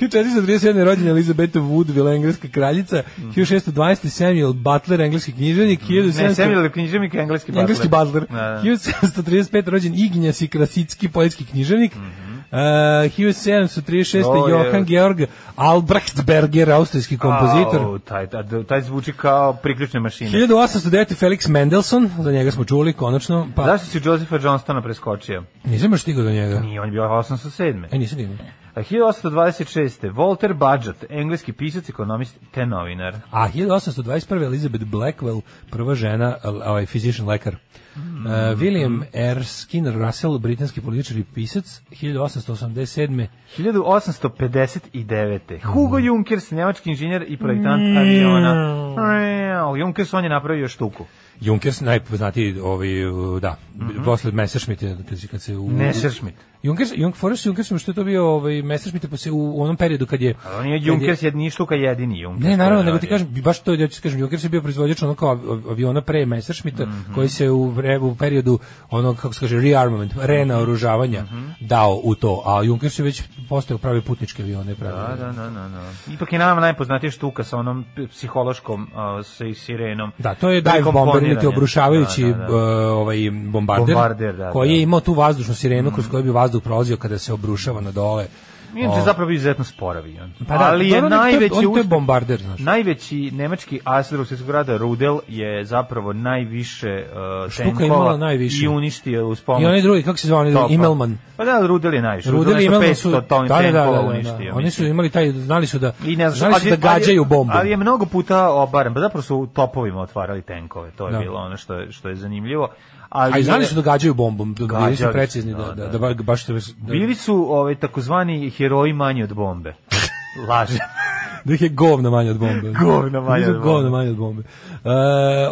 1431. je rođena Elizabeta Woodville, engleska kraljica,
Mhm.
1612. Samuel Butler, engleski književnik, 1700...
Ne, Samuel je književnik, engleski butler.
Engleski Butler.
Da, da.
1735. rođen Ignjas i Krasicki, poljski književnik. Uh, 1736.
O, Mhm. je.
Johan Georg Albrecht Berger, austrijski kompozitor.
Au, taj, taj, taj zvuči kao priključne mašine.
1809. Felix Mendelssohn, za njega smo čuli konačno, pa
Zašto si Josefa Johnstona preskočio?
nisam još stigao do njega.
Nije, on je bio 807.
E, nisam stigao.
A 1826. Walter Budget, engleski pisac, ekonomist, te novinar.
A 1821. Elizabeth Blackwell, prva žena, l- ovaj, physician lekar.
Mm.
Uh, William Erskine Russell, britanski političar i pisac, 1887.
1859. Hugo
Mhm.
Junkers, njemački inženjer i projektant aviona. Eee, Junkers, on je napravio još tuku.
Junkers, najpoznatiji, ovaj, uh, da, posle Messerschmitt, kad, se- kad se... U,
Mhm. Messerschmitt.
Junkers, Junk, Forrest Junkers, što je to bio ovaj, Messerschmitt, pa se u onom periodu kad je...
Ali on je
kad
Junkers, je... nije štuka jedini Junkers.
Ne, naravno,
koji je
nego ti
radio.
kažem, baš to, ja ću ti kažem, Junkers je bio proizvođač ono kao av- aviona pre Messerschmitta,
Mhm.
koji se u, vre- u periodu onog, kako se kaže, rearmament,
Mhm.
renaoružavanja dao u to, a Junkers je već postao pravi putničke avione. Pravi.
Da, da, da, da, da. Ipak je nama najpoznatija štuka sa onom p- psihološkom uh, sa i sirenom.
Da, to je dive
Prilikom
bomber, ili ti
planiranja.
obrušavajući
Da, da,
e,
da.
ovaj bombarder,
Bombarder, da,
koji
da. Mhm.
je imao tu vazdušnu sirenu kroz koju bi vazduh prolazio kada se obrušava na dole.
Inače,
uh, O.
zapravo izuzetno spor avion.
Pa da,
Ali je
dobro, on
najveći
to, je- on to je
uspeh-
bombarder, znaš.
Najveći nemački asir svjetskog rada Rudel je zapravo najviše uh,
Štuka je
tenkova
imala najviše.
i uništio uz pomoć.
I onaj drugi, kako se zvao, onaj drugi,
topa.
Immelman.
Pa da, Rudel je najviše.
Rudeli
je
imali su
500 toni
da, da, da, da,
tenkova
da.
uništio.
Oni su
mislim.
imali taj znali su da
I ne znam,
znali su da
ali-
gađaju
ali-
bombu.
Ali je mnogo puta obaren, pa zapravo su topovima otvarali tenkove, to je
Da.
bilo ono što je, što je zanimljivo. Ali,
A i znali su da gađaju bombom, da bili su
Gađali su,
precizni, da,
da,
da,
da.
da, ba- baš to da,
Bili su ovaj, takozvani heroji manji od bombe. Laže.
da ih je govna manje od bombe.
Govna manje
Da ih je
od bombe.
Govna manje od bombe. E,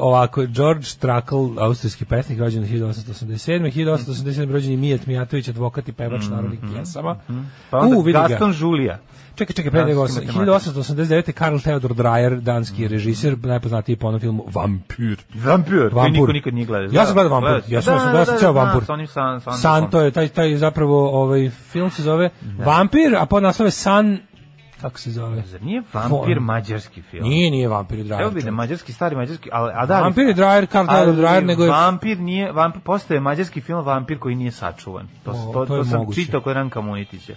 ovako, George Trakl, austrijski pesnik, rođen 1887. 1887. rođen je Mijet Mijatović, advokat i pevač narodnih pjesama.
Mhm, Pa onda
U, vidi ga.
Gaston Žulija.
Čekaj, čekaj, pre nego
Francuski
osam-
matematičar. Mhm.
1889. Karl Theodor Dreyer, danski režiser, najpoznatiji po onom filmu Vampir.
Vampir, koji
Vampir.
niko nikad nije gledao. Da,
Ja sam gledao Vampir. Ja sam, ja sam, ja sam ceo Vampir.
Sa onim san, san,
Santo je, taj, taj zapravo ovaj, film se zove
Da.
Vampir, a pod naslove San, kako se zove?
Zar nije Vampir
Von.
mađarski film?
Nije, nije Vampir i Dreyer.
Evo bi da
čovječe.
mađarski, stari mađarski, ali, a da,
Vampir i Dreyer, Karl Theodor
ali
Dreyer, nego je...
Vampir nije, vampir, postoje mađarski film Vampir koji nije sačuvan. To, to,
O, to
to,
je
sam
moguće.
čitao kod Ranka Munitića.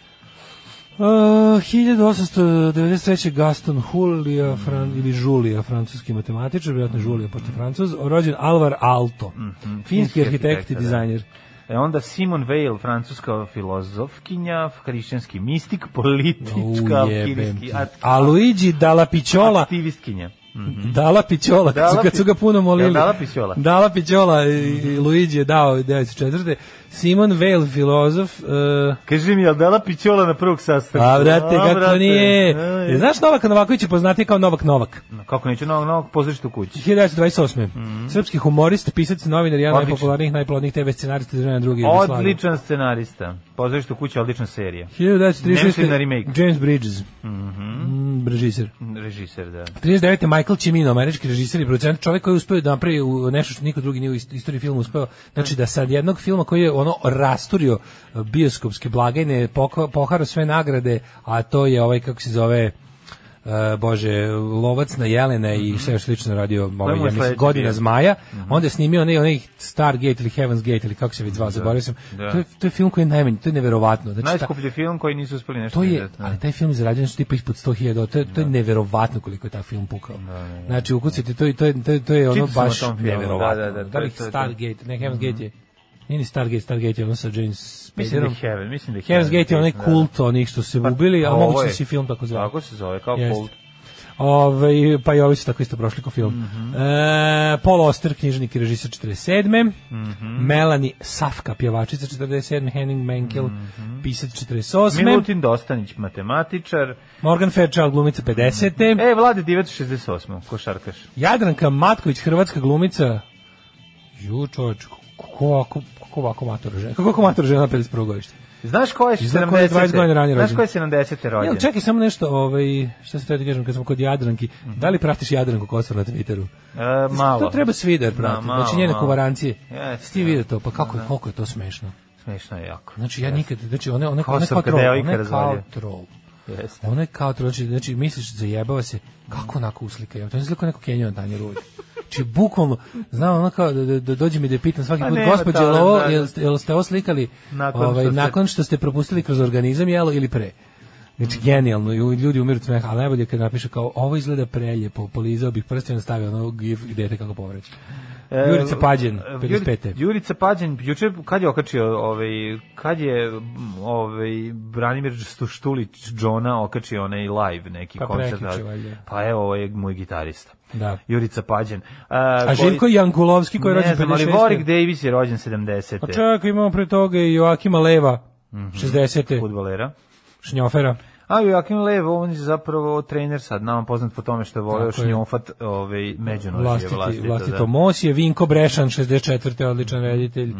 Uh, 1893. Gaston Hulija Fran, ili Julija, francuski matematičar, vjerojatno
Mhm.
Julija, pošto je francuz, rođen Alvar Aalto, finski
finski
arhitekt
arhitekta,
i
da.
dizajner.
E onda Simon Weil, francuska filozofkinja, hrišćanski mistik, politička,
U, jebem ti.
aktivistki- ak-
A Luigi Dalla Picciola,
aktivistkinja. Mhm.
Dala Picciola, kad, su,
Dalla
kad su ga
Pi-
puno molili.
Jel Dalla Picciola? Mhm.
Dalla Picciola i, i Luigi je dao 1904. Simon Weil, filozof, uh,
Kaži mi, jel dala pićola na prvog sastanka?
a vrate, Pa, kako
Pa, brate.
nije.
Aj. Mhm.
E, Znaš, Novak Novaković je poznatiji kao Novak Novak.
Kako neću novog, novog pozorište u kući.
1928. Srpski humorist, pisac, novinar, jedan od
Mhm. Odličan.
najpopularnijih, najplodnijih TV scenarista iz vremena druge Jugoslavije.
Odličan scenarista. Pozorište u kući, je odlična serija. Ne mislim na
1936.
remake. Mhm.
James Bridges, mm, režiser.
Režiser, da.
39. Michael Cimino, američki režiser i producent, čovjek koji je uspeo da napravi u- nešto što niko drugi nije u ist- istoriji filma uspeo. Znači da sad jednog filma koji je ono rasturio e, bioskopske blagajne, poko- poharao sve nagrade, a to je ovaj kako se zove e, bože, lovac na jelene i sve još slično radio ovaj,
mu Mhm. je
ja mislim,
sledeći
godina
bio?
zmaja, onda je snimio onaj, onaj Stargate ili Heaven's Gate ili kako se već zvao, zaboravio sam.
Da.
To, je, to je film koji je najmanji, to je neverovatno. Znači, ta-
Najskuplji film koji nisu uspeli nešto
to je,
izdati, ne.
ali taj film je zarađen nešto tipa ispod 100.000, to je, to je
Da.
neverovatno koliko je taj film pukao. Znači, ukucite, to, je- to, je, to, je, to je ono
Čitao sam o
baš
da. tom filmu,
neverovatno.
da, da, da,
da
to je-
li
to Mhm. je-
Stargate, ne, Heaven's Gate je, nije ni Stargate, Stargate je ono sa James
Mislim da
Spaderom.
je Heaven, mislim da je
Heaven's Gate je onaj
da.
kult onih što su se ubili, a
ovo
moguće da
je.
se i film tako zove.
Tako se zove, kao
Jeste.
kult.
Ove, pa i ovi su tako isto prošli ko film.
Mhm.
e, Paul Oster, knjižnik i režisar 47.
Mhm.
Melanie Safka, pjevačica 47. Henning Menkel,
Mhm.
pisac 48.
Milutin Dostanić, matematičar.
Morgan Fairchild, glumica 50.
E, Vlade Divac 68. Košarkaš.
Jadranka Matković, hrvatska glumica. Ju, čovječ, kako ovako, kako ovako mator žena? Kako ovako mator žena 51. godište?
Znaš ko je
Izgleda ko je
70.
20 godina ranije
Znaš ko je
rođen.
70. rođen?
Jel, čekaj samo nešto, ovaj, šta se treba da kažem kad smo kod Jadranki. Da li pratiš Jadranku Kosor na Twitteru?
E, Mhm. malo.
To treba svi da je prati.
Da, malo,
znači njene
malo.
kovarancije.
Jeste,
Yes, ti
da.
vidi to, pa kako, je- koliko je to smešno.
Smešno je jako.
Znači ja nikad, znači one, one, one kao
Kosovka
troll,
devojka
ona je kao
razvalio.
troll.
Jeste.
Ona je kao troll, znači, znači misliš zajebava se, kako onako uslika je, to je izgleda kao neko Kenjo Danje Rulj. Či Znači, bukvalno, znam ono kao da, da, da dođe mi da je pitan svaki
Pa
put,
nema
gospođe,
toga,
jel, ovo,
da, da.
jel, ste- jel ste ovo slikali
Nakon
ovaj,
što ste-
nakon što ste propustili kroz organizam, jelo ili pre?
Mm.
Znači, genijalno, i ljudi umiru od smeha, ali najbolje je kad napiše kao, ovo izgleda preljepo, polizao bih prstena, stavio ono gif dete kako povraća.
E,
Jurica Pađen,
e,
55.
Juri- Jurica Pađen, juče kad je okačio ovaj kad je m, ovaj Branimir Stu- Štulić Džona okačio onaj live neki
Pa
koncert.
prekjuče
ali-
valjda.
Pa evo ovaj moj gitarista.
Da.
Jurica Pađen. E,
A Živko Jankulovski koji je rođen 56.
Ne znam, ali Warwick Davis je rođen 70.
A čekaj, imamo pre toga i Joakima Leva,
Mhm.
60.
fudbalera.
Šnjofera.
A Joakim Lev, on je zapravo trener sad, nama poznat po tome što je volio
Tako je.
šnjofat ovaj, međunožje
Vlastiti,
vlastito,
vlastito
da. Mhm,
Mos je Vinko Brešan, 64. odličan reditelj.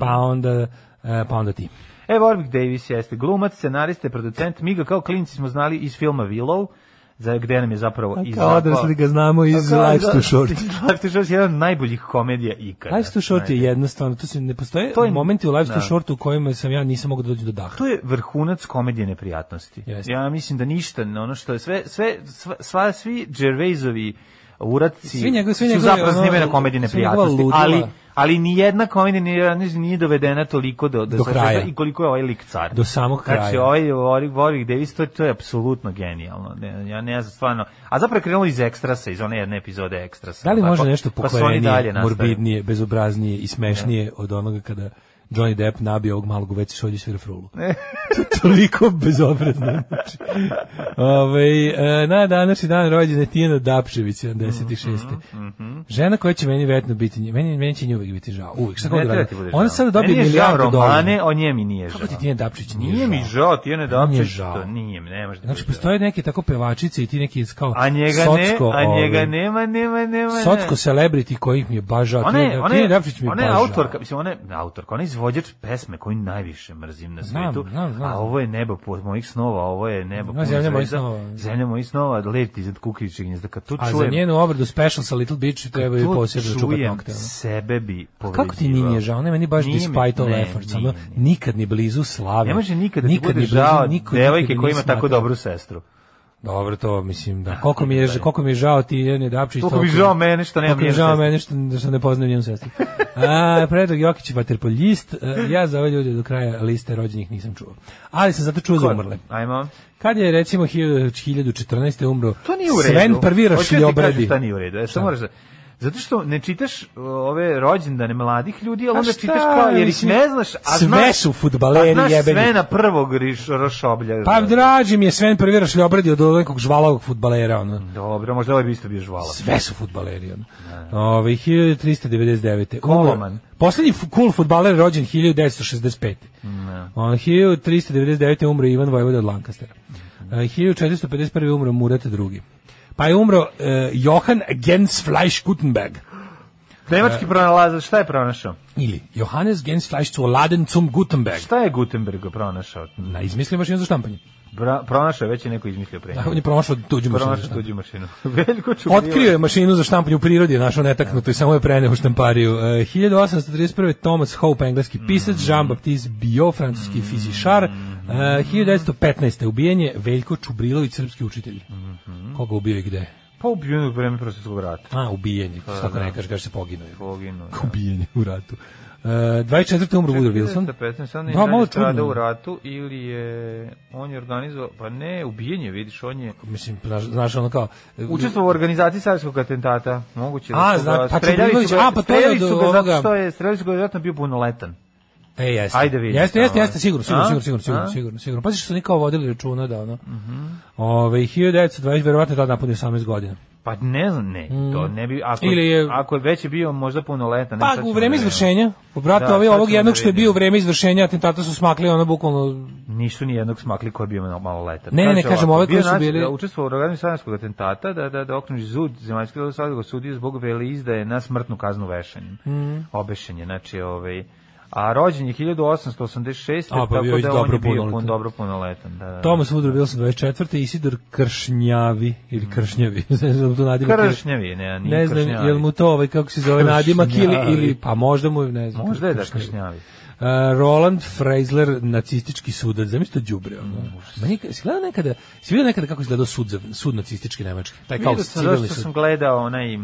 Pa onda e, pa onda ti.
E, Warwick Davis jeste glumac, scenarista, i producent. Mi ga kao klinci smo znali iz filma Willow, za gde nam je zapravo i zapao.
da ga znamo
A kao da- odra- Iz Life to Short je jedan od najboljih komedija ikada.
Life to Short je jednostavno, tu se ne postoje
To je-
momenti u Life to
da.
Shortu u kojima sam ja nisam mogao da dođem do daha.
To je vrhunac komedije neprijatnosti.
Jeste.
Ja mislim da ništa, ne, ono što je sve, sve, sva, sva svi Gervaisovi uradci
Svi njegove- svi
su
njegove,
zapravo
ono,
snimene na komedije
svi njegova
neprijatnosti,
ludila.
ali, ali ni jedna komedija nije, nije dovedena toliko do,
Do
se
kraja.
i koliko je ovaj lik car.
Do samog
Znači,
kraja.
ovaj Warwick, Warwick Davis, to, je- to je apsolutno genijalno. Ne, ja ne znam, stvarno. A zapravo je krenulo iz ekstrasa, iz one jedne epizode ekstrasa.
Da li
tako?
može nešto
Pa su oni Da.
pokvarenije,
dalje nastavili.
morbidnije, bezobraznije i smešnije od onoga kada Johnny Depp nabio ovog malog u veci šolju i svira da frulu. To- Toliko bezobrazno. Znači, ovaj, e, na današnji dan rođena je Tijana Dapšević, 76.
Mhm,
Žena koja će meni vjetno biti, nje- meni, meni će nje uvijek biti žao. Uvijek, šta god
Ne treba
radi.
ti bude
Ona
žao.
sada dobije
Meni je žao
milijardu dolara.
romane, o nje mi nije žao.
Kako ti Tijana Dapšević nije,
Nije mi
žao?
žao, ti ne
Nije
Dapšić,
žao.
to nije, ne može da
Znači,
bude žao.
postoje neke tako pevačice i ti neki kao
A njega ne,
socko,
a njega
ovaj,
nema, nema, nema. ne.
Socko celebrity kojih mi je baš žao.
Ona je,
Tijana
ona
Tijana
je,
Dapšić mi je
ona je
baš žao.
autorka, mislim, ona je autorka, ona je izvođač pesme koju najviše mrzim na
Znam,
svetu,
znam, znam.
a ovo je nebo po mojih snova, ovo je nebo
No, zemlja mojih
zvezda,
snova.
zemlja mojih snova, let iznad kukavičeg gnjezda, kad tu
A za
čujem,
njenu obradu special sa Little Beach treba da i
tu
posebno čupat
čujem
nokte. ono.
sebe bi povređivao.
Kako ti nije nije žao? Ne, meni baš
Nije mi-
despite all
ne,
efforts.
nije,
Ono,
nije.
nikad ni blizu slave.
Ne može nikada ti
nikad
bude
ni blizu,
žao
niko
devojke
nikada
koja
nije
ima tako
smatrao.
dobru sestru.
Dobro, to mislim da. Koliko mi je, koliko mi je žao ti Jene Dapčić.
Toliko mi je žao mene što nemam
Koliko mi je
njenu
žao
sestru.
mene što, da što ne poznajem njenu sestru. A, Predrag Jokić, vaterpoljist. E, Ja za ove ljude do kraja liste rođenih nisam čuo. Ali sam zato čuo za umrle.
Ajmo.
Kad je recimo 1014. umro
To nije u redu.
Sven prvi
Hoću da ti
rašljobradi.
kažem šta nije u redu. E, sad moraš da... Zato što ne čitaš o, ove rođendane mladih ljudi, ali
A
onda
šta,
čitaš kao, jer ih
mislim,
ne znaš, a
sve
znaš...
su fudbaleri
a znaš
jebeni.
sve na prvog riš, rošoblja.
Pa draži mi je Sven prvi rašljobradi od ovog nekog žvalavog futbalera. Ono.
Dobro, možda ovaj bi isto bio žvala.
Sve su futbaleri. Ono. Ove, 1399.
Koloman.
Poslednji fu- cool futbaler rođen 1965. Ne. On, 1399. umro Ivan Vojvoda od Lancastera.
Mhm.
E, 1451. umro Murat II. Pa je umro e, Johan Gens Fleisch Gutenberg.
Nemački pronalazač, šta je pronašao?
Ili Johannes Gens Fleisch zu Laden zum Gutenberg.
Šta je Gutenberg pronašao?
Na izmislio mašinu za štampanje.
Bra, pronašao je, već je neko izmislio pre njega.
Pa On da je promašao tuđu mašinu. za
Pronašao
štampanje.
tuđu mašinu. Veljko Čubrilo.
Otkrio je mašinu za štampanje u prirodi, našao netaknutu i samo je preneo u štampariju. E, 1831. Thomas Hope, engleski pisac, Jean-Baptiste Biot, francuski fizišar. E, 1915. ubijen je Veljko Čubrilović, srpski učitelj. Koga ubio i gde?
Pa ubijen u vreme prosvjetskog rata.
A, ubijen je,
Pa,
tako
da.
ne kaže, kaže se poginuo je.
Poginuo. je.
Ubijen je u ratu. E, 24. umro Woodrow Wilson.
1915, on je
Da,
da,
malo
malo
čudno.
u ratu ili je on je organizovao, pa ne, ubijen je, vidiš, on je
Mislim, znaš, znaš ono kao... e,
učestvovao u organizaciji sarskog atentata. Moguće da
A,
su
zna-
ga,
pa
streljali
Čubrilović,
su ga-
a, pa to je
streljali
od
su ga zato
ovoga.
što je, streljali su ga vjerojatno bio punoletan.
E, jeste.
Ajde vidim
Jeste,
tamo,
jeste, jeste,
ajde.
sigurno, sigurno,
A?
sigurno, sigurno, sigurno,
A?
sigurno, sigurno. Pazi što su oni kao vodili računa da ono. Ove, 1920, verovatno je tada napunio 18 godina.
Pa ne znam, ne, to ne bi, ako,
Mm. Ili je-
ako je već je bio možda punoletan. ne, sad
Pa
ćemo
u
da
vreme
vidimo.
izvršenja, brate,
Da,
ovaj,
sad
ovog
ćemo
jednog
da
što je bio
vidimo.
u vreme izvršenja atentata su smakli, ono bukvalno,
Nisu ni jednog smakli koji je bio maloletan.
Ne, ne, ne,
Kaže
kažem,
ovako,
ove koji
bio
su
nac-
bili-
Da učestvovao u organizaciji sarskog atentata, da, da, da okruži zud, zemaljski da svakog osudio zbog veli izdaje na smrtnu kaznu vešanjem.
Mhm.
Obešen je, znači, ovaj, a rođen je 1886.
A, pa bio
tako
je
da on
dobro
je bio
punoletan.
pun, dobro punoletan. Da, da.
Tomas Woodrow Wilson 24. Isidor Kršnjavi, ili Kršnjavi, ne znam da mu to nadimak ili-
Mm. Kršnjavi, ne, nije
Ne znam,
Kršnjavi.
je li mu to ovaj, kako se zove, nadimak ili,
Kršnjavi.
ili, pa možda mu, je, ne znam.
Možda je da Kršnjavi.
Uh, Roland Freisler, nacistički sudac, zamislite to đubre. ono.
Mm,
Ma nikad, si gledao nekada, si vidio nekada kako izgledao sud za sud nacistički nemački, taj kao
Vidio sam zašto
civilni sud.
sam gledao onaj,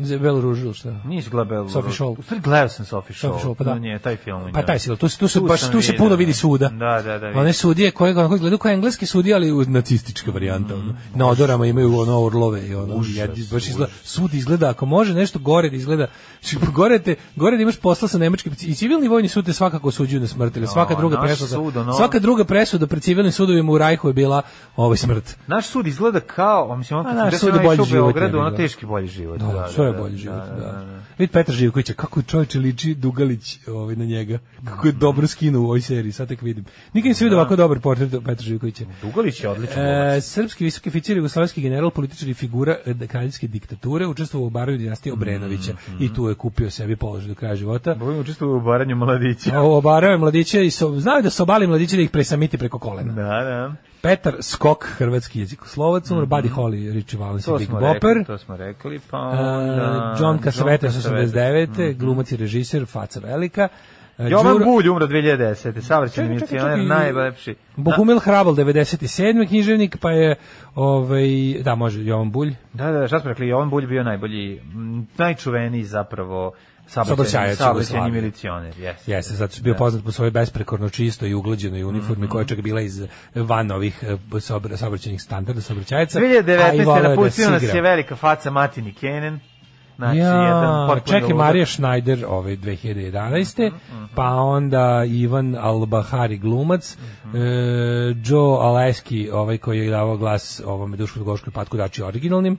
Za Belo ružilo šta?
nisi gledao
Sophie Scholl.
U stvari gledao sam Sophie Scholl.
Sophie Scholl, pa da.
Nije, taj film.
Pa taj si, tu, se- tu se
Tu
baš
sam
tu se
vidio,
puno
da.
vidi suda.
Da, da, da, vidim.
One sudije koje kako izgledaju kao engleski sudije, ali u- nacistička varijanta.
Mm,
ono. Na odorama imaju ono orlove i ono jedi, baš izgleda, sud izgleda ako može nešto gore da izgleda. Znači, Gore te, gore da imaš posla sa nemačkim i civilni vojni sud te svakako osuđuju na smrt ili svaka
No,
druga
naš
presuda.
sud, ono-
Svaka druga presuda pred civilnim sudovima u Rajhu je bila ovaj smrt.
Naš sud izgleda kao, a mislim, on
A Pa naš
kad sam
sud je
gledao ja
bolji
išao u
život,
Beogradu,
jebi ga.
ono teški bolji život.
Da,
da,
sve je
da,
bolji
da,
život,
da,
da.
da, da.
Vid Petar Živkovića, kako čovječe liči Dugalić ovaj, na njega. Kako je dobro skinuo u ovoj seriji, sad tek vidim. Nikad nisam
Da.
vidio ovako dobar portret od Petra Živkovića.
Dugalić je odličan.
E,
glumac.
srpski visoki oficir, jugoslavski general, političar i figura e, da- kraljevske diktature, učestvovao u baraju dinastije Obrenovića
Mm,
i tu je kupio sebi položaj do kraja života.
Bojim učestvovao u baranju mladića.
A, Obarao je mladiće i so, znaju da se obali mladiće da ih presamiti preko kolena.
Da, da.
Petar Skok, hrvatski jezikoslovac, umro Buddy Holly, Richie Valens i
Mm, To
Big
smo
Bopper.
rekli, to smo rekli, pa onda...
Uh, John Cassavetes,
Cassavetes.
89. Glumac i režiser, faca velika. Uh,
mhm. Jovan
Đuro-
Bulj umro 2010. Savrćeni
Čekaj, čekaj, čekaj.
milicioner, najlepši.
Bohumil Hrabal, 97. književnik, pa je, ovaj, da, može, Jovan Bulj.
Da, da, šta smo rekli, Jovan Bulj bio najbolji, m, najčuveniji zapravo saobraćajni
Saobraćajac
saobraćajni
Jugoslavije.
milicioner. Jeste, Mhm.
Jeste, zato što je bio poznat po svojoj besprekorno čistoj i uglađenoj uniformi koja je čak bila iz van ovih eh, saobra- saobraćajnih standarda saobraćajaca. a i voleo je da
2019.
se
napustio nas
igra.
je velika faca Matini Kenen. Znači,
ja,
jedan potpuno Mhm,
čekaj, Marija Schneider ovaj, ove 2011. Pa onda Ivan Albahari glumac,
Mhm.
e, Joe Aleski, ovaj koji je davao glas ovom Dušku Gošku i Patku Dači originalnim,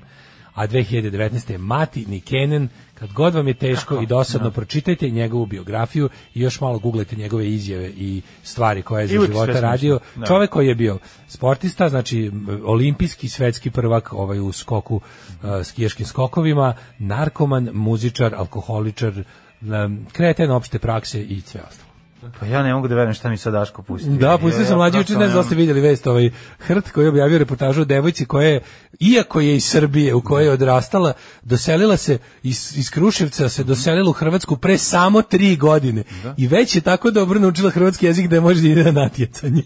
a 2019. je Mati Nikenen, kad god vam je teško i dosadno,
Da.
pročitajte njegovu biografiju i još malo googlajte njegove izjave i stvari koje je za
uvijek sve
života
smišno.
radio.
Da.
Čovek ovaj koji je bio sportista, znači m, olimpijski svetski prvak ovaj u skoku e, skijaškim skokovima, narkoman, muzičar, alkoholičar, em, kreten opšte prakse i sve ostalo.
Pa ja ne mogu da verujem šta mi sad Daško pusti.
Da, pustio sam mlađi učin, ne znam da ste vidjeli vest ovaj Hrt koji je objavio reportažu o devojci koja je, iako je iz Srbije u kojoj je odrastala, doselila se iz, iz Kruševca, se doselila u Hrvatsku pre samo tri godine. I već je tako dobro naučila hrvatski jezik da je može da ide na natjecanje.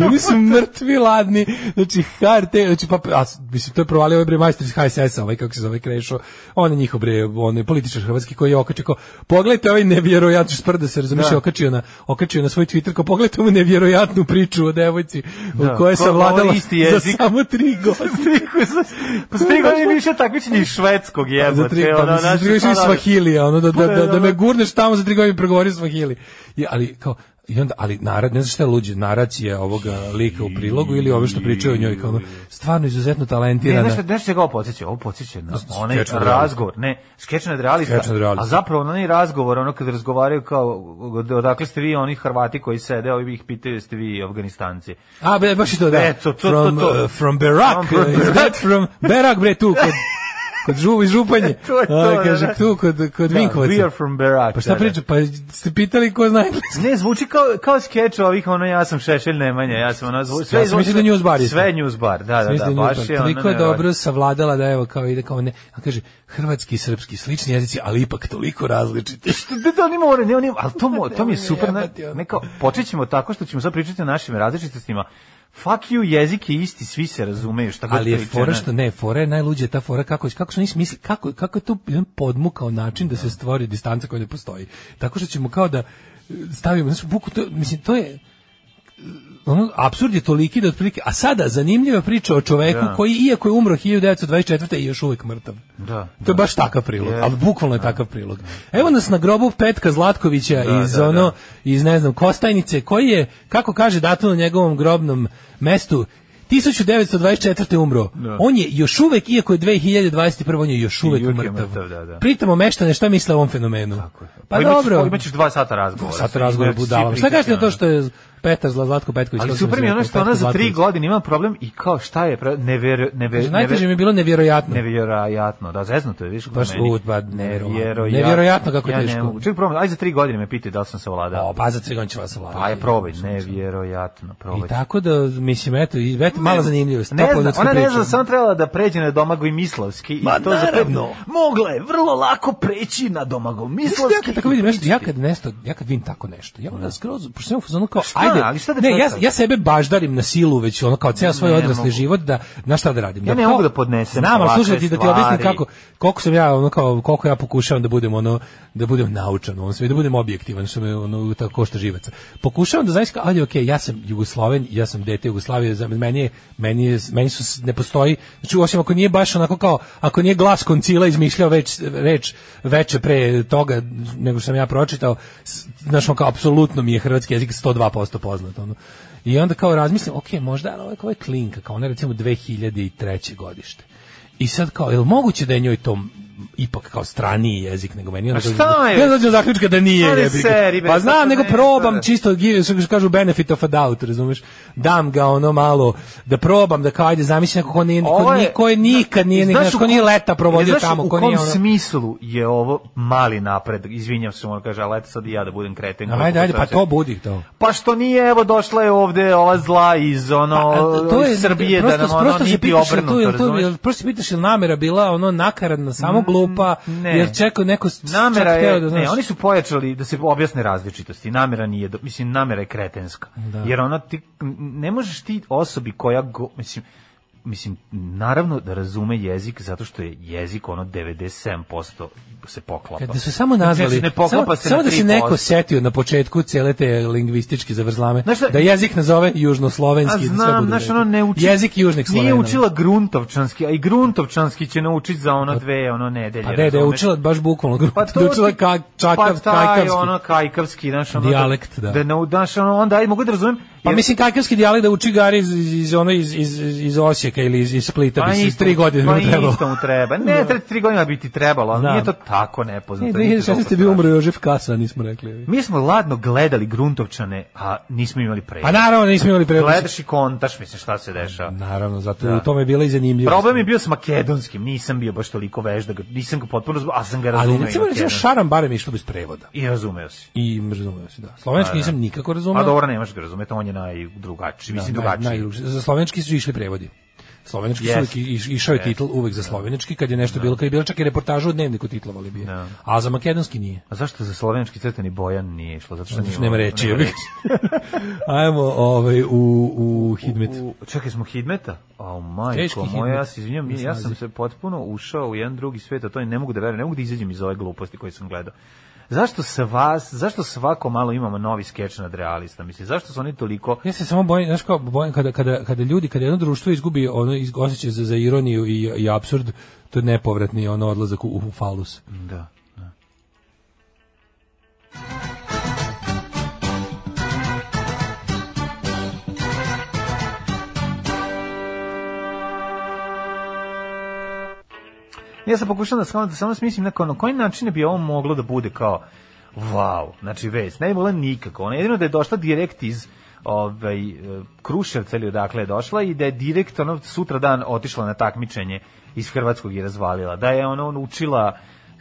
I oni su mrtvi ladni. Znači, HRT, znači, pa, a, mislim, to je provalio ovaj bre majstor iz HSS-a, ovaj, kako se zove Krešo, on je njihov bre, on je političar hrvatski koji je okačio kao, pogledajte ovaj nevjerojatno, sprda se, razumiješ,
Da.
okačio, na, okačio na svoj Twitter, kao, pogledajte ovu nevjerojatnu priču o devojci,
Da,
u kojoj je
ko govori
savladala
isti
za
jezik.
samo tri godine.
Pa ste godine više takmičenje iz švedskog jebote.
za tri, pa
ono,
mislim, za
znaš,
tri godine
ono,
svahili, ono, da, da, da, da
ono-
me gurneš tamo za tri godine pregovori svahili. I, ali, kao, i onda, ali narad, ne znaš šta je luđe, narac je ovoga lika u prilogu ili ove što pričaju o njoj, kao ono, stvarno izuzetno
Ne,
talentirana.
E, znaš šta- znaš čega ovo podsjeća? Ovo podsjeća na onaj
da. Sketch nad
razgovor. Ne, skeč nad realista.
Sketch nad realista.
A zapravo onaj razgovor, ono kad razgovaraju kao odakle ste vi oni Hrvati koji sede, ovi ih pitaju jeste vi Afganistanci.
A, be, baš i to, da.
E, to, to,
from,
to, to.
uh, from Berak,
From
uh, is that from Berak, bre, tu, kod, kod žuvu i županje.
To je to,
A, kaže,
da.
tu, kod, kod
Da,
Vinkovaca.
we are from Berak.
Pa šta
da, da.
priča, pa ste pitali ko zna engleski?
Ne, zvuči kao, kao skeč ovih, ono, ja sam Šešelj Nemanja, ja sam ono, zvuči, sve
Ja sam
zvuči-
mislio da News Bar je to.
Sve news bar, da, da, da,
Mislim,
baš
Newton,
je ono
toliko je
nevjerojatno.
dobro savladala da evo kao ide kao ne, a kaže hrvatski i srpski slični jezici, ali ipak toliko različiti.
Što da da oni moraju, ne oni, ali to, mo, to mi je
Ne,
super, ne,
jebate, ono.
ne kao, počet ćemo tako što ćemo sad pričati o našim različitostima. Fuck you, jezik je isti, svi se razumeju, šta god
Ali je
pričaju,
fora
ne.
što ne, fora je najluđa ta fora kako kako su oni smisli, kako kako je to jedan podmukao način da se stvori distanca koja ne postoji. Tako što ćemo kao da e, stavimo, znači buku to, mislim to je e, ono, apsurd je toliki da otprilike, a sada zanimljiva priča o čoveku
Da.
koji iako je umro 1924. je još uvijek mrtav.
Da,
To je baš takav prilog,
Je.
ali bukvalno je takav prilog. Evo nas na grobu Petka Zlatkovića
Da,
iz
da,
ono,
da.
iz ne znam, Kostajnice, koji je, kako kaže datum na njegovom grobnom mestu, 1924. umro. On je još uvek, iako je 2021. on je još uvek
Da. uvek je
mrtav.
mrtav, da, da.
Pitamo meštane šta misle o ovom fenomenu. Pa
imat ćeš-
dobro.
Imat ćeš dva sata razgovora.
Sad razgovor
Znači,
budala.
svi
Šta kažete na
pričaju,
to što je Petar Zla- Zlatko Petković?
Ali
kako se
super mi je
naziva,
ono što
Petko
ona za tri
Zlatković?
godine ima problem i kao šta je, pre- nevjero, nevjero,
Kaže, Najteže da mi je bilo nevjerojatno.
Nevjerojatno, da, zeznuto je, viš kako
Baš
meni.
u, ba, nevjerojatno. Nevjerojatno kako je
ja ne
teško.
mogu. Čekaj, probam, aj za tri godine me pitaj da li sam se
O,
ovladao.
pa za tri godine će vas ovladati.
Pa je probaj, nevjerojatno, probaj.
I tako da, mislim, eto, i, eto mala zanimljivost.
Ne zna,
toplodatska
ona ne
priča.
zna, samo trebala da pređe na Domagoj Mislavski. i
Ma,
to za pet-
naravno.
Mogla je vrlo lako preći na Domagoj
Znaš šta,
Mislavski.
ja kad tako vidim nešto, ja kad nešto, ja kad vidim tako nešto, ja onda skroz, pošto sam u fazonu kao,
Da. Šta,
ajde,
ali šta da
ne, ja,
čovjek radi?
ja sebe baždarim na silu već, ono kao ceo svoj
Ne
odrasli
mogu.
život, da, na šta da radim.
Ja ne
kao-
mogu da podnesem
Znam, ali
ovakve
slušaj, ti da ti objasnim
stvari.
kako, koliko sam ja, ono kao, koliko ja pokušavam da budem, ono, da budem naučan u ovom sve, da budem objektivan, što me, ono, tako košta živaca. Pokušavam da znaš, kao, ajde, okej, ja sam Jugosloven, ja sam dete Jugoslavije, za meni je, meni, je, meni su, s- ne postoji, znači, osim ako nije baš onako kao, ako nije glas koncila izmišljao već, reč veče pre toga nego što sam ja pročitao, s- znaš, on kao, apsolutno mi je hrvatski jezik 102% poznat, ono. I onda kao razmislim, ok, možda je ovaj, ovaj klinka, kao ona je recimo 2003. godište. I sad kao, je li moguće da je njoj to m- ipak kao straniji jezik nego meni? Onda
A Pa šta
dođem-
je?
Ja dođem do zaključka da nije
Ali
jebi ga.
seri, bre,
Pa
kako
znam, nego
ne,
probam
da.
čisto, give- što kažu benefit of a doubt, razumeš? Dam ga ono malo, da probam, da kao ajde zamislim neko ko, nije,
Ovo
ko, nije, ko je nikad nije,
Znaš
znaš,
u
ko nije
kom-
leta provodio
znaš
tamo,
u
ko
kom
nije ono...
smislu je ovo mali napred, izvinjam se, on kaže, ali eto sad i ja da budem kreten. koliko
Ajde, ajde, pa
hoćete.
to budi to.
Pa što nije, evo došla je ovde ova zla iz ono
Pa, a, to je
iz Srbije
prosto,
da nam ono
prosto se
niti
pitaš jel to-
obrnuto,
jel to-
razumeš?
jel- prosto se pitaš jel namera bila ono nakaradna, samo glupa,
Mm, ne.
jer čekao neko s-
Namera
čak teo
je,
da,
ne,
znaš-
oni su pojačali da se objasne različitosti. Namera nije, do- mislim,
Da.
namera je kretenska. Jer ona ti, ne možeš ti osobi koja, go, mislim, mislim, naravno da razume jezik zato što je jezik ono 97% se poklapa.
Da su samo nazvali,
Znači, ne poklapa
samo,
se
samo
na
da se neko
3%.
setio na početku cele te lingvističke zavrzlame,
Znaš šta-
da jezik nazove
A
južnoslovenski, da sve
znam,
bude
znaš,
rekao.
ono ne uči...
Jezik južnih slovena.
Nije učila gruntovčanski, a i gruntovčanski će naučiti za ono dve, ono nedelje.
Pa ne, da je
razumeš?
učila baš bukvalno,
Pa
pa
to
da je učila
ti-
ka, čakav,
pa taj,
kajkavski.
ono kajkavski, znaš, ono,
Dijalekt, da.
Da, nau- znaš, ono, onda, aj, mogu da razumem,
Pa
jer-
mislim kajkavski dijalekt da uči Gari iz, iz, iz, ono, iz, iz, iz Osijeka ili iz, iz Splita, bi se iz
isto-
tri godine
pa
bi mu trebalo.
isto mu treba. Ne, tre, tri godine bi ti trebalo, ali
Znam.
nije to tako nepoznato.
Ne,
niti toliko
2016. je bio
strašno.
umro Jožef Kasa, nismo rekli.
Mi smo ladno gledali gruntovčane, a nismo imali prevod.
Pa naravno, nismo imali prevod.
Gledaš i kontaš, mislim, šta se dešava.
Naravno, zato
Da.
u tome je bila i zanimljivo.
Problem je bio s makedonskim, nisam bio baš toliko vežda, nisam ga potpuno, razumeo, ali sam ga razumeo.
Ali recimo,
i
recimo
makedonski.
Šaran barem išlo bez prevoda.
I razumeo si.
I razumeo se, da. Slovenski nisam nikako razumeo.
A dobro, ne možeš ga razumeti, on je najdrugačiji, mislim
Da,
drugačiji.
naj- najdrugačiji. Za slovenski su išli prevodi. Slovenski
Jest.
su uvijek iš, išao je titl uvek za slovenički, kad je nešto bilo, kad je bilo čak i reportažu u dnevniku titlovali bi. je. A za makedonski nije.
A zašto za slovenički crteni Bojan nije išlo? Zato što
Zato što
nije-
nema reči. jebi ga. Ajmo ovaj, u, u Hidmet.
U, čekaj, smo Hidmeta? A majko
Teški
moja, ja
Hidmet.
se izvinjam, ja,
Mislim,
sam
naziv.
se potpuno ušao u jedan drugi svet, a to je ne mogu da verujem, ne mogu da izađem iz ove gluposti koje sam gledao. Zašto sa vas, zašto svako malo imamo novi skeč nad realista? Mislim, zašto su oni toliko...
Ja se samo bojim, znaš kao, bojim kada, kada, kada ljudi, kada jedno društvo izgubi ono iz, osjećaj za, za ironiju i, i absurd, to je nepovratni ono odlazak u, u falus.
Da. Ja sam pokušao da shvatim, da samo smislim na, kao, na koji način bi ovo moglo da bude kao wow, znači vest, ne bi bila nikako. Ona jedino da je došla direkt iz ovaj, e, Kruševca ili odakle je došla i da je direkt ono, sutra dan otišla na takmičenje iz Hrvatskog i razvalila. Da je ono, ono učila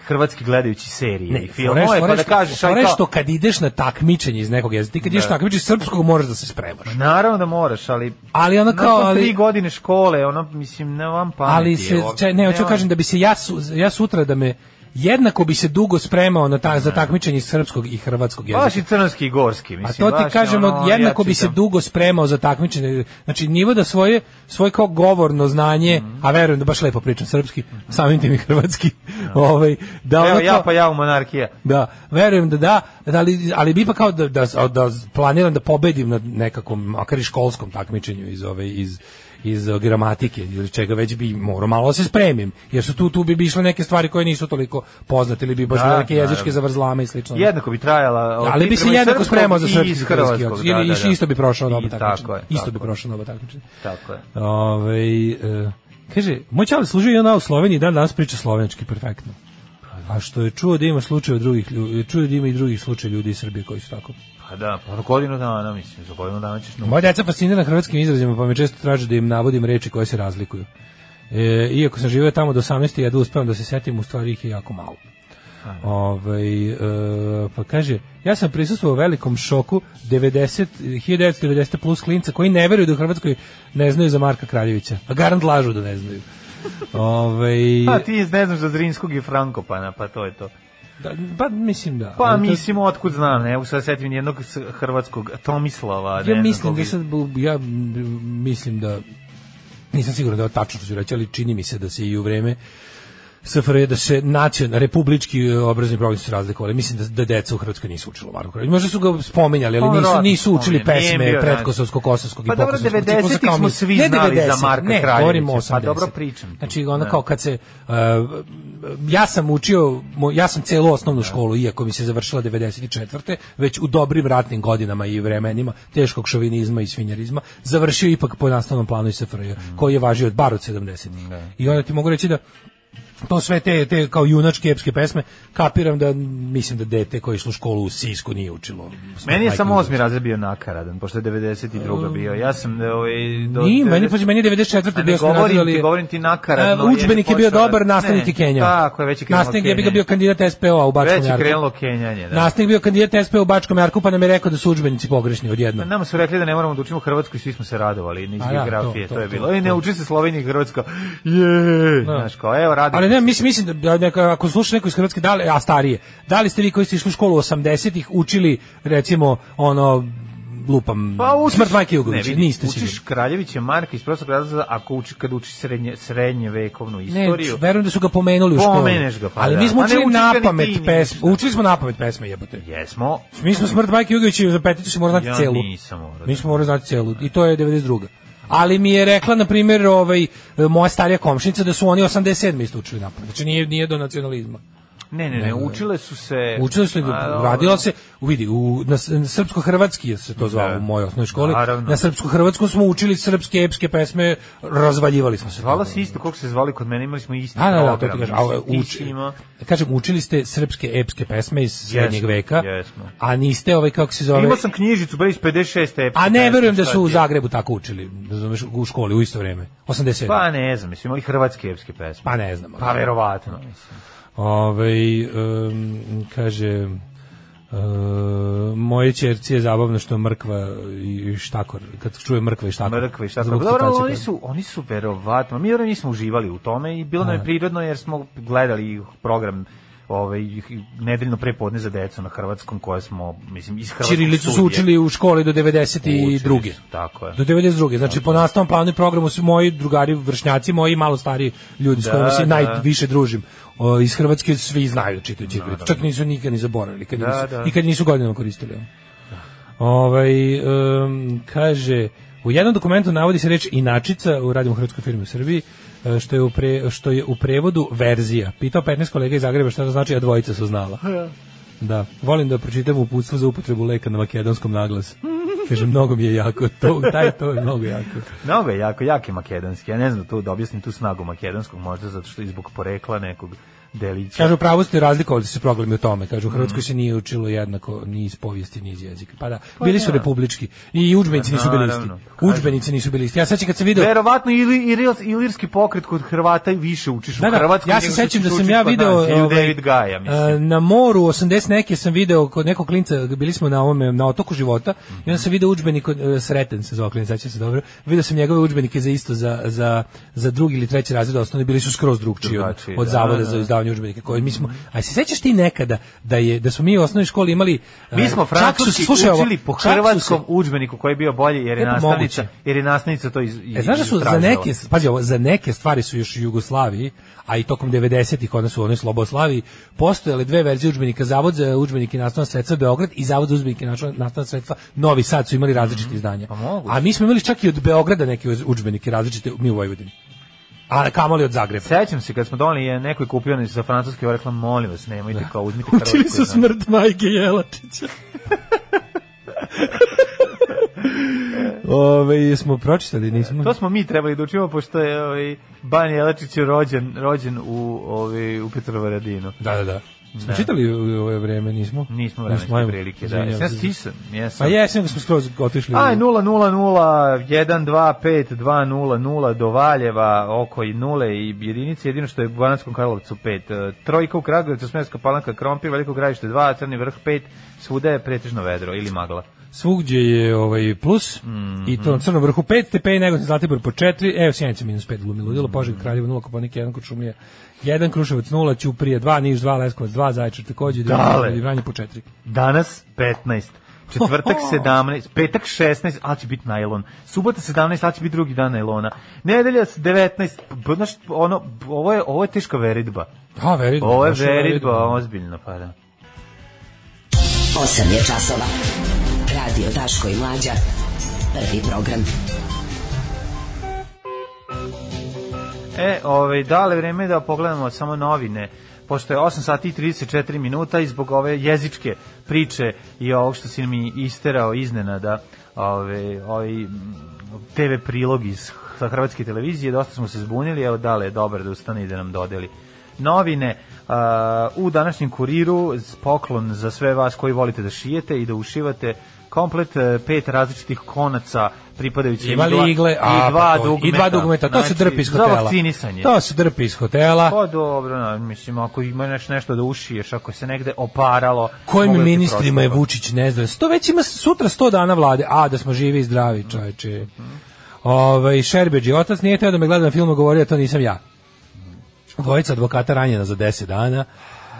hrvatski gledajući serije i filmove,
fore-
pa da
fore-
kažeš, aj
fore
kao,
što kad ideš na takmičenje iz nekog jezika, ti kad ideš na takmičenje srpskog moraš da se spremaš.
naravno da moraš, ali
Ali ono kao,
nakon
ali-
tri godine škole, ono, mislim, ne vam pameti.
ali se
evo.
čaj, ne hoću
Nema-
kažem da bi se ja su, ja sutra da me jednako bi se dugo spremao na ta, za takmičenje iz srpskog i hrvatskog jezika.
Baš i crnski i gorski,
A
mislim.
to ti
baš je
kažemo,
ono,
jednako
ja
bi se
čitam-
dugo spremao za takmičenje. Znači, nivo da svoje, svoje kao govorno znanje,
Mhm.
a verujem da baš lepo pričam srpski, samim tim i hrvatski, ovaj, da ono
Evo ja
kao-
pa ja u monarhija.
da, verujem da da, da ali, ali bi ipak kao da, da, da planiram da pobedim na nekakvom, makar i školskom takmičenju iz ove, iz, iz eh, gramatike ili čega već bi morao malo da se spremim jer su tu tu bi bi išle neke stvari koje nisu toliko poznate ili bi baš
Da,
bile neke
naravno.
jezičke zavrzlame i slično Da,
Jednako bi trajala.
ali bi se jednako spremao za srpski
i iz
hrvatski
hrvatskog.
ili
da, da,
isto- isto bi prošao na
I
oba
Tako
takmičenja
je.
isto bi
tako je,
prošao na oba takmičenja
Tako je.
Ovaj e, kaže, moj čale služio i ona u Sloveniji, dan danas priča slovenski perfektno. A što je čuo da ima slučajeva drugih ljudi, čuo da ima i drugih slučajeva ljudi iz Srbije koji su tako.
Pa da, pa za godinu dana, mislim, za godinu dana ćeš naučiti.
Moja deca fascinirana hrvatskim izrazima, pa me često traže da im navodim reči koje se razlikuju. E, iako sam živio tamo do 18. ja da uspevam da se setim, u stvari ih je jako malo. Ovaj, e, pa kaže, ja sam prisustvovao velikom šoku 90, 1990 plus klinca koji ne veruju da u Hrvatskoj ne znaju za Marka Kraljevića. A garant lažu da ne znaju. Ovaj,
Pa ti ne znaš za Zrinskog i Frankopana, pa to je to.
da, pa mislim da.
Pa
Ali to-
mislim, otkud znam, ne, mogu se setim nijednog s- hrvatskog Tomislava. ne
Ja
znam
mislim
koga
da
je.
sad, bu- ja mm, mislim da nisam siguran da je ovo tačno što ću reći, ali čini mi se da se i u vreme SFRJ da se nacionalni republički e, obrazovni program su se razlikovali. Mislim da, da deca u Hrvatskoj nisu učila Marko Kraljević. Možda su ga spominjali, ali
Pa,
nisu,
verovatno
nisu učili
spominjali. Nije
pesme
bio
pretkosovskog, kosovskog
Pa
i
dobro,
pokosovskog.
90-ih
ciklusa kao
smo
mi.
svi
Ne
znali za
90-ih,
Marka
ne,
Kraljevića.
govorimo o
Pa
80-ih.
dobro, pričam ti.
Znači, ono
Da.
kao kad se... e, ja sam učio, mo- ja sam celu
Da.
osnovnu školu, iako mi se završila 94. već u dobrim ratnim godinama i vremenima teškog šovinizma i svinjarizma, završio ipak po nastavnom planu iz SFRJ,
Mm.
koji je važio od bar od 70. I onda ti mogu reći da to sve te, te kao junačke epske pesme, kapiram da mislim da dete koji je išlo u školu u Sisku nije učilo.
Meni je
Majke
samo
mi Um.
osmi razred bio nakaradan, pošto je 92. bio. Ja sam... e, Ovaj, do,
Nije, meni,
90
pa meni je 94.
A
bio
ne
osnovni
govorim
razred, ali...
ti, govorim ti nakaradno.
A, Udžbenik je bio
počeo da-
dobar, nastavnik
Ne,
je Kenja.
tako je, već je krenulo
Nastavnik je bi ga
Kenjanje.
bio kandidat SPO-a u Bačkom
Već je
Jarku.
krenulo Kenjanje, da.
Nastavnik je bio kandidat SPO u Bačkom Jarku, pa nam je rekao da su udžbenici pogrešni odjedno.
Nama su rekli da ne moramo da učimo Hrvatsku i svi smo se radovali iz
A da,
geografije, to,
to,
je
to,
bilo.
to,
Ej, ne
to.
uči se Slovenija i Hrvatska. Je, znaš kao, evo radi.
Ali ne, mislim, mislim da neka, ako sluša neko iz Hrvatske, da li, a starije, da li ste vi koji ste išli u školu 80-ih učili, recimo, ono, lupam
Pa učiš,
smrt Majke Jugović,
ne, vidi,
niste
učiš
sigurni.
Kraljevića Marka iz prostog razloga ako uči, kad učiš srednje, srednjevekovnu
Ne,
istoriju.
verujem da su ga pomenuli u školi.
Pomeneš ga, pa
Ali
da.
mi smo
Pa ne
učili
učiš ga
na
ni ti,
pamet
ni
pesme.
ništa.
Učili smo na pamet pesme, jebote.
Jesmo.
Mi smo smrt Majke Jugović i za peticu se mora znati
Ja
celu.
nisam morao da-
Mi smo morali znati celu. I to je 92. Ali mi je rekla, na primjer, ovaj, moja starija komšnica da su oni 87. istučili napad. Znači nije, nije do nacionalizma.
Ne, ne, ne, učile su se...
Učili su,
A,
radilo se, vidi, u, na, s- na srpsko-hrvatski se to zvalo
Da.
u mojoj osnovnoj školi.
Naravno.
Na srpsko-hrvatskom smo učili srpske epske pesme, razvaljivali smo se.
Zvala se isto, kako se zvali kod mene, imali smo isti
Da, da, da, to ti
program,
kažem. A,
mislim, ti si
uči,
imao-
kažem, učili ste srpske epske pesme iz srednjeg veka,
jesmo.
a niste ovaj, kako se zove...
Imao sam knjižicu, bre, iz 56. epske
A ne
pesme,
verujem da
šta
su u
ti je?
Zagrebu tako učili, razumeš, u školi u isto vrijeme. 87. Pa,
Pa ne znam, mislim, imali hrvatske epske pesme.
pa ne znam.
Pa verovatno, mislim.
Ovaj, em, kaže e, moje ćerci je zabavno što mrkva i štakor, kad čuje mrkva i štakor.
Mrkve i šta tako.
Zbog
Dobro, ali
citacije
oni
koje-
su, oni su verovatno, mi verovatno nismo uživali u tome i bilo nam je prirodno jer smo gledali program ovaj, nedeljno prepodne za decu na hrvatskom koje smo, mislim, iz hrvatskog
Ćirilicu su
studija.
učili u školi do 92.
Učili su, tako je.
Do 92. Znači, po nastavnom planu i programu su moji drugari, vršnjaci, moji malo stariji ljudi s
Da,
kojima se
da.
najviše družim. O, iz Hrvatske svi znaju čitaju ćirilicu. Čak nisu nikad ni zaboravili. Kad
Da,
nisu,
da.
I kad nisu godinama koristili. Ovaj, em, kaže, u jednom dokumentu navodi se reč inačica, u radimo hrvatskoj firmi u Srbiji, e, što je u, pre- što je u prevodu verzija. Pitao 15 kolega iz Zagreba šta to znači, a dvojica su znala. Da, volim da pročitam uputstvo za upotrebu leka na makedonskom naglasu. Kaže, mnogo mi je jako, to, taj to je mnogo jako.
Mnogo je jako, jak je makedonski. Ja ne znam tu da objasnim tu snagu makedonskog, možda zato što i zbog porekla nekog delića.
Kažu, pravo ste razlikovali su se problemi u tome. Kažu, u Hrvatskoj se nije učilo jednako ni iz povijesti, ni iz jezika. Mhm. Pa da, bili su republički. I udžbenici
Pa
nisu bili isti.
naravno.
Udžbenici nisu bili isti. Ja sećam kad sam video...
Verovatno ili ili- ilirski pokret kod Hrvata i više učiš
Da,
u
da,
Hrvatskoj.
ja se
nego što
sećam da
ćeš
sam
učiti
ja
kod
video
nas, ili
ovaj,
David Gaja, mislim.
e, na moru 80 neke sam video kod nekog klinca bili smo na ovome na otoku života i onda sam video udžbenik od, e, Sreten se zove klinac, sećam se dobro video sam njegove udžbenike za isto za, za, za drugi ili treći razred osnovne bili su skroz drugčiji od,
Drugačiji,
od
da,
zavoda
da.
za izdavanje udžbenika koje mi smo a se sećaš ti nekada da je da smo mi u osnovnoj školi imali e,
Mi smo
čak su-
francuski
slušaj ovo,
učili po
čak su se-
hrvatskom udžbeniku koji je bio bolji jer je
E, pa
nastavnica,
moguće.
jer je nastavnica to iz, iz
E, znaš da su za
istražila.
neke, pazi ovo, za neke stvari su još u Jugoslaviji, a i tokom 90-ih kod nas u onoj Sloboslaviji, postojale dve verzije udžbenika, Zavod za udžbenike i nastavna sredstva Beograd i Zavod za udžbenike i nastavna- nastavna sredstva Novi Sad su imali različite izdanja.
moguće.
a mi smo imali čak i od Beograda neke uz- udžbenike različite, mi u Vojvodini. A kamoli od Zagreba.
Sećam se kad smo doneli je neko je kupio nešto za francuski, ja rekla molim vas, nemojte kao uzmite
Da. Učili
hrvatski.
su
znaš.
smrt majke Jelačića. Ove, smo pročitali, nismo.
To smo mi trebali da učimo pošto je ovaj Ban Jelačić je rođen rođen u ovaj u Petrovaradinu.
Da, da, da. Smo čitali u u ovo vreme, nismo?
Nismo vremenske
ajmo.
prilike, da.
Izvinjavam
Jesam Ja
se.
stisam, jesam.
Pa jesam, smo skroz otišli. u-
Aj 0-0-0-1-2-5-2-0-0 do Valjeva, oko i nule i jedinice, jedino što je u Bananskom Karlovcu 5. Trojka u Kragovicu, Smerska palanka, Krompir, Veliko gravište 2, Crni vrh 5, svuda je pretežno vedro ili magla.
Svugdje je ovaj plus i
Mhm.
to na crnom vrhu 5 stepeni, Negotin Zlatibor po 4, evo Sjenica minus 5, glumi ludilo, Požeg Kraljevo 0, Koponik 1, Kočumlija 1, Kruševac 0, Ćuprije 2, Niš 2, Leskovac 2, Zaječar takođe,
Dale.
i Vranje po 4.
Danas 15. Četvrtak 17, petak 16, ali će biti najlon. Subota 17, ali će biti drugi dan najlona. Nedelja 19, b- znaš, ono, b- ovo je, ovo je teška veridba.
A, Da, veridba.
Ovo je
baš je
veridba, ozbiljno, pa da.
8 je časova. Radio Daško i Mlađa. Prvi program.
E, ovaj, da li je vreme da pogledamo samo novine, pošto je 8 sati i 34 minuta i zbog ove jezičke priče i ovog što si mi isterao iznenada, ove, ovaj mm, TV prilog iz sa hrvatske televizije, dosta smo se zbunili, evo dale je dobar da ustane i da nam dodeli novine. A, u današnjem kuriru s- poklon za sve vas koji volite da šijete i da ušivate komplet e, pet različitih konaca pripadajućih
Ima
igla-
ligle, a,
i dva
pa to-
dugmeta.
I dva dugmeta, to se
Znači,
drpi iz
Za
hotela.
vakcinisanje.
To se drpi iz hotela.
Pa dobro, na, mislim, ako ima neš, nešto da ušiješ, ako se negde oparalo...
Kojim
moglo da ti
ministrima je
proći.
Vučić nezdrav? Sto već ima sutra 100 dana vlade. A, da smo živi i zdravi, čoveče. Ovaj Šerbeđi otac nije teo da me gleda na filmu, govorio to nisam ja. Dvojica advokata ranjena za 10 dana.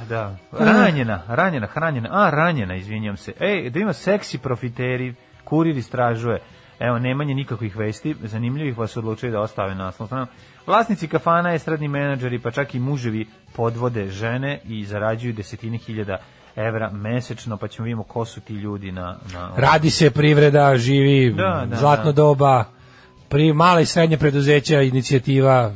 Da. Ranjena, ranjena, hranjena. A, ranjena, izvinjam se. Ej, da ima seksi profiteri Kurir istražuje. Evo, nemanje nikakvih vesti, zanimljivih vas odlučuje da ostave naslov stranu. Vlasnici kafana, estradni menadžeri, pa čak i muževi podvode žene i zarađuju desetine hiljada evra mesečno, pa ćemo vidimo ko su ti ljudi na... na
Radi se privreda, živi
Da, da,
zlatno
da.
doba, pri mala i srednja preduzeća, inicijativa,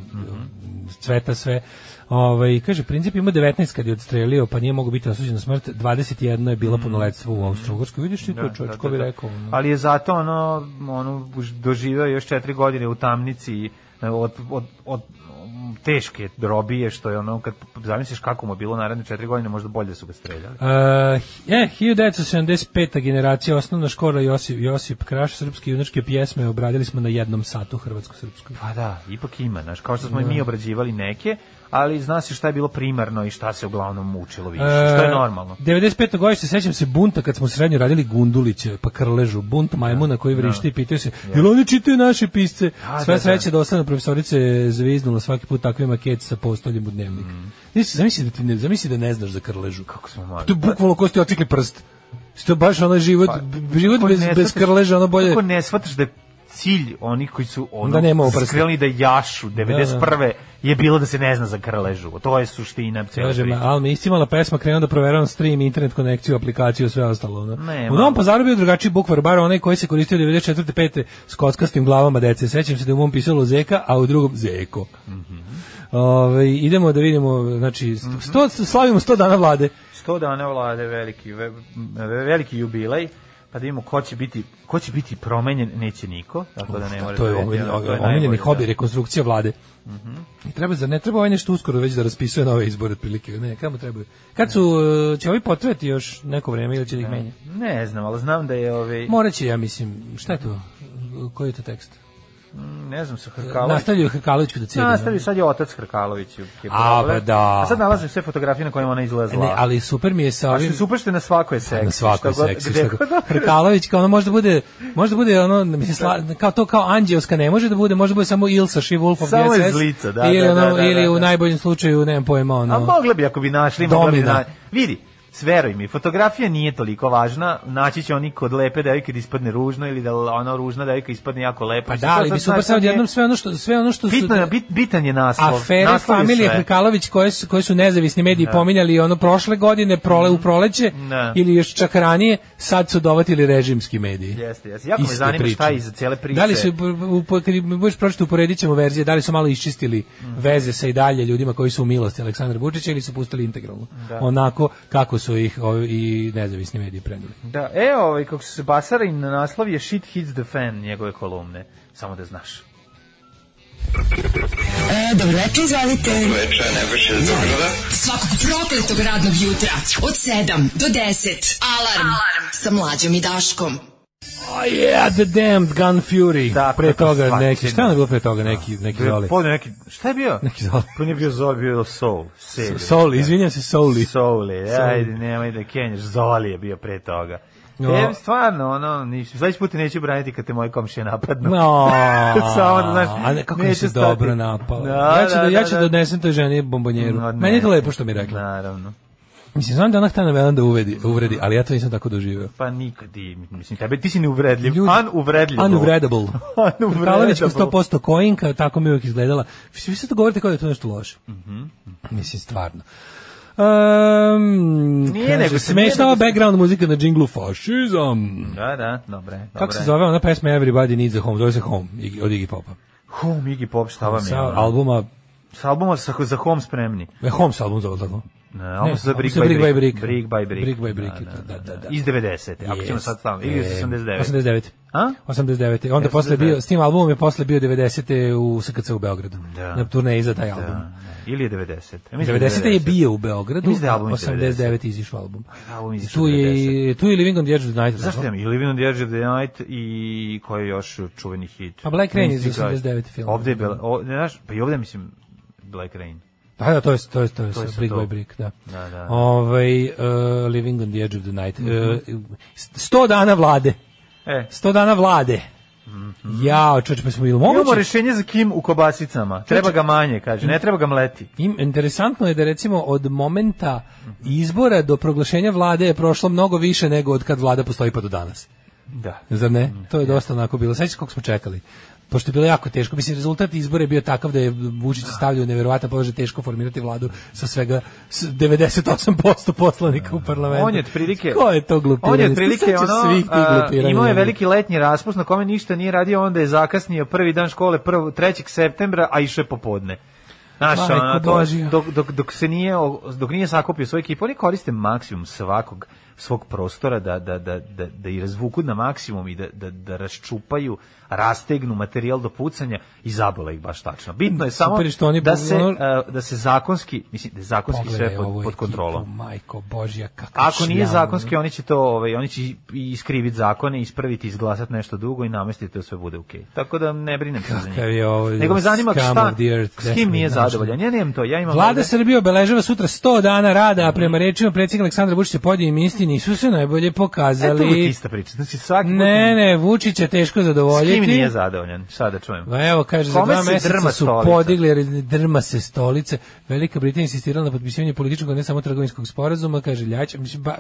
cveta sve. Ovaj kaže princip ima 19 kad je odstrelio, pa nije mogao biti osuđen na smrt. 21 je
Mm.
bilo punoletstvo u Austrougarskoj. Vidiš ti
Da,
to, čovjek, ko bi rekao? ono?
Ali je zato ono, ono už- doživeo još četiri godine u tamnici i, e, od, od, od teške robije, što je ono, kad zamisliš kako mu je bilo naredne četiri godine, možda bolje da su ga streljali.
Uh, je, 1975. generacija osnovna škola Josip, Josip Kraš, srpske junačke pjesme obradili smo na jednom satu hrvatsko-srpskoj.
Pa da, ipak ima, znaš, kao što smo
Da.
i mi obrađivali neke, ali zna se šta je bilo primarno i šta se uglavnom mučilo više,
E,
što je normalno.
95. Eh, godište, sećam se bunta kad smo srednju radili Gunduliće, pa Krležu, bunt majmuna koji vrište i pitaju se, jel oni čitaju naše pisce?
Da,
Sva
da,
sreća da ostane profesorice je zviznula svaki put takvima kec sa postoljem u dnevnik. Nisi, zamisli da, ti ne, zamisli da ne znaš za Krležu. Kako
Mm. smo mali. Pa,
To je bukvalno ko ste ocikli prst. Sto baš onaj život, b- pa, život
Kako
bez,
ne
bez
shvataš-
Krleža, ono bolje...
Kako ne shvataš da je cilj onih koji su ono
Da nema oprsta.
skrelni da jašu 91. je bilo da se ne zna za krležu. To je suština cijele
Kaže,
priče.
ma, ali mi isti imala pesma, krenuo da proveravam stream, internet konekciju, aplikaciju, sve ostalo. ono.
Ne,
u
malo.
Novom pazaru bio drugačiji bukvar, bar onaj koji se koristio 94. 5. s kockastim glavama dece. Sećam se da je u mom pisalo Zeka, a u drugom Zeko.
Mhm.
Ove, idemo da vidimo, znači, sto, sto- slavimo 100 dana vlade.
100 dana vlade veliki ve- ve- veliki jubilej pa da vidimo ko će biti ko će biti promenjen neće niko tako da ne
Da,
može
to je
biti,
omiljen-
ali to je
omiljeni
najbolje,
hobi,
da. Mhm.
rekonstrukcija vlade. I treba, zar ne treba ovaj nešto uskoro već da raspisuje nove izbore, otprilike? Ne, kamo trebaju? Kad su, e, će ovi potrebati još neko vreme ili će da ih menjati?
ne znam ali znam da je ovaj
Moraće, ja mislim, šta je to? Koji je to tekst?
ne znam sa Hrkalović
Nastavljaju Hrkalović kod cilja.
nastavi sad je otac Hrkalović je
A,
problem.
pa da.
a sad nalazim sve fotografije na kojima ona izgleda
Ne,
zla
ali super mi je sa
a što
ovim...
su upašte na svakoj seksi
na svakoj
šta god-
seksi.
gde
šta
god- da-
god. Hrkalović kao ono možda bude, možda bude ono, mislim, sla- kao to kao Anđeoska ne može da bude, možda bude samo Ilsa Šivulf of
Samo
DSS.
iz lica, da,
ili,
da,
ono,
da, da,
ili
da,
u
da.
najboljem slučaju, nemam pojma, ono...
A mogla bi ako bi našli, mogla bi
Domina.
na... Vidi, sveruj mi, fotografija nije toliko važna, naći će oni kod lepe devojke da ispadne ružno ili da l- ona ružna devojka ispadne jako lepa.
pa
Što
da,
sad
ali bi
znaš
super
šta
sad
je-
jednom sve ono što, sve ono što su...
Bitno je, bit, bitan je naslov.
afere
Naslov je
familije
sve.
Hrkalović koje su, koje su nezavisni mediji pominjali ono prošle godine, prole u proleće
Da.
ili još čak ranije, sad su dovatili režimski mediji.
Jeste, jeste. Jako me
Iste
zanima šta je
priče.
iza cijele priče.
Da li su, u- u- kad mi budeš pročito, uporedit ćemo verzije, da li su malo iščistili
Mhm.
veze sa i dalje ljudima koji su u milosti Aleksandra Vučića ili su pustili integralno?
Da.
Onako kako su ih ovi, i nezavisni mediji preneli.
Da, e, ovaj, kako su se basara i na naslov je Shit Hits the Fan njegove kolumne. Samo da znaš.
E, dobro večer, izvolite. Dobro večer, Svakog prokletog radnog jutra od 7 do 10. Alarm, Alarm. sa mlađom i Daškom.
Oh yeah, the damned gun fury.
Da,
pre
kako
toga
svačine.
neki, šta je ono bilo pre toga neki, neki zoli?
Podne neki, šta je bio?
Neki zoli.
Pa nije bio zove, bio Soul. Da. Seli.
Soli, izvinjam se, Soli.
Souli, ajde, nemoj da kenjaš. Zoli je bio pre toga.
No.
E, stvarno, ono, ništa. Sledeći put te neću braniti kad te moje komšije napadnu.
No,
Samo da znaš,
a ne, kako mi
neće
se
stati.
dobro napala.
Da,
ja ću da,
da,
ja
da,
ću da,
da.
odnesem toj ženi bombonjeru.
No, ne.
Meni je to lepo što mi je rekla.
Naravno.
Mislim, znam da je ona htana velan da uvedi, uvredi, ali ja to nisam tako doživio.
Pa nikad ti, mislim, tebe, ti si neuvredljiv.
Ljudi-
unuvredljiv.
Unvredable.
Unuvredable.
Kralović 100% koinka, tako mi je uvijek izgledala. Vi vi sad govorite kao da je to nešto loše.
Mhm,
Mislim, stvarno. Um,
Nije
kaže,
nego se-
smešna
nije
ova
nego se-
background muzika na džinglu fašizam.
Da, da, dobre.
Kako se zove ona pesma Everybody Needs a Home? Zove se Home Iggy- od Iggy Popa.
Ho, Migi Pop, šta vam je?
Sa
ono?
albuma,
S albuma sa, za Home spremni.
e, Home se album zove tako.
Ne, album se za
album
Brick
se
by
Brick by
Brick.
Brick.
Brick by Brick.
Brick by Brick, da, da, da.
Iz 90. Ako ćemo
Jest.
sad staviti. Ili iz
E,
89.
89.
A?
89.
89.
Onda posle bio, s tim albumom je posle bio 90. u SKC u Beogradu.
Da.
Na turneji za taj album.
Da, Ili je 90. Ja mislim da
90. je bio u Beogradu,
Mislim da je album iz Pa da,
89. izišao album.
Album je izašao
Tu je, tu je Living on the Edge of the Night. da.
Zašto
tako?
nema? I Living on the Edge of the Night i koji je još čuveni hit?
Pa Black Rain je iz
Mystic Eyes.
89 film.
Ovde je, bila- o, ne znaš, pa i ovde mislim Black Rain.
Da, da, to je, to je, to je,
To je sa
Brick
tog.
by Brick, da.
Da, da.
Ovaj, uh, Living on the Edge of the Night. Uh,
Mhm.
100 dana vlade.
E,
100 dana vlade.
Mhm.
Jao, čoč, pa smo ili
imamo
moguće? Znači-
rešenje za Kim u kobasicama. Treba ga manje, kaže. Ne treba ga mleti.
Im, interesantno je da recimo od momenta izbora do proglašenja vlade je prošlo mnogo više nego od kad vlada postoji pa do danas.
Da.
Zar ne? To je dosta onako bilo. Sećaš kako smo čekali? Pošto je bilo jako teško. Mislim, rezultat izbora je bio takav da je Vučić stavljao u neverovatan položaj teško formirati vladu sa svega s 98% poslanika u parlamentu.
Da. On je otprilike
Ko je to glupiranje?
On je otprilike
Sećaš
ono
svih tih
a,
glupiranja.
imao je veliki letnji raspust na kome ništa nije radio, onda je zakasnio prvi dan škole 1. 3. septembra, a išao je popodne. Znaš,
Majko
ono, to-
Božja.
dok, dok, dok, se nije, o- dok nije sakupio svoj ekip, oni koriste maksimum svakog svog prostora da, da, da, da, da i razvuku na maksimum i da, da, da raščupaju, rastegnu materijal do pucanja i zabole ih baš tačno. Bitno je samo
Super je što oni-
da, se,
ono-
a, da se zakonski, mislim, da je zakonski sve
Pogledaj
pod,
ovu
pod kontrolom.
Ekipu, majko Božja, kakav
Ako nije
šljam.
zakonski, oni će to, ovaj, oni će i- i iskriviti zakone, ispraviti, izglasati nešto dugo i namestiti da sve bude okej. Tako da ne brinem se za njih.
Kakav je ovo,
Nego me zanima
scum
šta,
of the earth,
s kim nije
definitivno, znaš.
zadovoljan. Ja nemam to, ja imam...
Vlada
ovde-
Srbije obeležava sutra 100 dana rada, a prema rečima predsjednika Aleksandra Vučića podijem istini nisu se najbolje
E, to je uvijek
pokazali.
ista priča. Znači, svaki put
Ne, ne, Vučić je teško
s
zadovoljiti.
kim nije zadovoljan. Sada da čujem.
A Evo, kaže, za
Kome
dva
se
meseca
drma
su
stolica?
podigli, jer drma se stolice. Velika Britanija insistirala na potpisivanje političkog, a ne samo trgovinskog sporazuma, kaže Ljajić, mislim, ba,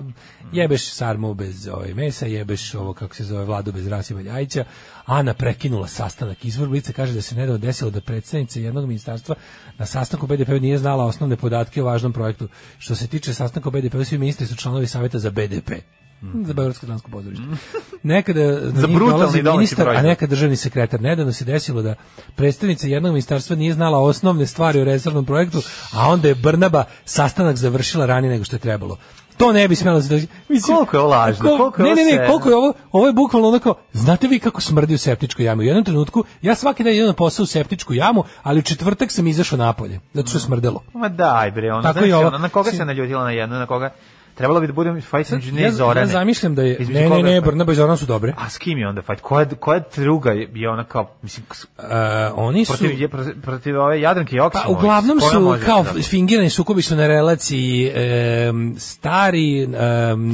jebeš sarmu bez ovaj, mesa, jebeš ovo, kako se zove, vladu bez Rasiba Ljajića. Ana prekinula sastanak. Izvor Blica kaže da se nedavno desilo da predstavnica jednog ministarstva na sastanku BDP nije znala osnovne podatke o važnom projektu. Što se tiče sastanka o BDP, svi ministri su članovi savjeta za BDP. Mm-hmm. Za Beogradsko dansko pozorište. Nekada
Mm-hmm. Za
za njih
brutalni
dolazi
domaći
ministar, a
proizvod.
nekad državni sekretar. Nedavno se desilo da predstavnica jednog ministarstva nije znala osnovne stvari o rezervnom projektu, a onda je Brnaba sastanak završila ranije nego što je trebalo. To ne bi smelo se Mislim,
Koliko je ovo lažno,
ko-
koliko je
ne,
ovo
ne, ne,
sedno.
koliko je ovo, ovo je bukvalno onako, znate vi kako smrdi u septičku jamu? U jednom trenutku, ja svaki dan idem na posao u septičku jamu, ali u četvrtak sam izašao napolje, zato
Mm.
što je smrdelo.
Ma daj bre, ono,
Tako
znaš,
i ovo.
ono, na koga
Si-
se naljutila na jedno, na koga... Trebalo bi da budem fight engineer
Ja, ja
Zorane.
zamišljam da je...
Između
Ne, ne,
koga je
ne,
fight?
Brnaba i Zoran su dobre.
A s kim je onda fight? Koja, koja druga je je ona kao, mislim, s-
E, oni su...
protiv, je, protiv, protiv ove Jadranke Joksimović?
Pa uglavnom
s kojom
su
može
kao
da-
fingirani sukobi su na relaciji em, stari em,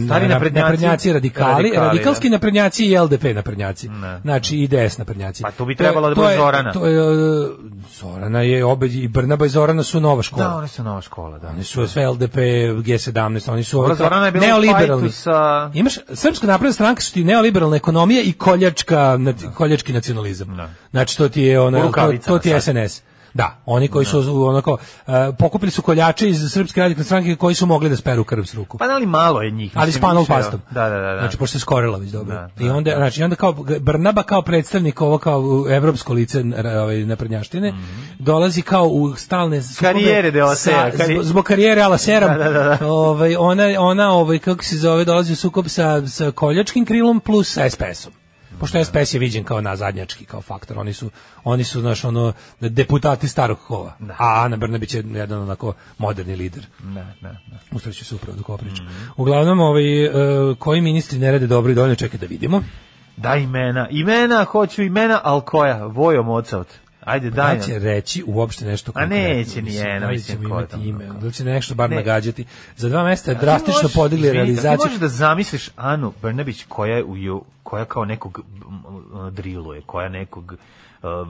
Stari
na-
naprednjaci,
naprednjaci radikali,
radikali,
radikalski
da.
naprednjaci i LDP naprednjaci. Znači IDS naprednjaci.
Pa tu bi
je-
trebalo da
to
bude
je-
Zorana.
To je, e, Zorana je obe i Brnaba i Zorana su nova škola.
Da, oni su nova škola, da.
Oni su sve LDP, G17, oni su
Dobro,
ovi kao
Zorana je bila u
neoliberalni.
fajtu sa-
Imaš, Srpska napredna stranka su ti neoliberalna ekonomija i koljačka, na- koljački nacionalizam. Znači, to ti je,
Da. U
ona, to,
rukavicama
to ti je SNS. Da, oni koji su onako, uh, pokupili su koljače iz Srpske radikalne stranke koji su mogli da speru krv s ruku.
Pa da li malo je njih?
Ali s
mislim,
panel
više,
pastom.
Da, da, da. da.
Znači, pošto je skorila već dobro.
Da,
I onda, znači, onda kao Brnaba kao predstavnik ovo kao u, evropsko lice n- ovaj, naprednjaštine, dolozi kao u stalne sukobe
Mhm. Karijere de la
sa-
Sera, Da, kari-
zbog- Zbog karijere ala Sera. Ovaj, ona, ona ovaj, kako se zove, dolazi u sukob sa, sa koljačkim krilom plus sa SPS-om.
Da.
Pošto SPS je viđen kao nazadnjački, kao faktor. Oni su, oni su znaš, ono, deputati starog kova.
Da.
A Ana Brnabić je jedan onako moderni lider.
Ne, ne, ne.
Usreću se upravo dok ovo pričam.
Mhm.
Uglavnom, ovaj, e, koji ministri ne rade dobro i dovoljno čekaj da vidimo.
Da imena. Imena, hoću imena, ali koja? Vojo Mocavt. Ajde, daj
Da
nam.
će reći uopšte nešto konkretno.
neće ni
Mislim,
jedna,
da li
mislim,
ćemo
ko je
imati
tamo,
ime,
kako?
da li će nešto bar
Ne.
nagađati. Za dva mesta je
Ti
drastično
možeš-
podigli
izvini, a Ti
realizaciju.
možeš da zamisliš Anu Brnabić koja je u ju- koja kao nekog m, ono, driluje, koja nekog um,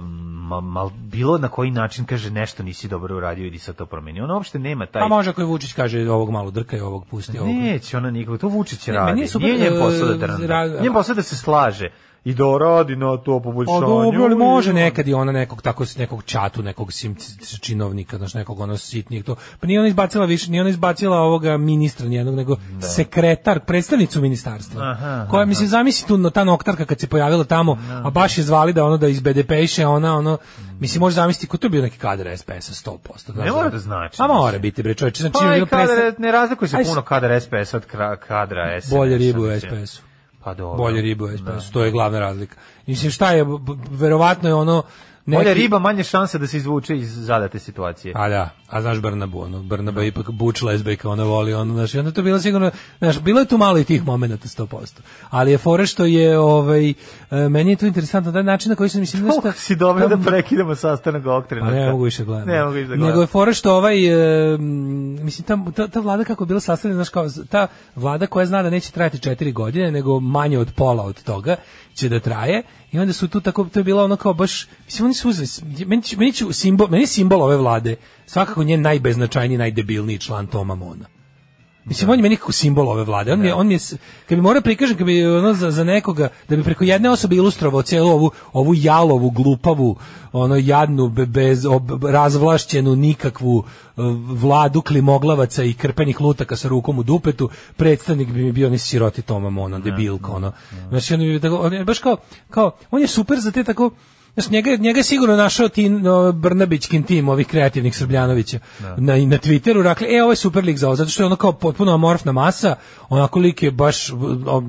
ma- mal, bilo na koji način kaže nešto nisi dobro uradio idi sad to promeni. Ona uopšte nema taj
Pa može ako je Vučić kaže ovog malo drka i ovog pusti ovog.
Neće ona nikako, to Vučić
Ne,
radi.
meni je super,
Nije njen posao da
e,
drna.
ra-
Njen posao da se slaže i da radi na to
Pa
poboljšanje.
dobro, ali može
Uj,
nekad i ona nekog tako s nekog čatu, nekog sim činovnika, znači nekog ono sitnijeg to. Pa nije ona izbacila više, nije ona izbacila ovoga ministra nijednog, nego sekretar, predstavnicu ministarstva.
Da. Aha,
koja mislim zamisli tu no, ta noktarka kad se pojavila tamo, a baš je zvali da ono da iz BDP-iše ona ono mislim može zamisliti ko to je bio neki kadar SPS-a 100%. znaš,
Ne mora
da-
da znači,
A mora
mislim.
biti bre čoveče, znači
Pa i
bilo predstav-
kadar, ne razlikuje se
Aj, s-
puno kadar SPS od kra- kadra SNS.
bolje ribu u
mislim.
SPS-u.
Pa dobro.
Bolje ribu u
Da.
SPS-u, to je glavna razlika. Mislim šta je b- b- verovatno je ono neki-
Bolja riba, manje šanse da se izvuče iz zadate situacije.
A da, a znaš Brnabu, ono, Brnaba je ipak buč lesbejka, ona voli, ono, znaš, i onda je to bilo sigurno, znaš, bilo je tu malo i tih momenata 100%, ali je fora što je, ovaj, e, meni je tu interesantno, da način na koji sam, mislim, znaš,
Kako si dobro da prekidamo sastanak ovog
pa
trenutka.
ne mogu više gledati.
Ne mogu više da gledam.
Nego je fora što ovaj, e, m, mislim, ta, ta, ta vlada kako je bila sastavljena, znaš, kao, ta vlada koja zna da neće trajati četiri godine, nego manje od pola od toga će da traje, i onda su tu tako, to je bilo ono kao baš, mislim, oni su uzeli, meni, će- meni, će simbol, meni je simbol ove vlade, svakako njen najbeznačajniji, najdebilniji član Toma Mona. Mislim, on je meni kako simbol ove vlade. On, mi, je- on mi je, s- kad bi morao prikažem, kad bi ono za, za nekoga, da bi preko jedne osobe ilustrovao cijelu ovu, ovu jalovu, glupavu, ono jadnu, be- bez, ob, razvlašćenu, nikakvu eh, vladu klimoglavaca i krpenih lutaka sa rukom u dupetu, predstavnik bi mi bio ni siroti Tomam, ono, debilko, ono. Znači, on bi, bio tako- on je baš kao, kao, on je super za te tako, Znaš, njega, je- njega je sigurno našao tim, no, Brnabićkin tim ovih kreativnih Srbljanovića
Da.
na, na Twitteru, dakle, e, ovo je super lik za ovo, zato što je ono kao potpuno amorfna masa, onako lik je baš, v-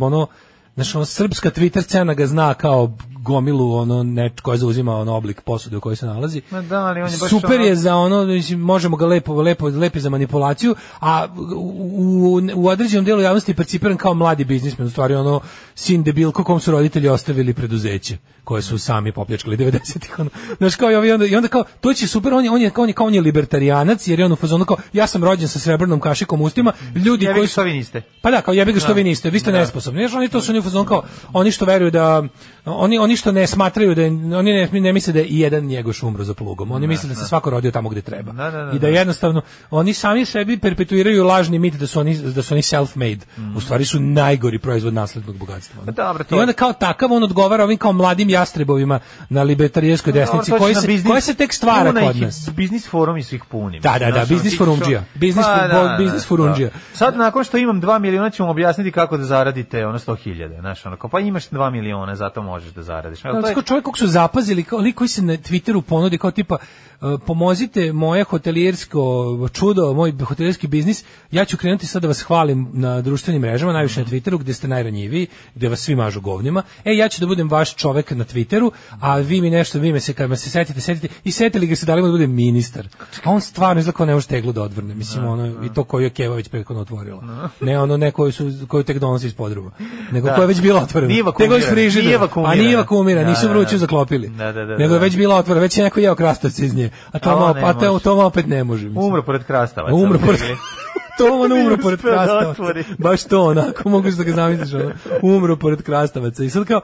ono, znaš, ono, srpska Twitter scena ga zna kao gomilu, ono, neč koja zauzima ono oblik posude u kojoj se nalazi.
Ma da, ali on je baš
super
ono-
je za ono, mislim, možemo ga lepo, lepo, lepi za manipulaciju, a u, u, u određenom delu javnosti je percipiran kao mladi biznismen, u stvari ono sin debilko kom su roditelji ostavili preduzeće koje su sami popljačkali 90-ih. Ono. Znaš, kao i ovi, onda, i onda kao, to će super, on je, on je, kao, on je, kao on je libertarijanac, jer je on u fazonu kao, ja sam rođen sa srebrnom kašikom u ustima, ljudi
Jebi
koji
ga
su...
što vi niste.
Pa da, kao jebi ga što vi niste, vi
Da.
ste nesposobni. Znaš, oni to su oni u fazonu kao, oni što veruju da, oni, oni što ne smatraju da, je- oni ne, ne misle da je i jedan njegoš umro za plugom. Oni misle da se svako rodio tamo gde treba.
Da, da, da,
I da
da.
jednostavno, oni sami sebi perpetuiraju lažni mit da su oni, da su oni self-made. U stvari su najgori proizvod naslednog bogatstva. ono.
Mhm. Pa dobro, to-
I onda kao takav on odgovara ovim kao mladim jastrebovima na libertarijanskoj desnici,
Dobro, to
koji
će
se,
na biznis-
koji se tek stvara
Puna
kod
ih je,
nas.
Biznis forum i svih puni.
Da, da, da,
Znaš,
biznis
ono, ti
forumdžija.
što- Pa, da,
Biznis fu- biznis forumdžija.
Sad nakon što imam 2 miliona ćemo objasniti kako da zaradite ono 100.000, znaš, ono kao pa imaš 2 miliona, zato možeš da zaradiš. Ali
Da,
to je
Kao čovjek kog su zapazili, kao lik koji se na Twitteru ponudi kao tipa e, pomozite moje hotelijersko čudo, moj hotelijerski biznis, ja ću krenuti sad da vas hvalim na društvenim mrežama, najviše
Mhm.
na Twitteru gdje ste najranjiviji, gdje vas svi mažu govnima. E, ja ću da budem vaš čovjek na Twitteru, a vi mi nešto, vi me se, kad me se setite, setite, i setili ga se da li mu da bude ministar. A on stvarno izgleda kao ne može teglu da odvrne, mislim, ono, i to koju je Keva već prethodno otvorila.
Da.
Ne ono ne koju, su, koju tek donosi iz podruma, nego koja je već bila otvorena.
Nije
Nego iz
vakuumirana.
frižidera.
Nije
A
vakuumirana.
Pa nije vakuumirana,
Da,
nisu
da,
vruću
da.
zaklopili.
Da, da, da,
Nego je
da.
već bila otvorena, već je neko jeo krastavce iz nje. A to,
A
malo,
ovo ne
a to,
može.
to malo opet ne može. Mislim.
umro pored krastavaca.
Umro
ono,
pored...
ili-
to ono umro
Nije
pored
uspeo da
krastavaca.
otvori.
Baš to onako, mogu da ga zamisliš. Ono. Umro pored krastavaca. I sad kao,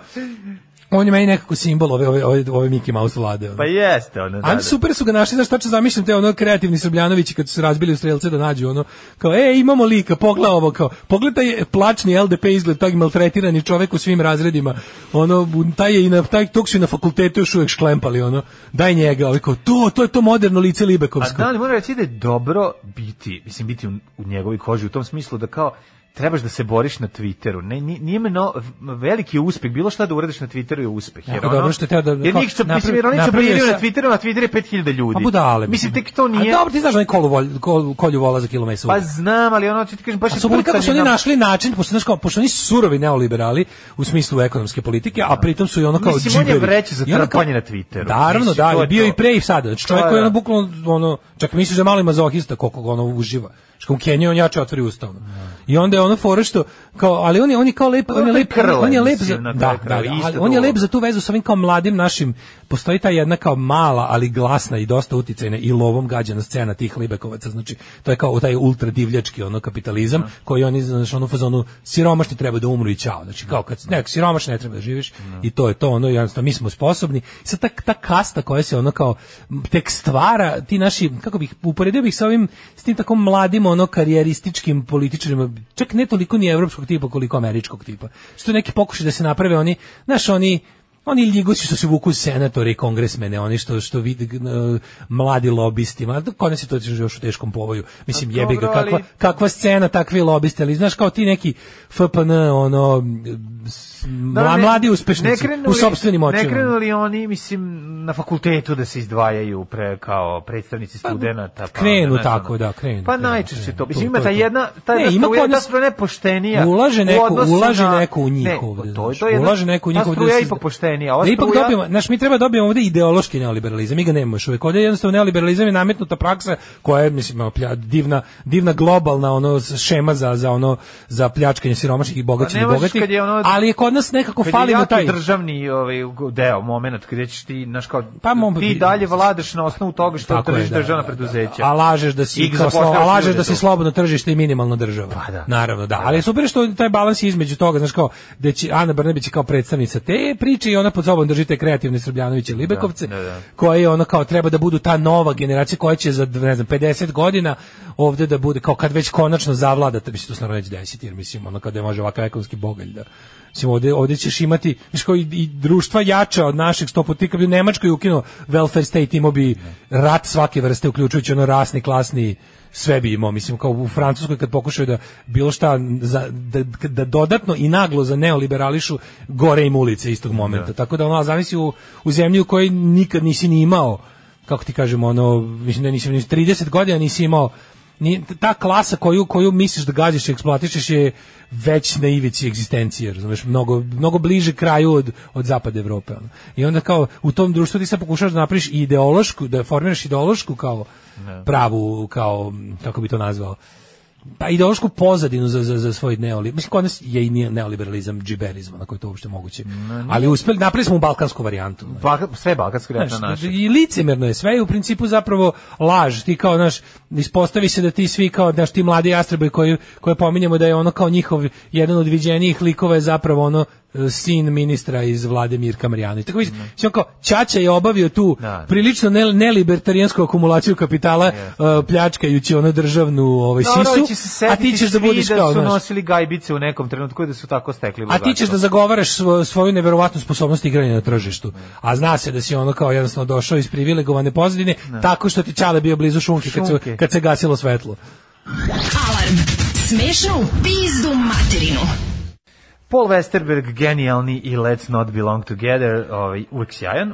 on je meni nekako simbol ove, ove, ove, ove Mickey Mouse vlade. Ono.
Pa jeste, ono, da.
Ali
da.
super su ga našli, znaš šta ću zamišljam te ono kreativni Srbljanovići kad su se razbili u strelce da nađu ono, kao e imamo lika, pogledaj ovo, kao pogledaj plačni LDP izgled tog maltretirani čovek u svim razredima, ono, taj je i na, taj, tog su i na fakultetu još uvek šklempali, ono, daj njega, ali kao to, to je to moderno lice
A
Libekovsko.
da li moram reći da je dobro biti, mislim biti u, u njegovoj koži u tom smislu da kao trebaš da se boriš na Twitteru. Ne, ni- nije me no, veliki je uspeh, bilo šta da uradiš na Twitteru je uspeh. Jer
Jako dobro što je teo da-
Jer
kao,
njih se, mislim,
napravi-
jer oni se
napravio
briljiraju na
sa-
Twitteru, na Twitteru je 5000 ljudi.
A Pa budale.
Mislim, tek to nije...
A dobro, ti znaš da je kolu volj- kol- kolju vola za kilomesa.
Pa znam, ali ono, ću ti kažem, baš
A
je
su bili kako su
pucanje
oni
na-
našli način, pošto, znaš, kao, pošto oni su surovi neoliberali u smislu ekonomske politike, a pritom su i ono kao
Da. Mislim, on je
džiberi.
vreće za
I ono kao-
trpanje na Twitteru.
Naravno,
Mislim,
da,
to
ali
je
bio
to.
i pre i sada. Znači, čovjek
Da,
koji je ono
da.
bukvalno, ono, čak misliš da je mali mazohista koliko ga ono uživa. Što u Keniji on jače otvori ustavno.
Da.
I onda je ono fora što kao ali on je on je kao lep, Pa on je
to je
lep, on je- on je lep za
krlen,
da,
mislim,
da,
na kraju
da,
krajeva,
ali
isto
on je
to.
lep za tu vezu sa ovim kao mladim našim postoji ta jedna kao mala, ali glasna i dosta uticajna i lovom gađana scena tih libekovaca. Znači, to je kao taj ultra divljački ono kapitalizam
Da.
koji oni znači ono u fazonu siromašni treba da umru i ćao. Znači kao kad ne, siromašni ne treba da živiš i to je to ono jednostavno mi smo sposobni. I Sad ta, ta kasta koja se ono kao m, tek stvara, ti naši kako bih uporedio bih sa ovim s tim tako mladim ono karijerističkim političarima, čak ne toliko ni evropskog tipa koliko američkog tipa. Što neki pokušaj da se naprave oni, znaš oni oni ljigosi što se vuku senatore i kongresmene, oni što što vide g- n- mladi lobisti, ma da, kod nas je to još u teškom povoju. Mislim
A
jebi ga
dobro,
kakva
ali-
kakva scena takvi lobisti, ali znaš kao ti neki FPN ono s-
Da,
mla-
ne-
mladi
ne
uspešnici
krenu
u
li-
sopstvenim očima.
Ne krenuli oni, mislim, na fakultetu da se izdvajaju pre, kao predstavnici studenata. Pa,
krenu
onda, znaš,
tako,
ono.
da, krenu,
Pa
krenu,
najčešće
krenu.
to.
To-
Mislim, ima
to
ta
je to.
jedna, ta
Ne,
jedna
ima
struja,
kod
ta
nas-
struja nepoštenija.
Ulaže
u
neko-
odnosu
ulaže
na-
neko u njih
Ne, pa
ovde,
to je
znaš.
to je jedna-
Ulaže neko u njih
Ta
ovde da
struja je
se-
ipak poštenija. ova
da ipak
struja-
dobijemo, znaš, mi treba dobijemo ovde ideološki neoliberalizam, mi ga nemamo još uvijek. Ovde je jednostavno neoliberalizam je nametnuta praksa koja je, mislim, plja- divna, divna globalna ono šema za, za ono za pljačkanje siromašnih i bogaćenje
ne možeš
bogatih.
Pa kad je ono-
ali je kod nas nekako
Kad
fali
je
mu
jaki
taj
državni ovaj deo momenat gdje ćeš ti znaš kao
Pa, mom-
ti dalje vladaš na osnovu toga što
Tako je,
držiš
da,
državna
da,
preduzeća.
A lažeš da si
I
kao
zapošljavaš
slo- a lažeš
ljude
da si
tu.
slobodno tržište i minimalna država.
Pa da.
Naravno, da. Ali je super što taj balans je između toga, znaš kao da će Ana Brnabić je kao predstavnica te priče i ona ona pod sobom drži te kreativne Srbljanoviće Libekovce,
Da, da, da.
koje ono kao treba da budu ta nova generacija koja će za ne znam 50 godina ovde da bude kao kad već konačno zavlada, to bi se to stvarno već desiti, jer mislim ono kada može ovakav ekonomski bogalj da Mislim, ovde, ovde ćeš imati, viš koji i društva jača od našeg stopu, ti kad bi u Nemačkoj ukinuo welfare state, imao bi
Da.
rat svake vrste, uključujući ono rasni, klasni, sve bi imao, mislim, kao u Francuskoj kad pokušaju da bilo šta, za, da, da dodatno i naglo za neoliberališu, gore im ulice istog momenta. Tako da, ono, a zamisli u, u zemlji u kojoj nikad nisi ni imao, kako ti kažem, ono, mislim da nisi, nisi 30 godina nisi imao ni, ta klasa koju koju misliš da gađaš i eksploatišeš je već na ivici egzistencije, razumeš, mnogo, mnogo bliže kraju od, od zapada Evrope. Ono. I onda kao u tom društvu ti sad pokušaš da napraviš i ideološku, da formiraš ideološku kao pravu, kao, kako bi to nazvao, pa ideološku pozadinu za, za, za svoj neoliberalizam. Mislim, kod nas je i nije neoliberalizam džiberizam, na koji to uopšte moguće. Ali uspeli, napravili smo u balkansku varijantu. ono.
Baka, sve je balkanski rat na
Znaš, da
naše.
I licemerno je sve i u principu zapravo laž. Ti kao, znaš, ispostavi se da ti svi kao, znaš, ti mladi jastrebovi koji, koje pominjemo da je ono kao njihov, jedan od viđenijih likova je zapravo ono e, sin ministra iz vlade Mirka Marjanović. Tako mislim, mislim, kao, Ćaća je obavio tu
Da.
prilično ne- nelibertarijensku akumulaciju kapitala, e, pljačkajući ono državnu ovaj,
Dobro, će
sisu,
se
a
setiti
ti ćeš da
svi
budeš kao,
da su
znaš,
nosili gajbice u nekom trenutku i da su tako stekli
A ti ćeš da zagovaraš svo- svoju neverovatnu sposobnost igranja na tržištu. A zna se da si ono kao jednostavno došao iz privilegovane pozadine tako što ti Čale bio blizu šunke, Kad,
Šunke.
se, kad se gasilo svetlo.
Alarm. Smešno u pizdu materinu.
da-
Paul Westerberg, genijalni i Let's Not Belong Together, ovaj, uvijek sjajan.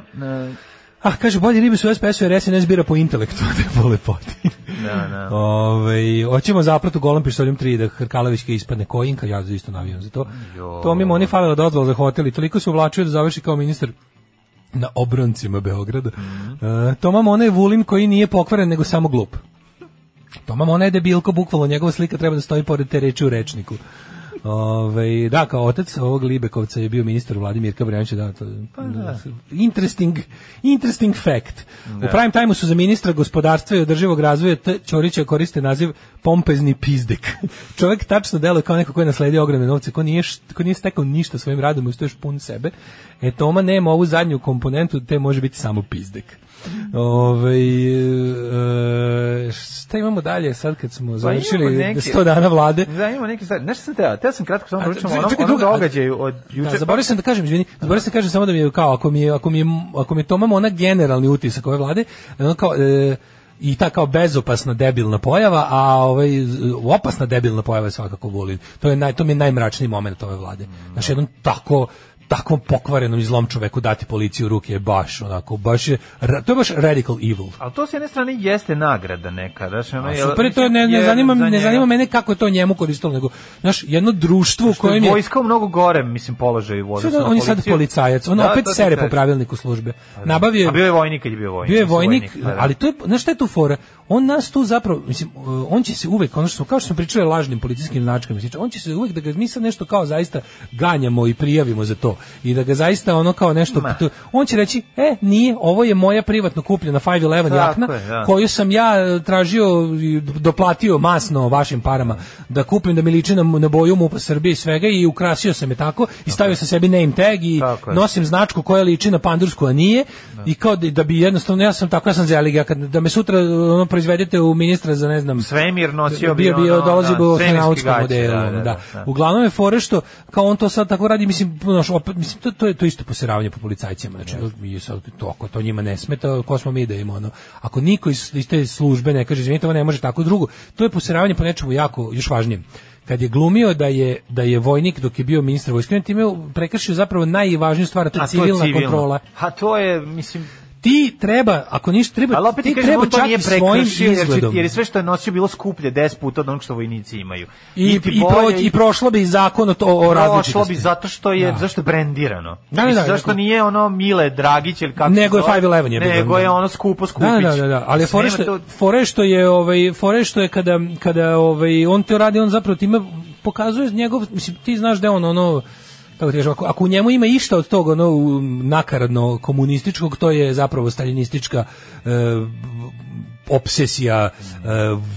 Ah, kaže, bolje ribe su u SPS-u jer SNS bira po intelektu, a ne po lepoti.
Da, da.
Ovaj hoćemo zaplatu golom pištoljom 3 da Hrkalovićka ispadne kojinka, ja isto navijam za to.
Jo.
To mi oni falilo da odval za hotel i toliko se uvlačio da završi kao ministar na obroncima Beograda.
Mhm.
E, Toma Mona je Vulin koji nije pokvaren nego samo glup. Toma Mona je debilko, bukvalno njegova slika treba da stoji pored te reči u rečniku. Ove, da, kao otac ovog Libekovca je bio ministar Vladimir Kabrjanče, da, to, da. Interesting, interesting fact. U prime time su za ministra gospodarstva i održivog razvoja T. Ćorića koriste naziv pompezni pizdek. Čovjek tačno deluje kao neko ko je nasledio ogromne novce, ko nije, št- ko nije stekao ništa svojim radom, uz to još pun sebe. E, Toma nema ovu zadnju komponentu, te može biti samo pizdek. Ove, e, šta imamo dalje sad kad smo završili
neke-
100 dana vlade?
Da, imamo neke stvari. Znaš šta sam teo? Teo sam kratko samo
A,
da pričam o
čekaj,
onom,
čekaj,
onom
druga-
događaju od juče. pa-
Da, zaboravio sam da kažem, izvini, zaboravio sam da kažem samo da mi je kao, ako mi je, ako mi je, ako mi je Toma Mona generalni utisak ove vlade, ono kao, e, i ta kao bezopasna debilna pojava, a ovaj e, opasna debilna pojava je svakako Vulin. To je naj to mi je najmračniji moment ove vlade. Znači jednom tako takvom pokvarenom i zlom čoveku dati policiju u ruke je baš onako, baš je, ra- to je baš radical evil.
Ali to s jedne strane jeste nagrada neka. Znaš, ono,
A
jel-
super je to, ne, ne,
jer
zanima,
E, za
ne
njega-
zanima mene kako je to njemu koristilo, nego, znaš, jedno društvo u
Što je
kojem je...
vojska u mnogo gore, mislim, položaju u
Sve
odnosu
da,
na
on je sad
policiju.
policajac, on
Da,
opet
to ti
sere po
kažem.
pravilniku službe. Nabavio
A
je,
bio je vojnik kad je bio vojnik.
bio je
mislim,
vojnik,
da, da.
ali to je, znaš šta je tu fora? On nas tu zapravo, mislim, e, on će se uvek, ono što smo, kao što smo pričali o lažnim policijskim značkama, mislim, on će se uvek da ga mi sad nešto kao zaista ganjamo i prijavimo za to i da ga zaista ono kao nešto, tu- on će reći, e, nije, ovo je moja privatno kupljena 511
Tako
jakna,
je, da.
koju sam ja e, tražio i doplatio masno vašim parama da kupim da mi liči na, na boju mu po Srbiji i svega i ukrasio sam je tako i stavio sam sebi name tag i
Tako je.
nosim značku koja liči na pandursku a nije i kao da, da bi jednostavno ja sam tako ja sam zelig ja kad da me sutra ono proizvedete u ministra za ne znam
Svemir nosio bi
bio, bio
ono,
dolazi
da,
bi u
svemirski
astronautskom
gaće,
modelu.
da,
Da,
da, da.
Uglavnom je fore što kao on to sad tako radi, mislim, znaš, opet, mislim to, to je to je isto posiravanje po policajcima, znači mi sad to ako to njima ne smeta, ko smo mi da im ono. Ako niko iz, iz te službe ne kaže izvinite, ovo ne može tako drugo, to je posiravanje po nečemu jako još važnijem. Kad je glumio da je da je vojnik dok je bio ministar vojske, on je time prekršio zapravo najvažniju stvar, a to
A to
je civilna kontrola.
A to je, mislim,
Ti treba, ako ništa treba,
ali opet ti
Pa
kažem,
ti treba
on to
čak
nije
i svojim
prekršio, jer, će,
izgledom.
jer je sve što je nosio bilo skuplje 10 puta od onog što vojnici imaju.
I, i,
ti
proć-
bolje,
i prošlo bi zakon o, o, o različitosti.
Prošlo bi zato što je
Da.
zašto je brendirano.
Da, da,
Mislim,
da,
zašto
neko-
nije ono Mile Dragić ili kako. se
Nego je
zove,
511 je bilo,
Nego
da.
je ono skupo skupić.
Da, da, da, da, ali
Mislim,
fore
nema
što,
to-
fore što je ovaj fore što je kada kada ovaj on to radi, on zapravo time pokazuje njegov mislim ti znaš da je on ono kako ti kažem, ako, ako u njemu ima išta od toga ono u- nakaradno komunističkog, to je zapravo staljinistička e, obsesija e,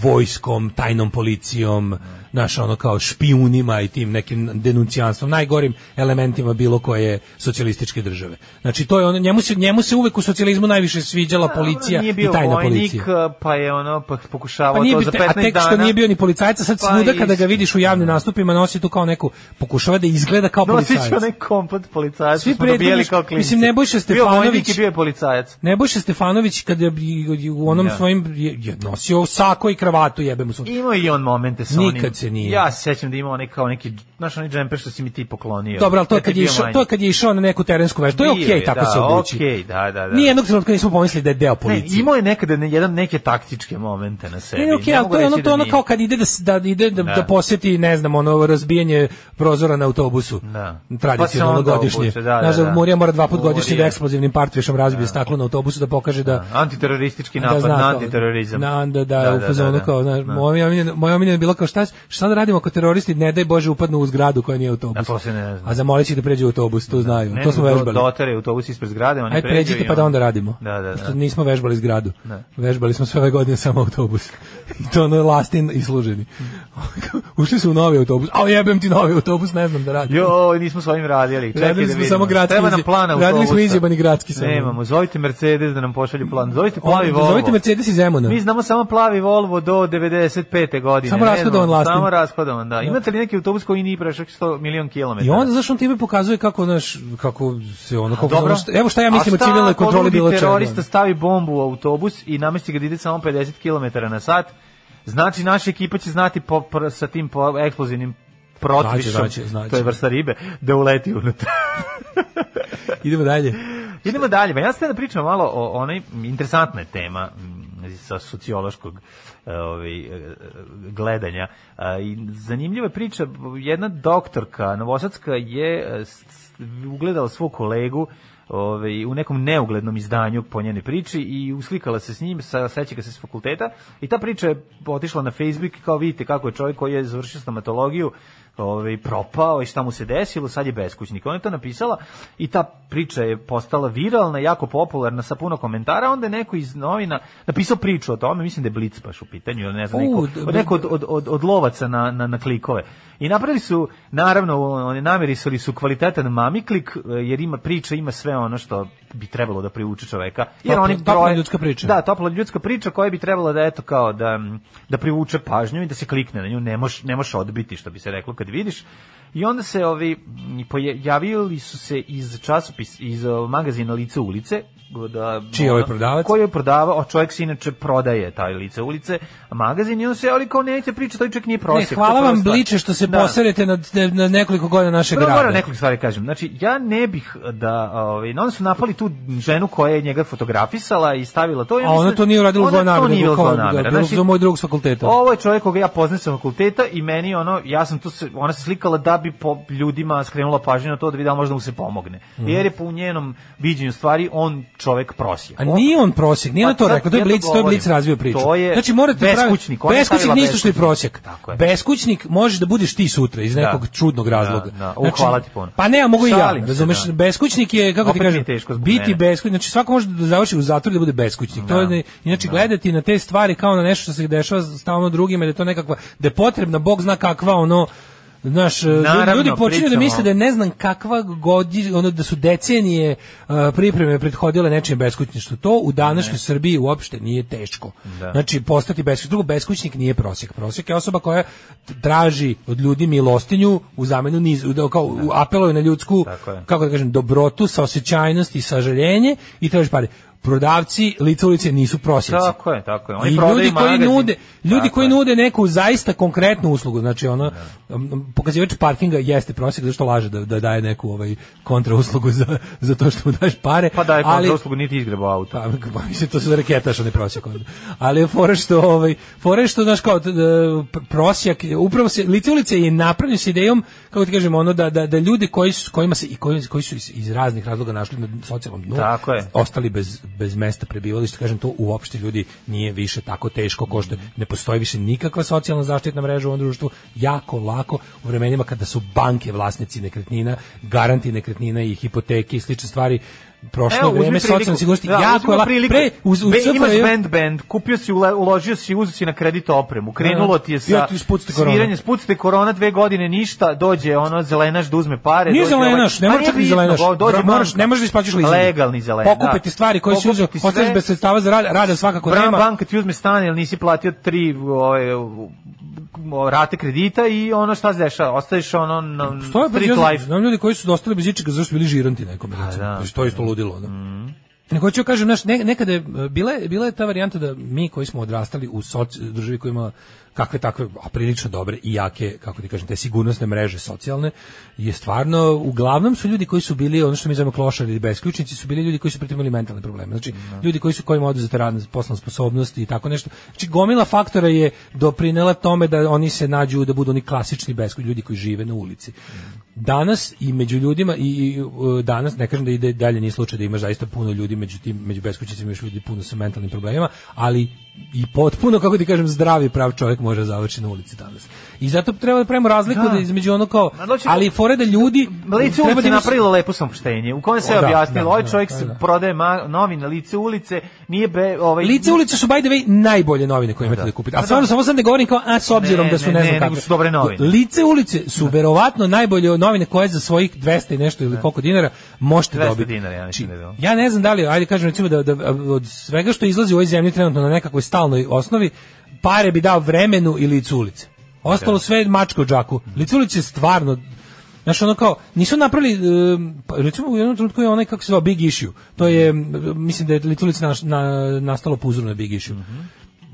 vojskom, tajnom policijom, naš ono kao špijunima i tim nekim denuncijanstvom, najgorim elementima bilo koje socijalističke države. Znači to je ono, njemu se njemu se uvek u socijalizmu najviše sviđala policija
Pa, nije
i
bio
tajna
vojnik,
policija.
pa je ono pa pokušavao
Pa nije
to
bi
za
te-
15
a tek
dana.
što nije bio ni policajac, a sad
Pa
svuda kada ga
isto.
vidiš u javnim nastupima nosi tu kao neku, pokušava da izgleda kao
Nosić
policajac.
onaj kompot policajac,
Svi
Svi smo dobijali
prethodniš-
kao klinci.
mislim, Nebojša
Bio
Stefanović-
vojnik i bio je policajac.
Nebojša Stefanović kad je bi- u onom
Da.
svojim je, je nosio sako i kravatu jebe mu sunce.
Imao je i on momente sa onim.
Nikad se nije.
Ja se sećam da imao onaj kao neki, znaš onaj džemper što si mi ti poklonio.
Dobro, ali to je
Kad
kad
ti
je
bio
išao,
manji.
to je kad je išao na neku terensku vežbu. To je
Bio
okej tako
da,
se obući.
okej, da, da, da.
Ni jednog trenutka nismo pomislili da je deo
Ne,
policije.
imao je nekada ne, jedan neke taktičke momente na sebi.
Ne, okej,
Ne
ali
mogu
to je ono,
reći
to je
da
ono
nije.
kao kad ide da, s- da ide da, da.
Da.
posjeti, ne znam, ono razbijanje prozora na autobusu.
Da.
Tradicionalno
Pa se onda
godišnje.
obuče, da, da,
Znaš
da.
Murija mora dva put godišnje da
Murija.
eksplozivnim partvišom razbije staklo na autobusu da pokaže da
Antiteroristički napad
zna
na
kao-
antiterorizam.
Na, da, da, u fazonu kao, znaš,
Da.
moja omiljena, moja omiljena je bila kao šta, šta da radimo ako teroristi, ne daj Bože, upadnu u zgradu koja nije autobus.
Da, to se ne zna.
A zamolit će da pređu u autobus, to znaju.
Ne,
to smo
do-
vežbali.
Dotare autobus ispred zgrade, oni
Ajde
pređu i
pređite pa da onda radimo.
Da, da,
Pošto
da.
nismo vežbali zgradu.
Da.
Vežbali smo sve ove godine samo autobus. I to ono lastin i služeni. Ušli su u novi autobus. A jebem ti novi autobus, ne znam da radim.
Jo, nismo svojim radili. Čekaj
Radili
da
smo
vidimo.
samo gradski
Treba
izje-
nam plan autobusa.
radili smo izjebani gradski samo.
Nemamo, zovite Mercedes da nam pošalju plan. Zovite plavi Volvo.
Zovite Mercedes iz Zemuna.
Mi znamo samo plavi Volvo do 95. godine.
Samo
ne
rashodovan
znamo,
lastin.
Samo rashodovan, da. Imate li neki autobus koji nije prešao 100 milion kilometara?
I onda zašto on time pokazuje kako znaš kako se ono kako
Dobro.
ono što- evo šta ja
A
mislim o civilnoj
ako
kontroli
ludi
bilo čega.
terorista stavi bombu u autobus i namesti ga da ide samo 50 km na sat, znači naša ekipa će znati po, pr- sa tim po, eksplozivnim protvišom,
Znači, znači, znači.
to je vrsta ribe, da uleti unutra.
Idemo dalje.
Idemo dalje. Ma ja sam da pričam malo o onaj interesantna je tema mm, sa sociološkog e, ovaj e, gledanja. A, I zanimljiva je priča jedna doktorka novosadska je e, s- s- ugledala svog kolegu ovaj, u nekom neuglednom izdanju po njenoj priči i uslikala se s njim, sa, seća ga se s fakulteta i ta priča je otišla na Facebook i kao vidite kako je čovjek koji je završio stomatologiju ovaj, propao i šta mu se desilo, sad je beskućnik. Ona je to napisala i ta priča je postala viralna, jako popularna sa puno komentara, onda je neko iz novina napisao priču o tome, mislim da je Blitz baš u pitanju, ili ne znam, neko,
U,
od, neko od, od, od, od lovaca na, na, na klikove. I napravili su, naravno, oni namerisali su kvalitetan mamiklik, eh, jer ima priča, ima sve ono što bi trebalo da privuče čoveka. Jer
Topla-
oni
topla
broje-
ljudska priča.
Da, topla ljudska priča koja bi trebala da eto kao da mm, da privuče pažnju i da se klikne na nju, ne moš ne moš odbiti što bi se reklo kad vidiš. I onda se ovi mm, pojavili su se iz časopis iz o, magazina Lice ulice go- da
Čiji je ovaj prodavac?
Koji je prodavao, a čovjek se inače prodaje taj Lice ulice magazin i on se ali kao neće priča, taj čovjek nije
Ne,
prosjek. to je
hvala
prva
vam
stvar.
bliče što se
Da.
poserete na, na nekoliko godina našeg
Prvo moram
grada.
nekoliko stvari kažem. Znači, ja ne bih da... Ovaj, no, onda su napali tu ženu koja je njega fotografisala i stavila to.
A ona to nije uradila u
Ona to
zlonameri,
nije
nego
u Znači,
kao-
zlonameri.
da, za moj drug s fakulteta.
Ovo je čovjek koga ja poznajem sa fakulteta i meni ono, ja sam tu, se, ona se slikala da bi po ljudima skrenula pažnju na to da vidi da li možda mu se pomogne.
Mhm.
Jer je po u njenom viđenju stvari on čovjek prosjek.
A nije on prosjek, nije
Pa
on to
sad
rekao, to je
ja to
Blic, to je
govorim.
Blic razvio priču.
To je
znači, morate pravi-
beskućnik, ona je
Beskućnik
stavila
nije isto što je prosjek.
beskućnik. Tako je.
Beskućnik možeš da budeš ti sutra iz nekog
Da.
čudnog razloga.
Da, da. U, hvala ti puno.
Pa ne, a mogu i ja,
Šalim se,
razumeš?
da.
Beskućnik je, kako ti
Opet mi je
kažem,
teško zbog
biti
mene.
beskućnik, znači svako može da završi u zatvoru i da bude beskućnik. To je, ne-
Da.
inače, gledati na te stvari kao na nešto što se dešava stalno drugima, jer je to nekakva, da je potrebna, Bog zna kakva ono, Znaš,
Naravno,
ljudi počinju da
pričamo.
misle da je ne znam kakva godi, ono da su decenije uh, pripreme prethodile nečijem beskućništvu. To u današnjoj Srbiji uopšte nije teško.
Da.
Znači, postati beskućnik. Drugo, beskućnik nije prosjek. Prosjek je osoba koja t- traži od ljudi milostinju u zamenu niz, u- da, kao, u- apeluje na ljudsku,
Tako je.
kako da kažem, dobrotu, saosećajnost i sažaljenje i traži pare. Prodavci lica ulice nisu prosjeci.
Tako je, tako je. Oni
I
prodaju
ljudi koji
magazin.
nude, ljudi
Tako
koji
je. Da.
nude neku zaista konkretnu uslugu, znači ono um, pokazivač parkinga jeste prosjek zašto laže da, da daje neku ovaj kontra uslugu za, za to što mu daješ pare,
Pa daj,
ali
ali, uslugu niti izgreba auto.
pa, pa mislim to su reketaš oni prosjek onda. Ali je fora što ovaj fora je što znaš kao t- d- pr- prosjek upravo se lice ulice je napravljeno s idejom kako ti kažemo ono da da da ljudi koji su kojima se i koji, koji su iz, iz raznih razloga našli na socijalnom dnu
Tako je.
ostali bez bez mesta prebivališta, kažem to uopšte ljudi nije više tako teško ko što je. ne postoji više nikakva socijalna zaštitna mreža u ovom društvu, jako lako u vremenima kada su banke vlasnici nekretnina, garanti nekretnina i hipoteke i slične stvari prošlo
Evo,
Evo,
uzmi
vreme
priliku.
socijalne sigurnosti,
Da,
jako
uzmi
je lako.
priliku.
Pre, uz, uz,
Be-
SFRJ
imaš band band, kupio si, ule- uložio si, uzeo si na kredit opremu, krenulo
Da,
ti je sa
ja ti spucite korona.
sviranje, spucite korona, dve godine ništa, dođe ono zelenaš da uzme pare.
Nije
dođe
zelenaš, ne
ovaj-
moraš
Pa
čak ni
nije bitno,
zelenaš.
o, Dođe
moraš,
banka.
ne možeš da isplaćaš leasing.
Legalni zelen,
Pokupe ti stvari koje si
Pokupe
uzeo,
ti sve.
ostaješ bez sredstava za rad, rada svakako
Bra-
nema.
Banka ti uzme stan jer nisi platio tri ove, u- u- rate kredita i ono šta se dešava, ostaješ ono na
Stoje
street life.
Znam ljudi koji su ostali bez ičega zato što su bili žiranti nekom, recimo.
da. Mhm.
Znači, to je isto ludilo, da. Nego hoću kažem, znaš, ne, nekada je e, bila, je- bila je ta varijanta da mi koji smo odrastali u soc, državi koja ima kakve takve, a prilično dobre i jake, kako ti kažem, te sigurnosne mreže socijalne, je stvarno, uglavnom su ljudi koji su bili, ono što mi zovemo klošari ili besključnici, su bili ljudi koji su pritom imali mentalne probleme. Znači,
Da.
ljudi koji su kojima je oduzeta radna poslovna sposobnost i tako nešto. Znači, gomila faktora je doprinela tome da oni se nađu, da budu oni klasični besključnici, ljudi koji žive na ulici danas i među ljudima i, i e, danas ne kažem da ide dalje ni slučaj da imaš zaista puno ljudi među tim među beskućnicima još ljudi puno sa mentalnim problemima, ali i potpuno kako ti kažem zdravi prav čovjek može završiti na ulici danas. I zato treba da pravimo razliku
Da.
da, između ono kao
Ma, znači,
ali fore da ljudi
Lice
treba
ulice
da
je
im se-
napravilo lepo samopoštenje, u kojem se
O,
je
da,
objasnilo,
da,
ovaj
da,
čovjek
da,
se
da.
prodaje ma- novine, lice ulice, nije be... Ovaj,
Lice ulice su by the way najbolje novine
Pa
koje imate da, kupite. A stvarno samo sam ne govorim kao a s obzirom
Ne,
da su
ne,
ne,
ne,
znam
nego
kakve.
su dobre novine.
Lice ulice
Da.
su verovatno najbolje novine koje za svojih 200 i nešto ili koliko dinara možete
200
dobiti.
Da. dinara, ja mislim da je bilo.
Ja ne znam da li, ajde kažem recimo da, da od svega što izlazi u ovoj zemlji trenutno na nekakvoj stalnoj osnovi, pare bi dao vremenu i licu ulice.
Da.
Ostalo sve mačko u džaku.
Mhm.
Lice ulice je stvarno Znaš, ono kao, nisu napravili, em, pa, recimo u jednom trenutku je onaj, kako se zove, Big Issue. To je, em, mislim da je Lice ulice naš- na, nastalo po uzoru na Big Issue.
Mhm.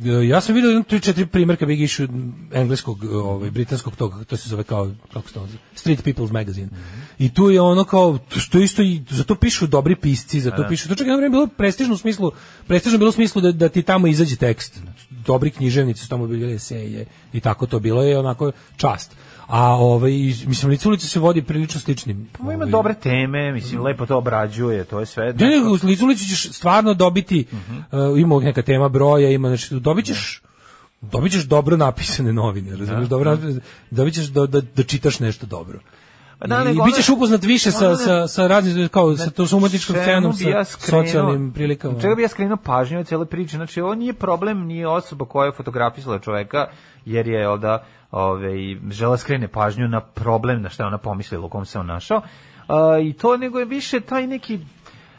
E, Ja sam vidio jedno 3-4 primjerka Big Issue engleskog, e, ovaj, britanskog tog, to se zove kao, kako se to zove, Street People's Magazine. I tu je ono kao, to što isto, i, za to pišu dobri pisci, za to pišu, to čak je jedno vreme bilo prestižno u smislu, prestižno je bilo u smislu da, da ti tamo izađe tekst. Dobri književnici su tamo bili eseje i tako to bilo je onako čast. A ovaj, mislim, lice ulice se vodi prilično sličnim.
Ma, Pa Ima
ovaj,
dobre teme, mislim, lepo to obrađuje, to je sve. da,
Ne, ne, E, u Licu ulici ćeš stvarno dobiti, uh, ima neka tema broja, ima, znači, dobit ćeš, dobit ćeš dobro napisane novine,
Da,
razumiješ, dobro napisane, dobit ćeš da, da, da čitaš nešto dobro.
Pa da,
I,
nego
i bit ćeš
ono-
upoznat više sa,
ono-
sa, sa raznim, kao sa, to, sa umetničkom
Znači, Čemu
scenom,
bi
sa
ja skrenuo-
socijalnim prilikama.
Čega bi ja skrenuo pažnju od cele priče? Znači, ovo nije problem, nije osoba koja je fotografisala čoveka, jer je onda ove, žela da skrene pažnju na problem, na šta je ona pomislila, u kom se on našao. A, I to nego je više taj neki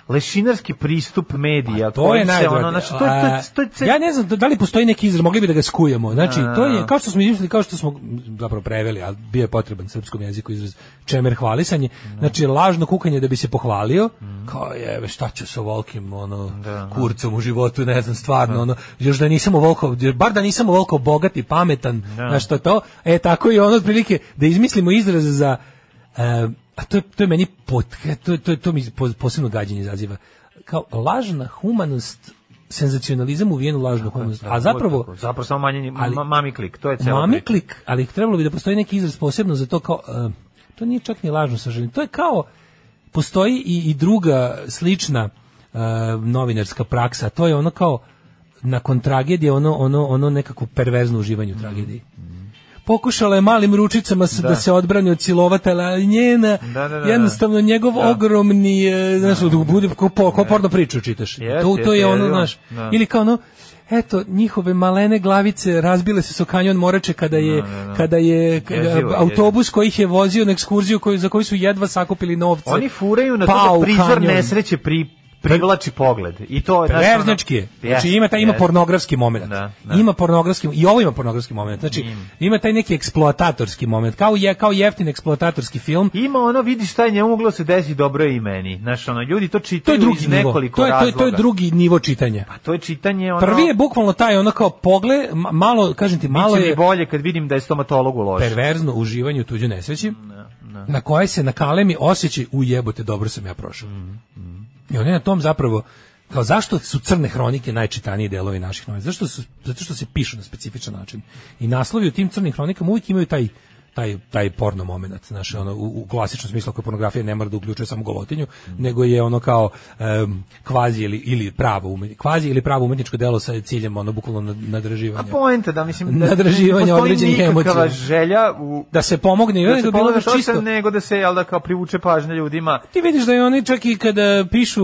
lešinarski pristup medija.
To
kojim
je
se
najdraže.
ono, znači, to, je- to, je- to, je ce-
ja ne znam da- da li postoji neki izraz, mogli bi da ga skujemo. Znači,
A.
to je kao što smo izmislili, kao što smo m, zapravo preveli, ali bio je potreban srpskom jeziku izraz čemer hvalisanje. Znači, lažno kukanje da bi se pohvalio. Kao je, šta ću sa volkim ono
Da,
kurcom u životu, ne znam, stvarno ono, još da nisam volko, bar da nisam volko bogat i pametan,
Da.
znaš to to. E tako i ono otprilike da izmislimo izraz za E, a to je, to je meni pot, to, to, to mi po- posebno gađenje izaziva. Kao lažna humanost, senzacionalizam uvijen u lažnu humanost. A zapravo,
Tako, zapravo samo manje,
Ali-
ma- mami klik, to je cela
mami
priča.
klik, ali trebalo bi da postoji neki izraz posebno za to kao, e, to nije čak ni lažno sažaljenje. To je kao, postoji i, i druga slična e, novinarska praksa, to je ono kao, nakon tragedije, ono, ono, ono nekako perverzno uživanje u tragediji. Pokušala je malim ručicama s- da, se odbrani od silovatela, ali njena,
Da, da, da,
jednostavno njegov ogromni, e, znaš, bude ko, po- ko porno priču čitaš.
Jest,
to, to
jest,
je ono,
jedino.
znaš,
Da.
ili kao ono, eto, njihove malene glavice razbile se su kanjon morače kada je, kada je k-
Da, Jezivo,
autobus koji ih je vozio na ekskurziju koju, za koju su jedva sakupili novce.
Oni furaju na
pao
to
u
da prizor
kanjon.
nesreće pri privlači pogled. I to je znači, ono-
Perverznački je. Znači
Jeste,
ima taj ima
jeste.
pornografski moment.
Da, da.
Ima pornografski i ovo ima pornografski moment. Znači ima taj neki eksploatatorski moment, kao je kao jeftin eksploatatorski film.
Ima ono, vidi šta je njemu moglo da se desiti, dobro je i meni. Znaš, ono, ljudi to
To
čitaju
je drugi
iz
nivo. To je,
nekoliko
to, je,
razloga.
to je drugi nivo čitanja.
A to je čitanje, ono...
Prvi je bukvalno taj ono kao pogled, ma- malo, kažem ti, malo
Malo mi
je
bolje kad vidim da je stomatolog uložen.
perverzno uživanje u tuđoj nesreći,
Mm,
na koje se nakalemi osjećaj u jebote, dobro sam ja prošao.
Mm,
I on je na tom zapravo, kao zašto su crne hronike najčitaniji delovi naših novina? Zašto su, zato što se pišu na specifičan način. I naslovi u tim crnim hronikama uvijek imaju taj taj taj porno momenat, znaš, ono u, u klasičnom smislu ako je pornografija ne mora da uključuje samo golotinju,
Mm.
nego je ono kao em, kvazi ili ili pravo umetni, kvazi ili pravo umetničko delo sa ciljem ono bukvalno nad-
A
nadraživanja.
poenta da mislim da
Nadraživanje
ne postoji
određenih
nikakva
emocija.
želja u
Da se pomogne, i
da
ono
se
je bilo
pogleda
bi
što
čisto.
sam, nego da se jel da kao privuče pažnja ljudima
Ti vidiš da i oni čak i kada pišu,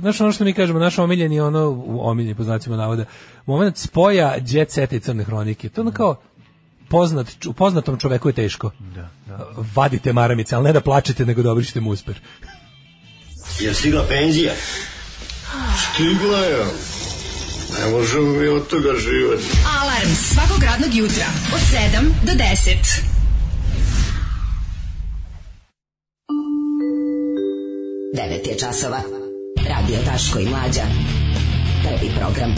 znaš ono što mi kažemo, naš omiljeni, ono, u- omiljeni po znacima navoda, moment spoja jet seta i crne hronike.
Mm.
To je ono kao, poznat, ču- poznatom čoveku je teško. Da, Vadite maramice, ali ne da plačete, nego da obrišite musper.
Jel stigla penzija? Stigla je. Ne možemo mi od toga živati.
Alarm svakog radnog jutra od 7 do 10. Devet je časova. Radio Daško i Mlađa. Prvi program.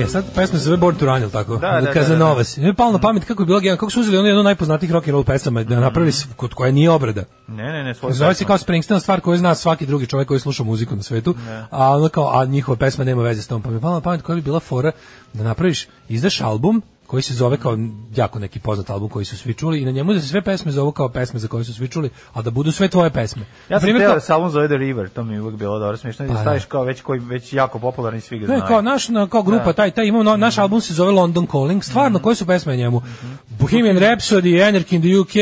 E, sad pesma se zove Born to Run, jel tako?
Da, da,
Kazanovas. Mi je palo na pamet kako je bilo genijalno, kako su uzeli ono jednu od najpoznatijih rock and roll pesama da napravili s- kod koja nije obrada.
ne ne ne svoj
Zove se kao Springsteen stvar koju zna svaki drugi čovjek koji sluša muziku na svetu, a ono kao a njihova pesma nema veze s tom, pa mi je palo na pamet koja bi bila fora da napraviš izdaš album koji se zove kao jako neki poznat album koji su svi čuli i na njemu da se sve pesme zovu kao pesme za koje su svi čuli, a da budu sve tvoje pesme.
Ja sam
Naprimjer,
teo
kao-
da se album zove The River, to mi je uvijek bilo dobro smiješno, da
da.
staviš kao već, koji, već jako popularni svi ga
Ne,
znaju.
kao naš na- kao grupa
Da.
taj taj imamo no-
Mhm.
naš album se zove London Calling. Stvarno koje su pesme na njemu? Bohemian Rhapsody, Anarchy in the UK,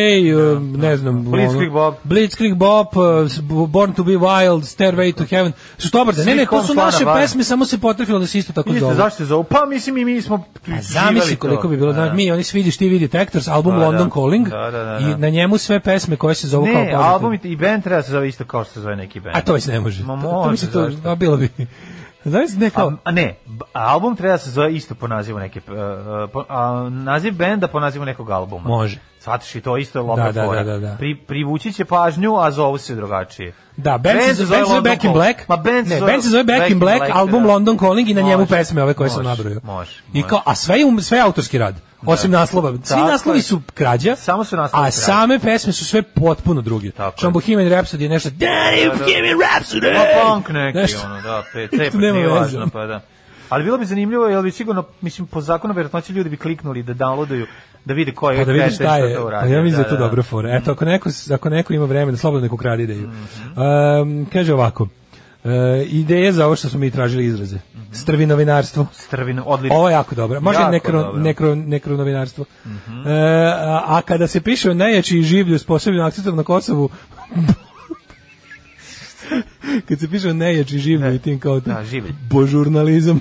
uh, ne znam,
Da. Blitzkrieg
ono,
Bop.
Blitzkrieg Bop, uh, s- b- Born to be Wild, Stairway to Heaven. Su to obrade. Ne,
Svi
ne, to
kom
su
slana
naše
vara.
pesme, samo se potrefilo da se isto tako
Vidite,
zove.
zašto se zove? Pa mislim i mi smo
A Pa zamisli
živeli
koliko
to.
bi bilo, da,
Da.
mi oni svi vidiš ti vidi Tectors, album
Pa, da.
London Calling
Da, da, da,
i
da.
na njemu sve pesme koje se zovu kao
Ne,
poznate.
album i, i band treba da se zove isto kao što se zove neki band.
A to već ne može.
Ma
To- to, mi se
može,
to,
zašto?
a bilo bi. Znaš, ne kao,
A, a ne, b- album treba da se zove isto po nazivu neke, e, e, po, a, naziv benda po nazivu nekog albuma.
Može.
Shvatiš i to isto je lopna
Da, da,
fora.
da, da, da.
Pri, privući će pažnju, a zovu se drugačije.
Da, band, se zove, band se zove
London
Back in
Call.
Black.
Ma band se
ne,
zove,
band se zove Back, in Black, album
da.
London Calling i na njemu
Može,
pesme ove koje sam
može,
nabrojao.
Može,
I
može. Da.
kao, a sve je um- sve je autorski rad. Osim naslova. Svi
Tako
naslovi
je.
su krađa.
Samo su naslovi
A
krađa.
same pesme su sve potpuno drugi.
Tako
Što
je.
Bohemian Rhapsody je nešto Daddy
da.
Bohemian Rhapsody.
Pa punk neki,
Nešto.
ono, da, PC,
To
pa
nema
nije
veze.
važno, pa da. Ali bilo bi zanimljivo, jer bi sigurno, mislim, po zakonu vjerojatnoće ljudi bi kliknuli da downloaduju, da vide ko je
Pa da vidiš
kreten
šta
što
je.
to
Pa
uradio.
ja mislim da
Da,
je to
da, da.
dobro fora. Eto, ako neko, ako neko ima vremena, slobodno neko ukrade ideju.
Mhm.
Um, kaže ovako. Uh, ideje za ovo što smo mi tražili izraze.
Mhm.
Strvi novinarstvo.
Strvino, odlično.
Ovo je jako dobro. Možda
Jako
nekro,
dobro. Mhm.
nekro, nekro novinarstvo. E, a, a kada se piše o najjači življu s posebnim akcentom na Kosovu, kad se piše o najjači življu i tim kao tim,
Da, življ.
božurnalizam.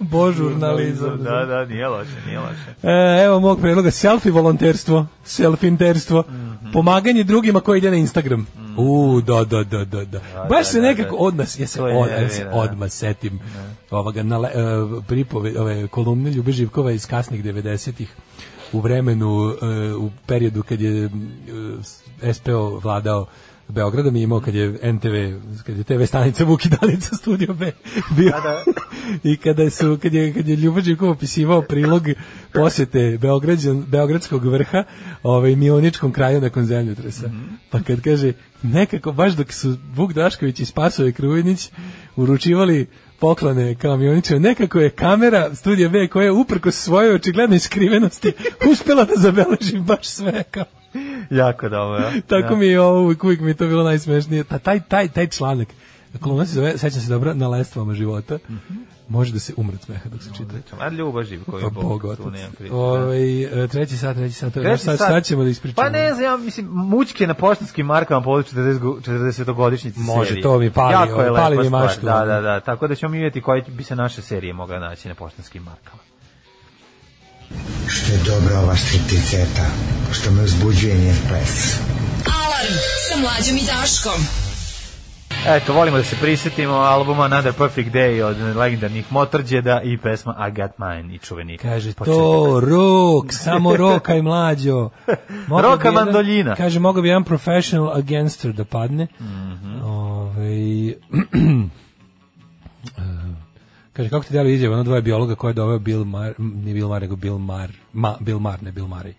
božurnalizam.
Da, da, nije loše, nije loše.
E, evo mog predloga, selfie volonterstvo, selfinterstvo,
Mhm.
pomaganje drugima koji ide na Instagram. U, da, da, da, da, da. Baš
da,
se
da,
nekako
da.
od nas, ja se,
To je
od, ja se
nervira, da.
odmah setim ovoga na, le- e, pripove, ove, kolumne Ljube Živkova iz kasnih 90-ih u vremenu, e, u periodu kad je e, SPO vladao Beogradom i imao kad je NTV, kad je TV stanica Vukidanica Studio
Da,
B bio. I kada su kad je kad je Ljubo Živkov opisivao prilog posjete Beograđan beogradskog vrha, ovaj Mioničkom kraju nakon zemljotresa. Pa kad kaže nekako baš dok su Vuk Drašković i Spasoje Krujnić uručivali poklone kamioniče, nekako je kamera studija B koja je uprko svojoj očiglednoj skrivenosti uspela da zabeleži baš sve kao
Jako dobro. ja.
tako mi je ovo, uvijek, uvijek mi je to bilo najsmešnije. Ta, taj, taj, taj članak, kolumna se zove, sećam se dobro, na lestvama života, može da se umre od smeha dok se čita.
A Ljuba Živković,
Pa
Bog,
bog
tu
otac.
nemam priče. da.
Ovaj, e, treći sat, treći sat, to je
Treći
naš sat,
sat.
sad ćemo da ispričamo.
Pa ne znam, ja mislim, mučke na poštanskim markama povodom 40 gu- 40-godišnjice
Može,
serije.
to mi pali,
jako je
ovo, pali
lepa
mi
stvar,
maštu.
Da, da, da, tako da ćemo mi vidjeti koje bi se naše serije mogla naći na poštanskim markama.
Što je dobra ova stripticeta, što me uzbuđuje njen ples.
Alarm sa Mlađom i Daškom.
Eto, volimo da se prisetimo albuma Another Perfect Day od legendarnih Motorđeda i pesma I Got Mine i čuveni.
Kaže,
početak.
to rok, samo rokaj mlađo. Mogao
Roka
bi jedan-
mandoljina.
Kaže, mogao bi jedan professional againster da padne.
Mhm.
Ovaj, eh, kaže, kako ti dali izjavu? Ono
Mhm.
dvoje biologa koje je doveo Bill Mar, m, nije Bill Mar, nego Bill Mar, ma, Bill Mar, ne Bill Murray.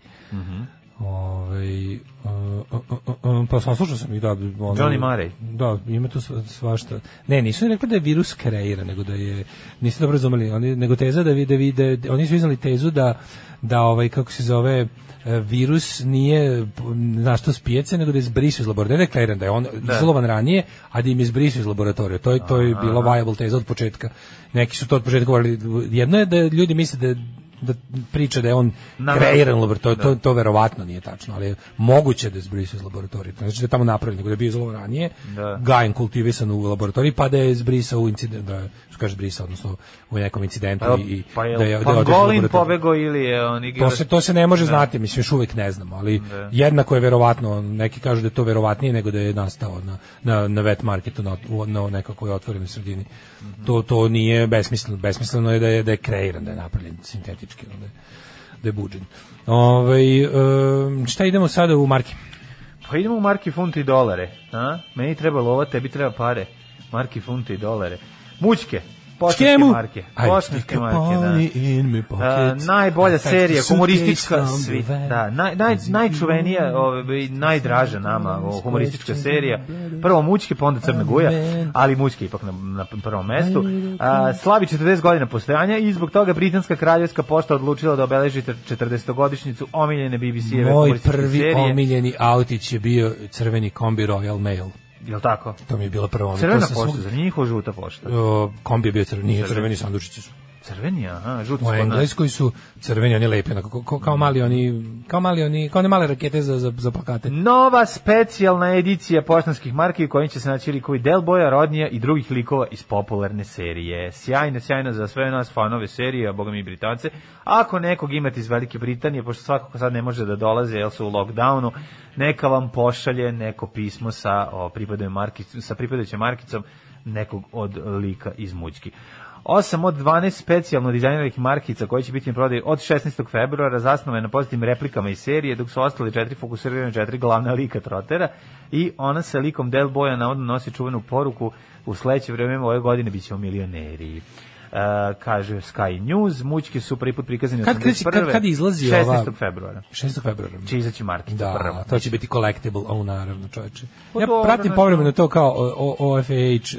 Ovaj e, o, o, o, pa sam slušao sam i da ono,
Johnny Murray.
Da, ima tu sva- svašta. Ne, nisu ni rekli da je virus kreira, nego da je niste dobro razumeli, oni nego teza da vide vide oni su iznali tezu da da ovaj kako se zove e, virus nije našto s pijace, nego da je zbrisao iz laboratorija. Ne kreiran da je on izolovan ranije, a da im je zbrisao iz laboratorija. To je, to je bila viable teza od početka. Neki su to od početka govorili. Jedno je da ljudi misle da je da priča da je on
Na-
kreiran u laboratoriju, to,
Da.
to verovatno nije tačno, ali je moguće da je zbrisao iz laboratorije. To ne znači da je tamo napravljen, nego da je bio izlovan ranije,
Da.
gajen kultivisan u laboratoriji, pa da je zbrisao u incident, da, što kaže zbrisao, odnosno u nekom incidentu
Pa,
i, i
pa je,
da je, da je otišao u
Pangolin
laboratoriju.
pobego ili je on igra...
To se, to se ne
Da.
može znati, mislim, još uvijek ne znamo, ali jednako je verovatno, neki kažu da je to verovatnije nego da je nastao na, na, na wet marketu, na, u- na nekakvoj otvorenoj sredini.
Mhm.
to, to nije besmisleno, besmisleno je da je, da je kreiran, da je napravljen sintetički, da je, da je buđen. Ovaj, em, šta idemo sada u marke?
Pa idemo u marki, funti i dolare. A? Meni treba lova, tebi treba pare. Marki, funti i dolare. Mućke. Bosanske
Škemu?
marke.
Ajde. pa
Bosanske marke, da.
In my
A,
pockets.
Uh, najbolja
I touch
serija,
the
humoristička,
suitcase from
svi,
the van.
da, naj, naj, najčuvenija ove, i najdraža nama o, humoristička serija. Prvo Mućke, pa onda Crna Guja, ali Mućke ipak na, na prvom mestu. A, slavi 40 godina postojanja i zbog toga Britanska kraljevska pošta odlučila da obeleži 40-godišnicu omiljene BBC-eve
Moj
humorističke
prvi
serije.
omiljeni autić je bio crveni kombi Royal Mail.
Jel tako?
To mi je bila prva omilja.
Crvena pošta, za njih žuta pošta.
O, kombi je bio crveni, nije crveni sandučići su.
Crveni, aha, žuti da.
U
su kod nas.
Engleskoj su crveni, oni lepi, onako, ko- ko- kao mali oni, kao mali oni, kao one male rakete za, za, za plakate.
Nova specijalna edicija poštanskih marki u kojoj će se naći likovi Delboja, Rodnija i drugih likova iz popularne serije. Sjajno, sjajno za sve nas fanove serije, a boga mi i Britance. Ako nekog imate iz Velike Britanije, pošto svakako sad ne može da dolaze jer su u lockdownu, neka vam pošalje neko pismo sa, o, pripadajućom markic- sa pripadajućom markicom nekog od lika iz Mućki. 8 od 12 specijalno dizajniranih markica koje će biti na prodaju od 16. februara zasnovane na pozitivnim replikama iz serije, dok su ostale četiri fokusirane na četiri glavna lika trotera i ona sa likom Del Boya navodno nosi čuvenu poruku u sledeće vreme ove godine bit ćemo milioneri. E, kaže Sky News, mućke su prvi put prikazane
Kad kreće- kad-
81..
kad izlazi
16.
ova-
februara.
6. februara.
Će izaći markica prva.
Da, to će biti collectible, o naravno čoveče.
Pa
Ja
dobro,
pratim
znači.
povremeno to kao o- o- OFH,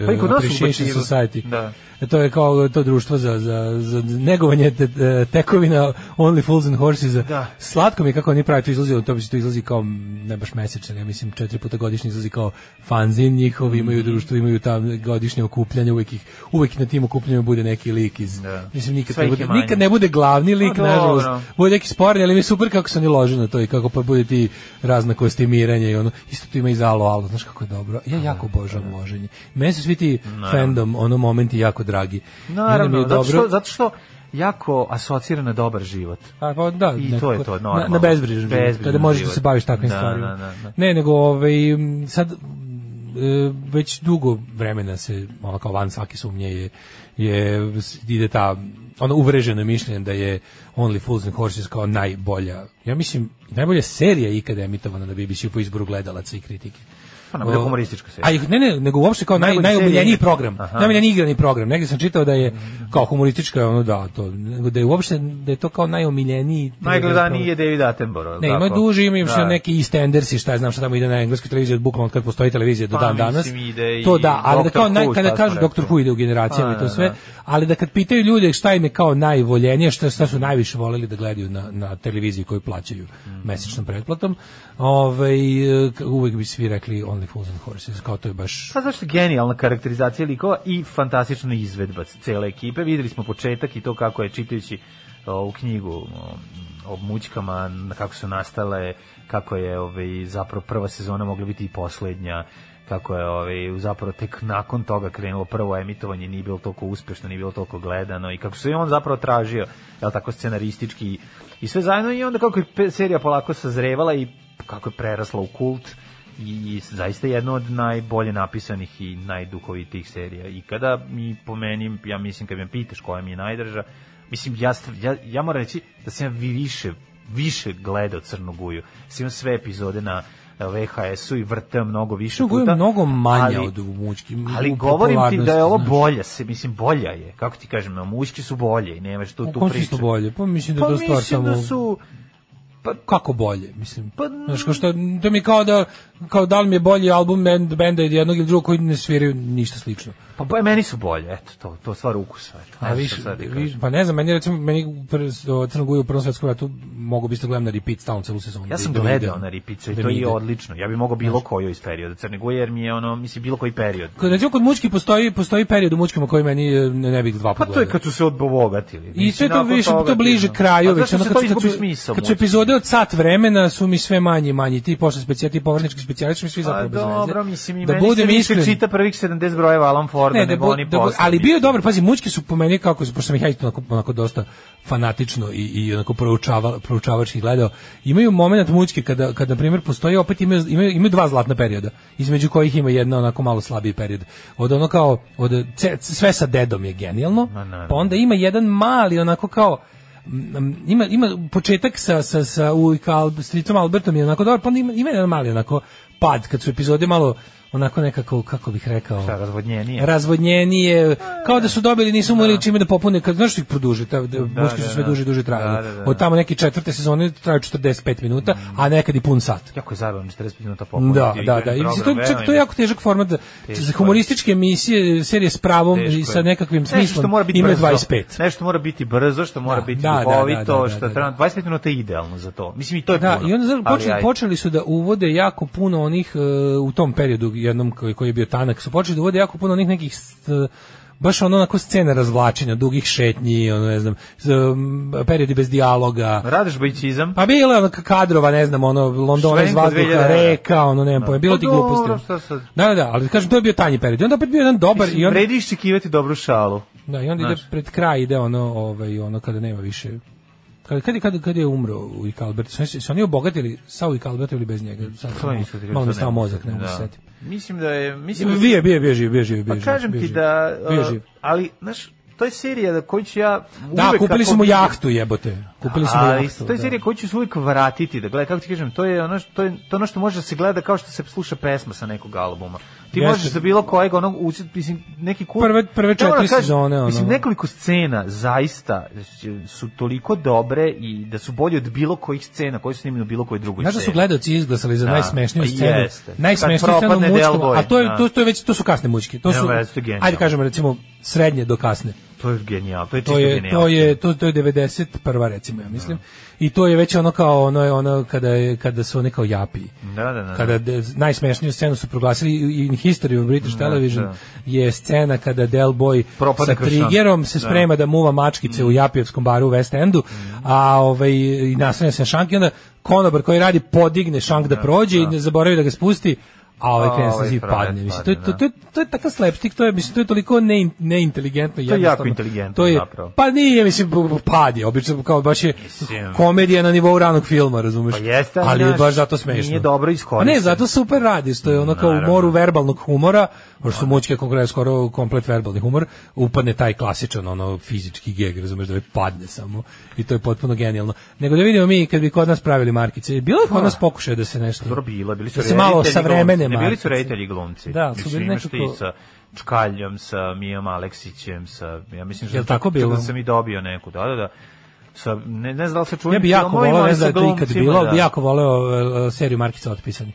Pa i kod nas
uh, Appreciation
ubacivaju.
Society.
Da.
To je kao to društvo za, za, za negovanje te, te- tekovina Only Fools and Horses.
Da.
Slatko mi je kako oni pravi to izlazi, to bi se to izlazi kao, ne baš mesečno, ja mislim četiri puta godišnje izlazi kao fanzin njihov,
Mm.
imaju društvo, imaju ta godišnje okupljanje, uvek, ih, uvek na tim okupljanjima bude neki lik iz,
Da.
mislim nikad
Sve
ne,
ih
bude,
je manje.
nikad ne bude glavni lik,
Pa dobro.
nažalost, bude neki sporni, ali mi je super kako se oni lože na to i kako pa bude ti razna kostimiranja i ono, isto tu ima i za alo, alo, znaš kako je dobro.
Da,
Ja jako obožavam loženje. Meni su svi ti fandom, ono momenti jako dragi. I onda mi je
Naravno, zato
dobro-
što, zato što jako asocira na dobar život.
A, pa da,
I
nekako-
to je to,
Na,
normalno.
na bezbrižan život,
Bezbrižan
kada možeš da
život.
se baviš takvim
Da,
stvarima.
da, da, da.
Ne, nego ovaj, m, sad e, već dugo vremena se ono kao van svake sumnje je, je s- ide ta ono uvreženo mišljenje da je Only Fools and Horses kao najbolja ja mislim najbolja serija ikada emitovana na BBC-u po izboru gledalaca i kritike
Pa nam bude
O,
humoristička serija.
A i- ne, ne, nego uopšte kao naj,
Najbolja
najomiljeniji
serija.
program.
Aha.
Najomiljeniji igrani program. Negde sam čitao da je kao humoristička, ono da, to, nego da je uopšte, da je to kao najomiljeniji.
Najgledaniji je
program.
David Attenborough. jel
Ne, ima
tako?
duži, ima još
Da.
neki EastEnders i šta ja znam šta tamo ide na engleskoj televiziji, od bukvalno od kad postoji televizija do
Pa,
dan danas.
mislim, ide i
to da, ali da
Dr.
kao naj,
Who, šta
kada
smo
kažu
rekli.
doktor Who ide u generacijama
Pa,
i to
da,
sve,
da.
ali da kad pitaju ljude šta im je kao najvoljenije, šta, šta su najviše voleli da gledaju na, na televiziji koju plaćaju
Mhm.
mesečnom pretplatom, ovaj, e, k- uvek bi svi rekli Only Fools and Horses, kao to je baš
Pa zašto genijalna karakterizacija likova i fantastična izvedba cele ekipe. Videli smo početak i to kako je čitajući ovu knjigu o, o mućkama, na kako su nastale, kako je ovaj, zapravo prva sezona mogla biti i poslednja, kako je ovaj, zapravo tek nakon toga krenulo prvo emitovanje, nije bilo toliko uspešno, nije bilo toliko gledano i kako se je on zapravo tražio, jel tako, scenaristički i sve zajedno i onda kako je pe- serija polako sazrevala i kako je prerasla u kult, i, i zaista jedno od najbolje napisanih i najduhovitijih serija ikada mi po meni, ja mislim kad me pitaš koja mi je najdrža, mislim ja, stv- ja, ja moram reći da sam ja vi- više više gledao Crnu Guju. Sam imao sve epizode na e, VHS-u i vrteo mnogo više
Crnu Guju je
puta,
mnogo manja
ali-
od Mućki,
Ali
u
govorim ti da je
popularnosti,
ovo
znaš.
bolja, se, mislim bolja je. Kako ti kažem, no, muški su bolje i nemaš tu,
U
tu
kom
priču.
smislu bolje? Pa mislim da je
Pa
to stvar
mislim
samo...
da su
Pa kako bolje, mislim. Pa, znaš, kao što, to mi je kao da, kao da li mi je bolji album band, benda ili jednog ili drugog koji ne sviraju ništa slično.
Pa boje meni su bolje, eto, to, to je stvar ukusa. Eto,
A
ne znam
viš,
šta sad da
viš,
kažem.
pa ne znam, meni recimo, meni Crnoguju u Prvom svetskom ratu mogu bi isto gledam na repeat stalno celu sezonu.
Ja sam
Da- da vidim.
gledao na Ripicu i
Da
to
mi
je
ide.
odlično. Ja bih mogao bilo koju iz perioda Crne Gore, jer mi je ono, mislim, bilo koji period.
Kod, recimo, kod mučki postoji, postoji period u mučkima koji meni e, ne, ne bih dva
Pa
puta
to je
gledao.
kad su se odbogatili.
I sve to više, to bliže kraju.
kraju.
već,
Pa zašto
ono,
se
kad
to
su- kad
izgubi
su-
smisao?
Kad su
mučki?
epizode od sat vremena su mi sve manji i manji. Ti pošto specijali, ti povrnički specijali, mi svi
Pa
zapravo bez veze.
dobro, mislim i
da
meni se
budem
više
iskren.
čita prvih 70 brojeva Alan Forda
Ne, da
nego
bu-
oni
da bu-
poslednji.
ali bio je dobar, pazi, mučke su po meni kako, pošto sam ih ja isto onako, onako dosta fanatično i, i onako proučaval, proučavački gledao, imaju moment mučke kada, kada na primjer, postoji, opet imaju, imaju, imaju dva zlatna perioda, između kojih ima jedna onako malo slabiji period. Od ono kao, od, ce- sve sa dedom je genijalno,
naravno.
pa onda ima jedan mali onako kao, Mm, ima ima početak sa sa sa Ujka Al- Stricom Albertom je onako dobar, pa onda ima, ima jedan mali onako pad kad su epizode malo onako nekako kako bih rekao
Šta, razvodnjenije?
razvodnjenije, kao da su dobili, nisu morali čime da popune, kad znaš što ih produži, ta, da, muški su
da,
sve
da.
duže i duže trajali.
Da, Mm. da, da.
Od tamo neke četvrte sezone traju 45 minuta, a nekad i pun sat.
Jako je zabavno 45 minuta popolnje.
Da, da, da. I mislim, to, je- čak, to je jako težak format za- za humorističke emisije, serije s pravom i sa nekakvim
Nešto što
smislom.
mora biti
Ima
brzo.
25.
Nešto mora biti brzo, što mora
Da,
biti
da, da, da, da,
duhovito, što
da, da.
treba 25 minuta je idealno za to. Mislim i to je
Da,
puno.
i onda znaš,
Ali
počeli,
ajde.
počeli su da uvode jako puno onih e, u tom periodu jednom koji, koji je bio tanak, su počeli da uvode jako puno onih nekih st- baš ono onako scene razvlačenja, dugih šetnji, ono ne znam, z- m, periodi bez dijaloga.
Radiš bajčizam?
Pa bilo je ono kadrova, ne znam, ono Londona iz
Švenka
vazduha,
2000,
reka, ono nema pojma, bilo
Pa
ti
dobro,
gluposti.
šta sad?
Da, da, da, ali kažem to je bio tanji period. I onda opet bio jedan dobar i
Mislim,
onda
vredi iščekivati dobru šalu.
da, i onda ide
Znaš.
pred kraj ide ono, ovaj, ono kada nema više Kad, kad, je- kad, kad je umro Ujk Albert? Su, oni- su oni obogatili sa Ujk Albertom ili bez njega? Sad,
Pa To nisam ti rekao,
malo mi
to
stao
ne
mozak, ne
mislim,
mogu se
da.
setiti.
Mislim da je... Mislim da
Bio, je, bio, je, bio je živ, bio je živ, bio
Pa
je živ,
kažem
bio je
ti
živ.
da...
Bio je
uh,
živ.
ali, znaš, to je serija da koju ću ja...
Da,
uvek
kupili
ako
smo
vidim-
jahtu, jebote. Kupili smo
Ali
jahtu.
to je
da.
serija koju ću se uvijek vratiti, da gledaj, kako ti kažem, to je ono što, to je, to je ono što može da se gleda kao što se sluša pesma sa nekog albuma. Ti
Jeste.
možeš za bilo kojeg onog ući, mislim, neki kur...
Prve- prve
Ne moram
četiri
da kažem,
sezone, ono.
Mislim, nekoliko scena zaista su toliko dobre i da su bolje od bilo kojih scena koje su snimljene u bilo kojoj drugoj
Znaš da su
sceni.
gledaoci izglasali za
Da,
najsmešniju
pa
scenu.
jeste.
Najsmešniju
Kad
scenu u
propadne
mučkom,
Del Boy,
a to je
da.
to, to je već to su kasne mučke. To
Del
su
Boy su genijalne.
Ajde kažemo recimo srednje do kasne.
To je genijalno, to je čisto
To je
genijalno.
to je to, to je 91 recimo ja mislim. I to je već ono kao ono je ono kada je kada su oni kao japi.
Da, da, da.
Kada de- najsmešniju scenu su proglasili i- in history of British television
da.
je scena kada Del Boy
Propadne
sa
kroz šank.
trigerom se
Da. Mm.
sprema da muva mačkice u Japijevskom baru u West Endu, a ovaj i naslanja se na šank i onda konobar koji radi podigne šank da prođe i ne zaboravi da ga spusti a ovaj
A
krene sa
ovaj
zid
frajer
padne. Mislim, to, je, to,
padne, da.
to, je, to je takav slapstick, to je, mislim, to je toliko nein- neinteligentno.
jako
jednostavno.
inteligentno
To je-
zapravo.
Pa nije, mislim, bu- bu- pad je, obično kao baš je
Mislim.
komedija na nivou ranog filma, razumeš?
Pa jeste,
ali je
znaš,
baš zato smešno.
nije dobro iskorišćen.
Pa Ne, zato super radi, što je ono kao u
Naravno.
moru verbalnog humora, pošto su mučke konkretno skoro komplet verbalni humor, upadne taj klasičan ono fizički geg, razumeš, da je padne samo. I to je potpuno genijalno. Nego da vidimo mi kad bi kod nas pravili markice. Bilo je kod nas pokušaja da se nešto...
Dobro bilo, bili su
da se malo
reditelji
savremene
glumci. Ne, bili su
markice.
reditelji glumci.
Da, su
Mislim,
bili
imaš
nekako-
ti sa Čkaljom, sa Mijom Aleksićem, sa, ja mislim,
Jel
da,
tako bilo?
Da sam i dobio neku, da, da, da. Sa, ne, ne znam da li se čujem
Ja bi jako
filmovima,
voleo,
ali
ne
sa
znam da je to ikad
glumcima,
bilo,
da.
bi jako voleo e, e, seriju markica otpisani.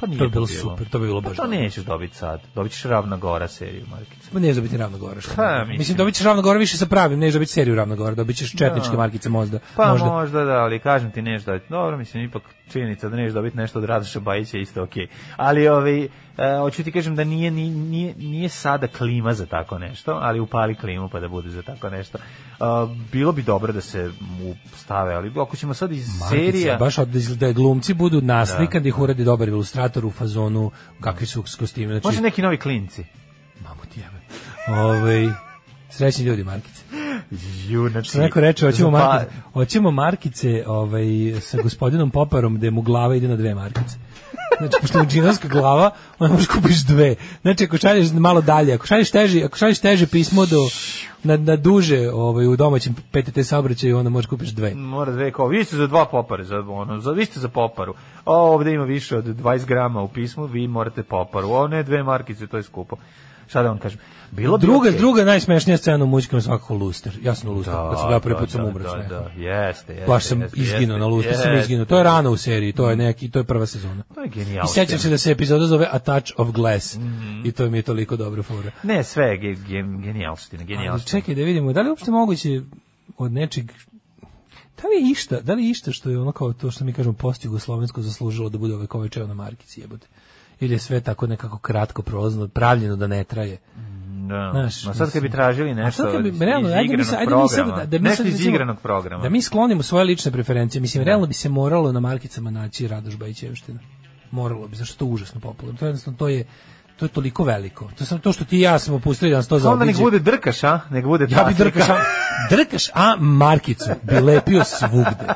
Pa nije
to bi bilo super, to bi bilo baš
Pa to
dobro.
nećeš dobiti sad. Dobit ćeš Ravna Gora seriju, Markice.
Ma nećeš dobiti da ravno gore. Što
Pa,
ne. mislim.
mislim.
mislim dobit ćeš ravno gore više sa pravim, nećeš dobiti seriju ravno gore, dobit ćeš četničke
Da.
markice možda.
Pa možda.
možda.
da, ali kažem ti nešto dobiti. Dobro, mislim, ipak činjenica da neš dobiti nešto od Radoša Bajića je isto okej. Ali, ovaj, e, hoću ti kažem da nije, ni- nije, nije sada klima za tako nešto, ali upali klimu pa da bude za tako nešto. E, bilo bi dobro da se mu stave, ali ako ćemo sad iz
Markice,
serija...
baš od, da glumci budu naslikani, da. ih uradi dobar ilustrator u fazonu kakvi su s kostima. Znači,
Može neki novi klinci.
mamu ti jebe. Ovaj, srećni ljudi markice.
Ju, znači,
Što neko reče, hoćemo
za pa-
markice, hoćemo markice ovaj, sa gospodinom Poparom gde mu glava ide na dve markice. Znači, pošto je džinovska glava, onda možeš kupiš dve. Znači, ako šalješ malo dalje, ako šalješ teže, ako šalješ teže pismo do, na, na duže ovaj, u domaćem PTT saobraćaju, onda možeš kupiš dve.
mora dve kao, vi ste za dva popare, za, ono, za, vi ste za poparu. O, ovde ima više od 20 grama u pismu, vi morate poparu. O, ne, dve markice, to je skupo. Šta da vam kažem? Bilo bi
druga,
okej.
druga najsmešnija scena u muzikom svakako luster. Ja sam u luster,
Da,
kad sam gledao prvi
da,
put sam
da,
umro.
da,
smeh.
da, jeste, jeste.
Baš sam
jeste,
izginuo
jeste,
na luster, sam
jeste.
izginuo. To je rano u seriji, to je neki, to je prva sezona.
To je genijalno.
I sećam se da se epizoda zove A Touch of Glass.
Mhm.
I to mi je toliko dobro fora.
Ne, sve je ge, ge, genijalština,
Ali
genijalština.
čekaj da vidimo, da li je uopšte moguće od nečeg Da li je išta, da li je išta što je ono kao to što mi kažemo post-jugoslovensko zaslužilo da bude ovaj čeo na markici jebote? Ili je sve tako nekako kratko prolazno, pravljeno da ne traje?
Da.
Znaš,
Ma sad kad bi
mislim-
tražili
A
nešto
sad kad bi-
iz
realno, ajde mi
igranog
sad- ajde mi sad
programa,
da- da mi
nešto
sad,
iz
recimo,
igranog programa. Da.
Da mi sklonimo svoje lične preferencije. Mislim, realno bi se moralo na markicama naći Radoš Bajićevština. Moralo bi, zašto je to užasno popularno. To, je jednostavno, to je to je toliko veliko. To sam to što ti i ja smo pustili da nas to
Pa Onda nek
zaobiđe.
bude drkaš, a? Nek bude
Ja bi
tasnika.
drkaš, a, drkaš A markicu bi lepio svugde.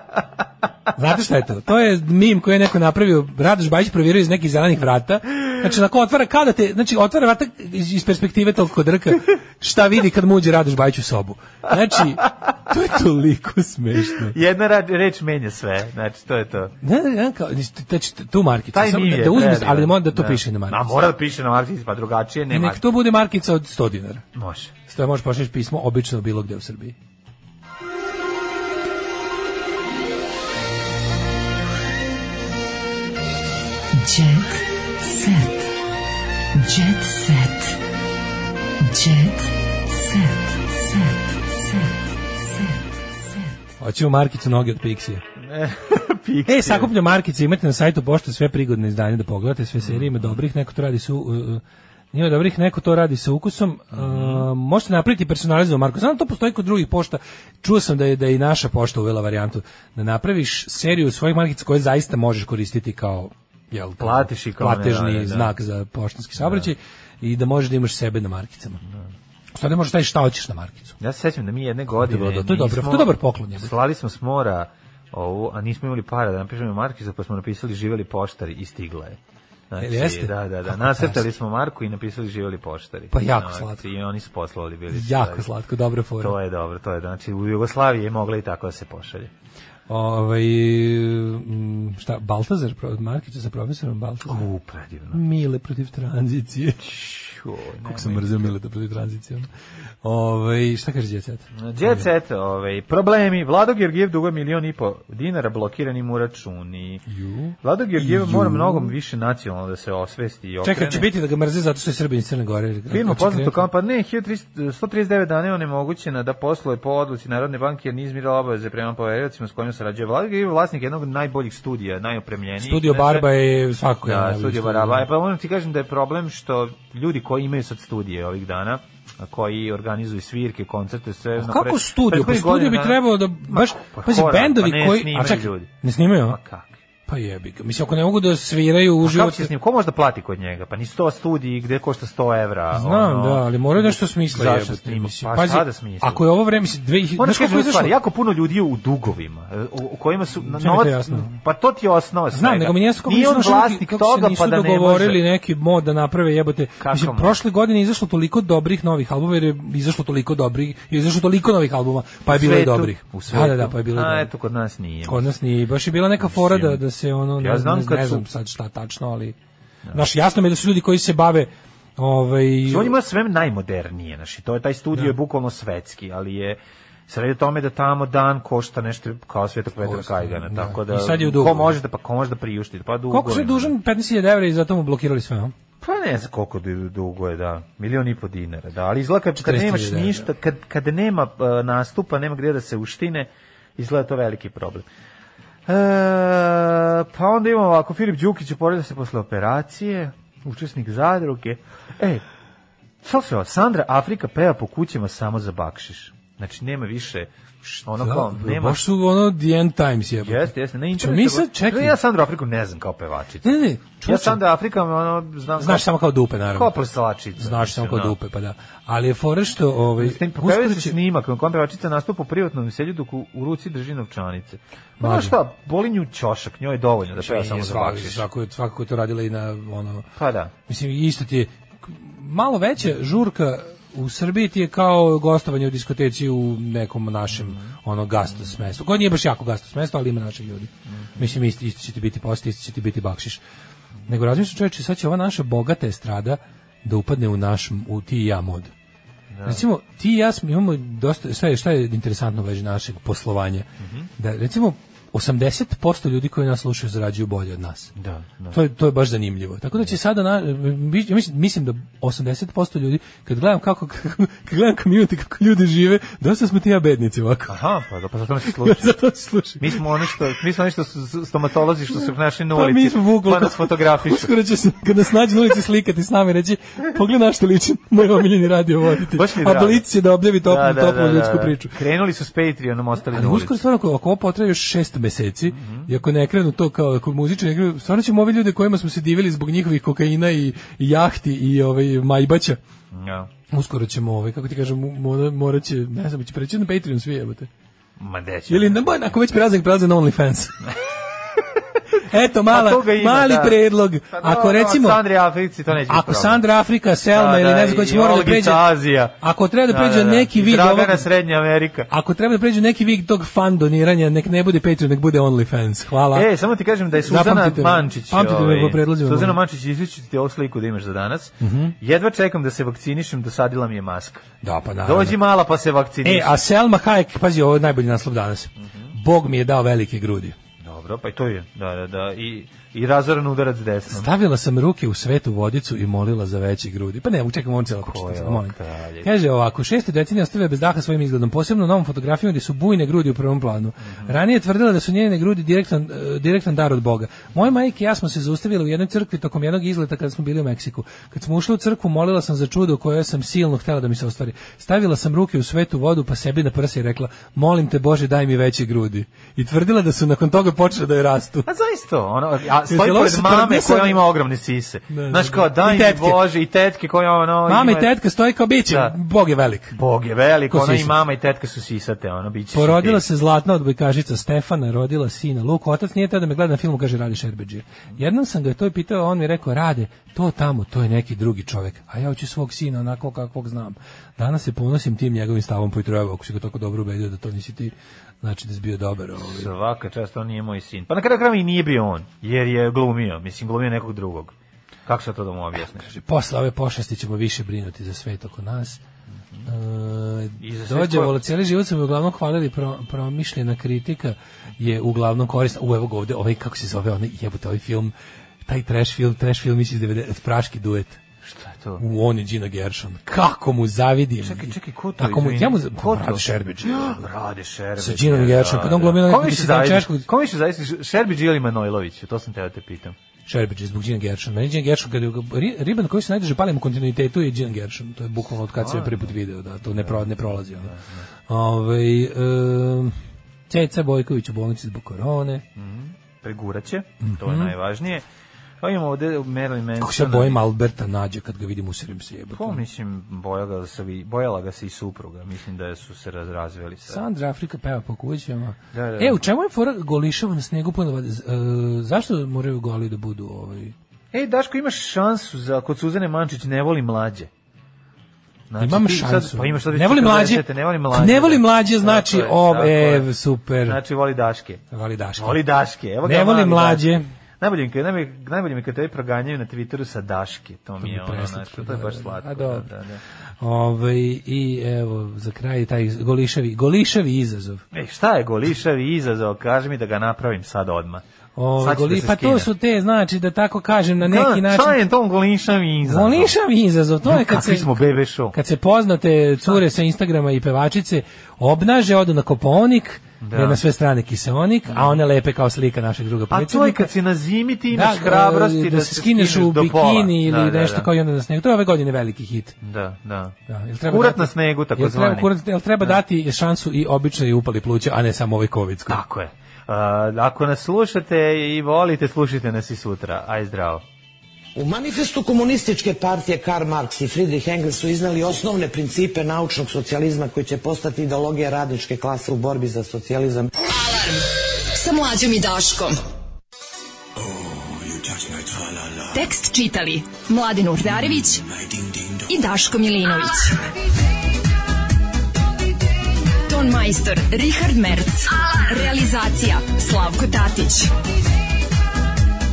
Znate šta je to? To je mim koji je neko napravio, Radoš Bajić provjerio iz nekih zelenih vrata. Znači, onako otvara, kada te, znači, otvara vrata iz, iz perspektive toliko drka, šta vidi kad mu uđe Radoš Bajić u sobu. Znači, to je toliko smešno.
Jedna ra- reč menja sve, znači to je to.
Ne, ne, ne, kao, znači, tu markicu,
Taj
samo
mi
da,
je
da uzmeš,
predivan.
ali mora da to piše na
A
markicu.
mora da piše na markici, pa drugačije nema.
Nek to bude markica od 100 dinara.
Može.
Stoje možeš pošliš pismo obično bilo gde u Srbiji.
Jet set. Jet set. Jet set. Set. Set. Set. Set.
Hoćemo markicu noge od Pixija.
Pik.
E, sakupljam markice, imate na sajtu pošte sve prigodne izdanje da pogledate, sve serije ima dobrih, neko to radi su... Uh, ima dobrih, neko to radi sa ukusom. Uh, možete napraviti personalizovanu marku. Znam da to postoji kod drugih pošta. Čuo sam da je da je i naša pošta uvela varijantu da napraviš seriju svojih markica koje zaista možeš koristiti kao jel, kao
Platiš i kao ne,
platežni
da, da.
znak za poštanski saobraćaj i da možeš da imaš sebe na markicama. Da. možeš taj šta hoćeš na markicu.
Ja se sećam da mi jedne godine
Dobro, to je dobro,
nismo-
to je dobar poklon, jebote.
Slali smo s mora ovu, a nismo imali para da napišemo markicu, pa smo napisali živeli poštari i stigla je. Znači,
Jel jeste?
Da, da, da.
Kako
Nasrtali
krasno.
smo Marku i napisali živeli poštari.
Pa jako
Znači,
slatko.
I oni su poslali bili.
Jako
stvari.
slatko, dobra fora.
To je dobro, to je. Znači, u Jugoslaviji je mogla i tako da se pošalje.
Ovaj mm, šta Baltazar pro- Markić sa profesorom Baltazarom.
U, predivno.
Mile protiv tranzicije.
Ću,
Kako sam mrzio Mile da protiv tranzicije. ono. Ovaj šta kaže djeca?
Jet set, ovaj, problemi. Vlado Georgijev duga milion i po dinara blokirani mu računi.
Ju.
Vlado Georgijev mora mnogo više nacionalno da se osvesti i okrene.
Čekaj, će biti da ga mrze zato što je Srbin iz Crne Gore. Znači,
Firma
Hoće
poznato
krenuti.
kao pa ne, 1300 139 dana je onemogućena da posluje po odluci Narodne banke jer nije izmirila obaveze prema poveriocima s kojima sarađuje vlada i vlasnik jednog od najboljih studija, najopremljenijih.
Studio
Znači,
Barba je svakako jedan
Da,
najbolji
studio Baraba. E, pa moram ti kažem da je problem što ljudi koji imaju sad studije ovih dana, a koji organizuju svirke, koncerte, sve...
A
napred-
Kako studio? Pa
prethodnih
studio bi
godina-
trebalo da
Ma,
baš
pa
pazi
hora,
bendovi
pa ne
koji
snimaju
čekaj,
ljudi.
Ne snimaju?
Pa
a?
kako?
Pa jebi ga. Mislim ako ne mogu da sviraju
A
uživo.
Pa kako će s njim? Ko može da plati kod njega? Pa ni 100 studiji gde košta 100 evra.
Znam,
ono.
da, ali moraju nešto smisla
Zašto
jebote,
snima?
mislim.
Pa
Pazi,
šta da smisla?
Ako je ovo vreme, mislim, 2000...
Moraš
znaš koliko
kažem
je
jednu stvar,
izašlo?
jako puno ljudi je u dugovima, e, u, u kojima su na
Sve mi je to jasno.
pa to ti je osnova svega.
Znam, nego mi nije jasno kako
Nije
nisu
on
našli
vlasnik
kako se
toga,
nisu
pa da ne
dogovorili
može.
neki mod da naprave jebote.
Kako
Mislim,
može?
prošle godine je izašlo toliko dobrih novih albuma, jer je izašlo toliko dobrih, je izašlo toliko novih albuma, pa je bilo i
Svetu,
dobrih.
U
Da,
svetu.
da, da, pa je bilo i
A,
dobrih.
eto, kod nas nije.
Kod nas nije, baš je bila neka fora da, da se ono,
Ja
ne,
znam
ne,
kad
ne
su-
znam sad šta tačno, ali... Znaš, jasno mi je da su ljudi koji se bave ovaj,
Znači, on ima sve najmodernije, znači, to je, taj studio
Da.
je bukvalno svetski, ali je Sredi o tome da tamo dan košta nešto kao Svetog Petra
Košta,
Kajgana,
da.
tako da
I sad je u
ko
dugovima.
može da pa ko može da priušti, pa dugo.
Koliko se dužan 15.000 evra i zato mu blokirali sve, a?
Pa ne znam koliko du- dugo je, da. Milion i po dinara, da. Ali izgleda kad, kad
40.000
nemaš
dinara.
ništa, kad, kad nema e, nastupa, nema gdje da se uštine, izgleda to veliki problem. E, pa onda imamo ovako, Filip Đukić uporedio se posle operacije, učesnik zadruge. E, slušaj, Sandra Afrika peva po kućama samo za bakšiš. Znači, nema više, š- ono Pa kao,
Da,
nema...
Baš su ono the end times jebote.
Jeste, jeste, na
Ču
internetu.
mi sad, čekaj.
Ja Sandru Afriku ne znam kao pevačicu.
Ne, ne, ne,
Ja
čuo sam-
Sandra Afrika, ono, znam
Znaš samo kao dupe, naravno.
kao prslačica.
Znaš samo kod
Da.
dupe, pa da. Ali je fora što... Ovaj,
Mislim, pokazuje
uskoro
se
će-
snimak na kojem pevačica nastupa u privatnom veselju dok u, u ruci drži novčanice. Pa
Mlađe.
znaš šta, boli nju ćošak, njoj je dovoljno da peva
Nije
samo za
svako-
bakšiš.
Svako, je- svakako je to radila i na ono...
Pa da.
Mislim, isto ti je... k- Malo veća žurka u Srbiji ti je kao gostovanje u diskoteci u nekom našem ono gastos mestu. Koji nije baš jako gastos mesto, ali ima naših ljudi. Mislim, isto, isto će ti biti post, isto će ti biti bakšiš. Nego razmišljam čovječe, sad će ova naša bogata estrada da upadne u naš, u ti i ja mod. Recimo, ti i ja smo, imamo dosta, šta je, šta je interesantno u vezi našeg poslovanja?
Mhm.
Da, recimo, 80% ljudi koji nas slušaju zarađuju bolje od nas.
Da, da.
To je, to je baš zanimljivo. Tako da će sada, na, mi- ja mislim, mislim da 80% ljudi, kad gledam kako, kako kad gledam community, kako ljudi žive, dosta smo ti i ja bednici ovako.
Aha, pa da, pa zato nas i slušaju.
Zato se slušaj.
Mi smo oni što, mi smo oni što su su stomatolozi što su našli na
Pa
ulici,
mi smo bukvalno...
pa nas fotografišu.
Uskoro će se, kad nas nađu na ulici slikati s nama i reći, pogledaj na što liči moj omiljeni radio voditelj.
Baš mi je
A
drago.
Blic će da objavi toplu,
Da, da,
toplu
da, da,
ljudsku
da.
priču.
Krenuli su s Patreonom, ostali
Ali
na ulici.
uskoro stvarno, ako, ako ovo potraje još šest meseci, i ako ne krenu to kao, ako muzičari ne krenu, stvarno ćemo ovi ljude kojima smo se divili zbog njihovih kokaina i, i jahti i ovaj, majbaća,
Ja.
uskoro ćemo, ovaj, kako ti kažem, mo- mora- morat će, ne znam, će preći na Patreon svi jebate.
Ma deći.
Ili na, ba, ako već praznik prazan na OnlyFans. Eto, mala,
toga ima,
mali
da.
predlog.
Pa dobro,
ako recimo...
Sandri Africi to neće biti
Ako
problem.
Sandra Afrika, Selma
Da,
ili
da,
ne znam ko
i
će mora da
Olgica
pređe...
Azija.
Ako treba da pređe neki
I
vid
Dragana
ovog-
Srednja Amerika.
Ako treba da pređe neki vid tog fan doniranja, nek ne bude Patreon, nek bude OnlyFans. Hvala.
E, samo ti kažem da je Suzana
Pa, Zapamtite me.
Mančić. ovaj,
Pamtite me po predlozima
Suzana
mojim.
Mančić, izličit ću ti ovu sliku da imaš za danas.
Mhm.
Jedva čekam da se vakcinišem, dosadila mi je maska.
Da, pa naravno.
Dođi mala pa se vakciniš.
E, a Selma Hayek, pazi, ovo je najbolji naslov danas.
Mhm.
Bog mi je dao velike grudi.
Dobro, pa i to je. Da, da, da. I, i razoran udarac desnom.
Stavila sam ruke u svetu vodicu i molila za veće grudi. Pa ne, mogu, čekam, on celo
Koja
pročitao, molim.
kraljica.
Kaže ovako, šeste decenije ostavlja bez daha svojim izgledom, posebno novom fotografijom gdje su bujne grudi u prvom planu. Ranije je tvrdila da su njene grudi direktan, e, direktan dar od Boga. Moje majke i ja smo se zaustavili u jednoj crkvi tokom jednog izleta kada smo bili u Meksiku. Kad smo ušli u crkvu, molila sam za čudo koje sam silno htjela da mi se ostvari. Stavila sam ruke u svetu vodu pa sebi na prsa i rekla, molim te Bože daj mi veće grudi. I tvrdila da su nakon toga počele da joj rastu.
A zaista, ono, a stoji
Jel ovo
pored
se pa
mame
tvrdnja sa-
koja ima ogromne sise.
da,
Znaš
da.
kao, daj
I
mi
tetke.
Bože, i tetke koja ono...
Mama i
Pa ima-
tetka stoji kao biće,
Da.
Bog je velik.
Bog je velik,
Ko
ona i
sisa?
mama i tetka su sisate, ono, bit ćeš i
Porodila
ti.
se zlatna odbojkašica Stefana, rodila sina Luka. Otac nije teo da me gleda na filmu, kaže Rade Šerbeđije. Jednom sam ga to i pitao, a on mi je rekao, Rade, to tamo, to je neki drugi čovek, a ja hoću svog sina onako kakvog znam. Danas se ponosim tim njegovim stavom po Itrojeva, ako si ga tako dobro ubedio da to nisi ti, znači da si bio dobar. Ovaj.
Svaka čast, on nije moj sin. Pa na kraju krajeva i nije bio on, jer je glumio, mislim glumio nekog drugog. Kako se to da mu objasniš?
Kaže, Posle ove pošasti ćemo više brinuti za svet oko nas.
Mhm. I za
E,
sve
dođe
koje-
vola, cijeli život su me uglavnom hvalili pro, promišljena kritika je uglavnom korisna. U, evo ga ovde, ovaj, kako se zove, onaj jebote, ovaj film, taj trash film, trash film iz 90, praški duet.
Šta je to?
U, on je Gina Gershon. Kako mu zavidim.
Čekaj, čekaj, ko to?
Kako mu,
izvini?
ja mu,
Ko
ko
to?
Rade Šerbić.
Rade Šerbić. da,
Sa Đinom Gershom, kad on glumi na nekom mislim da je češkog-
Kom više zavisli? Šerbić ili Manojlović? To sam teo da te pitam.
Šerbić je zbog Gina Gershon. Meni Gina Gershon, kada riban koji se najdraže palim u kontinuitetu je Gina Gershon. To je bukvalno od kad se je prvi put video, da to ne, pro, ne prolazi.
Da,
Ono. Ovaj, em, Ceca Bojković u bolnici zbog korone.
Preguraće, to je najvažnije. Pa imamo ovde Marilyn Manson.
Mhm. Kako se
da.
bojim Alberta nađe kad ga vidim u Srbim se
Pa
jebati.
mislim, boja ga se, vi- bojala ga se i supruga. Mislim da su se raz- razveli sad.
Sandra Afrika peva po kućama.
Da, da.
E, u čemu je fora golišava na snegu puno vode? Z- e, zašto moraju goli da budu ovaj?
Ej, Daško, imaš šansu za, kod Suzane Mančić ne voli mlađe. Znači,
Imam
ti
šansu.
Sad, pa imaš sad već
ne volim mlađe. Pa
40, Ne volim mlađe.
Ne volim
da.
mlađe, znači,
Tako je,
o,
tako
e,
je.
super.
Znači, voli Daške.
voli Daška.
Voli Daške. Evo ga
Ne voli
mali da.
mlađe.
Daško. Najbolje mi, kad- najbolje, najbolje mi kad te proganjaju na Twitteru sa Daške. To mi je
To mi je
ono,
preslatko,
znači, to je
da,
baš
da, da.
slatko.
A,
da,
dobro.
da, da.
Ovaj i evo za kraj taj golišavi golišavi izazov.
Ej, šta je Golišavi izazov? Kaži mi da ga napravim sad odmah.
O,
Sad ću da
goli,
se
pa
skinem.
to su te znači da tako kažem na neki
Ka-
način
Šta je to Golišavi izazov?
golišavi izazov. To je kad
Kakvi
se
smo bebe show.
kad se poznate cure sa Instagrama i pevačice obnaže odu na kopaonik
Da.
jer na sve strane kiseonik, a one lepe kao slika našeg druga
A to je
predsjednika.
kad si na zimi ti imaš hrabrosti da, se
skineš u
do
bikini
pola.
ili
Da, da,
nešto
da.
kao i onda na snegu. To je ove godine veliki hit.
Da, da.
Da, jel
Kurat
dati-
na snegu, Da. tako
jel treba
zvani.
kurat- jel treba dati šansu i običnoj upali pluća, a ne samo ovoj kovidskoj?
Tako je. Uh, ako nas slušate i volite, slušajte nas i sutra. Aj zdravo.
U manifestu komunističke partije Karl Marx i Friedrich Engels su iznali osnovne principe naučnog socijalizma koji će postati ideologija radničke klase u borbi za socijalizam.
Sa mlađom i Daškom. Tekst čitali Mladin Urdarević i Daško Milinović. Ton majstor Richard Merc. Realizacija Slavko Tatić.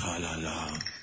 tra-la-la.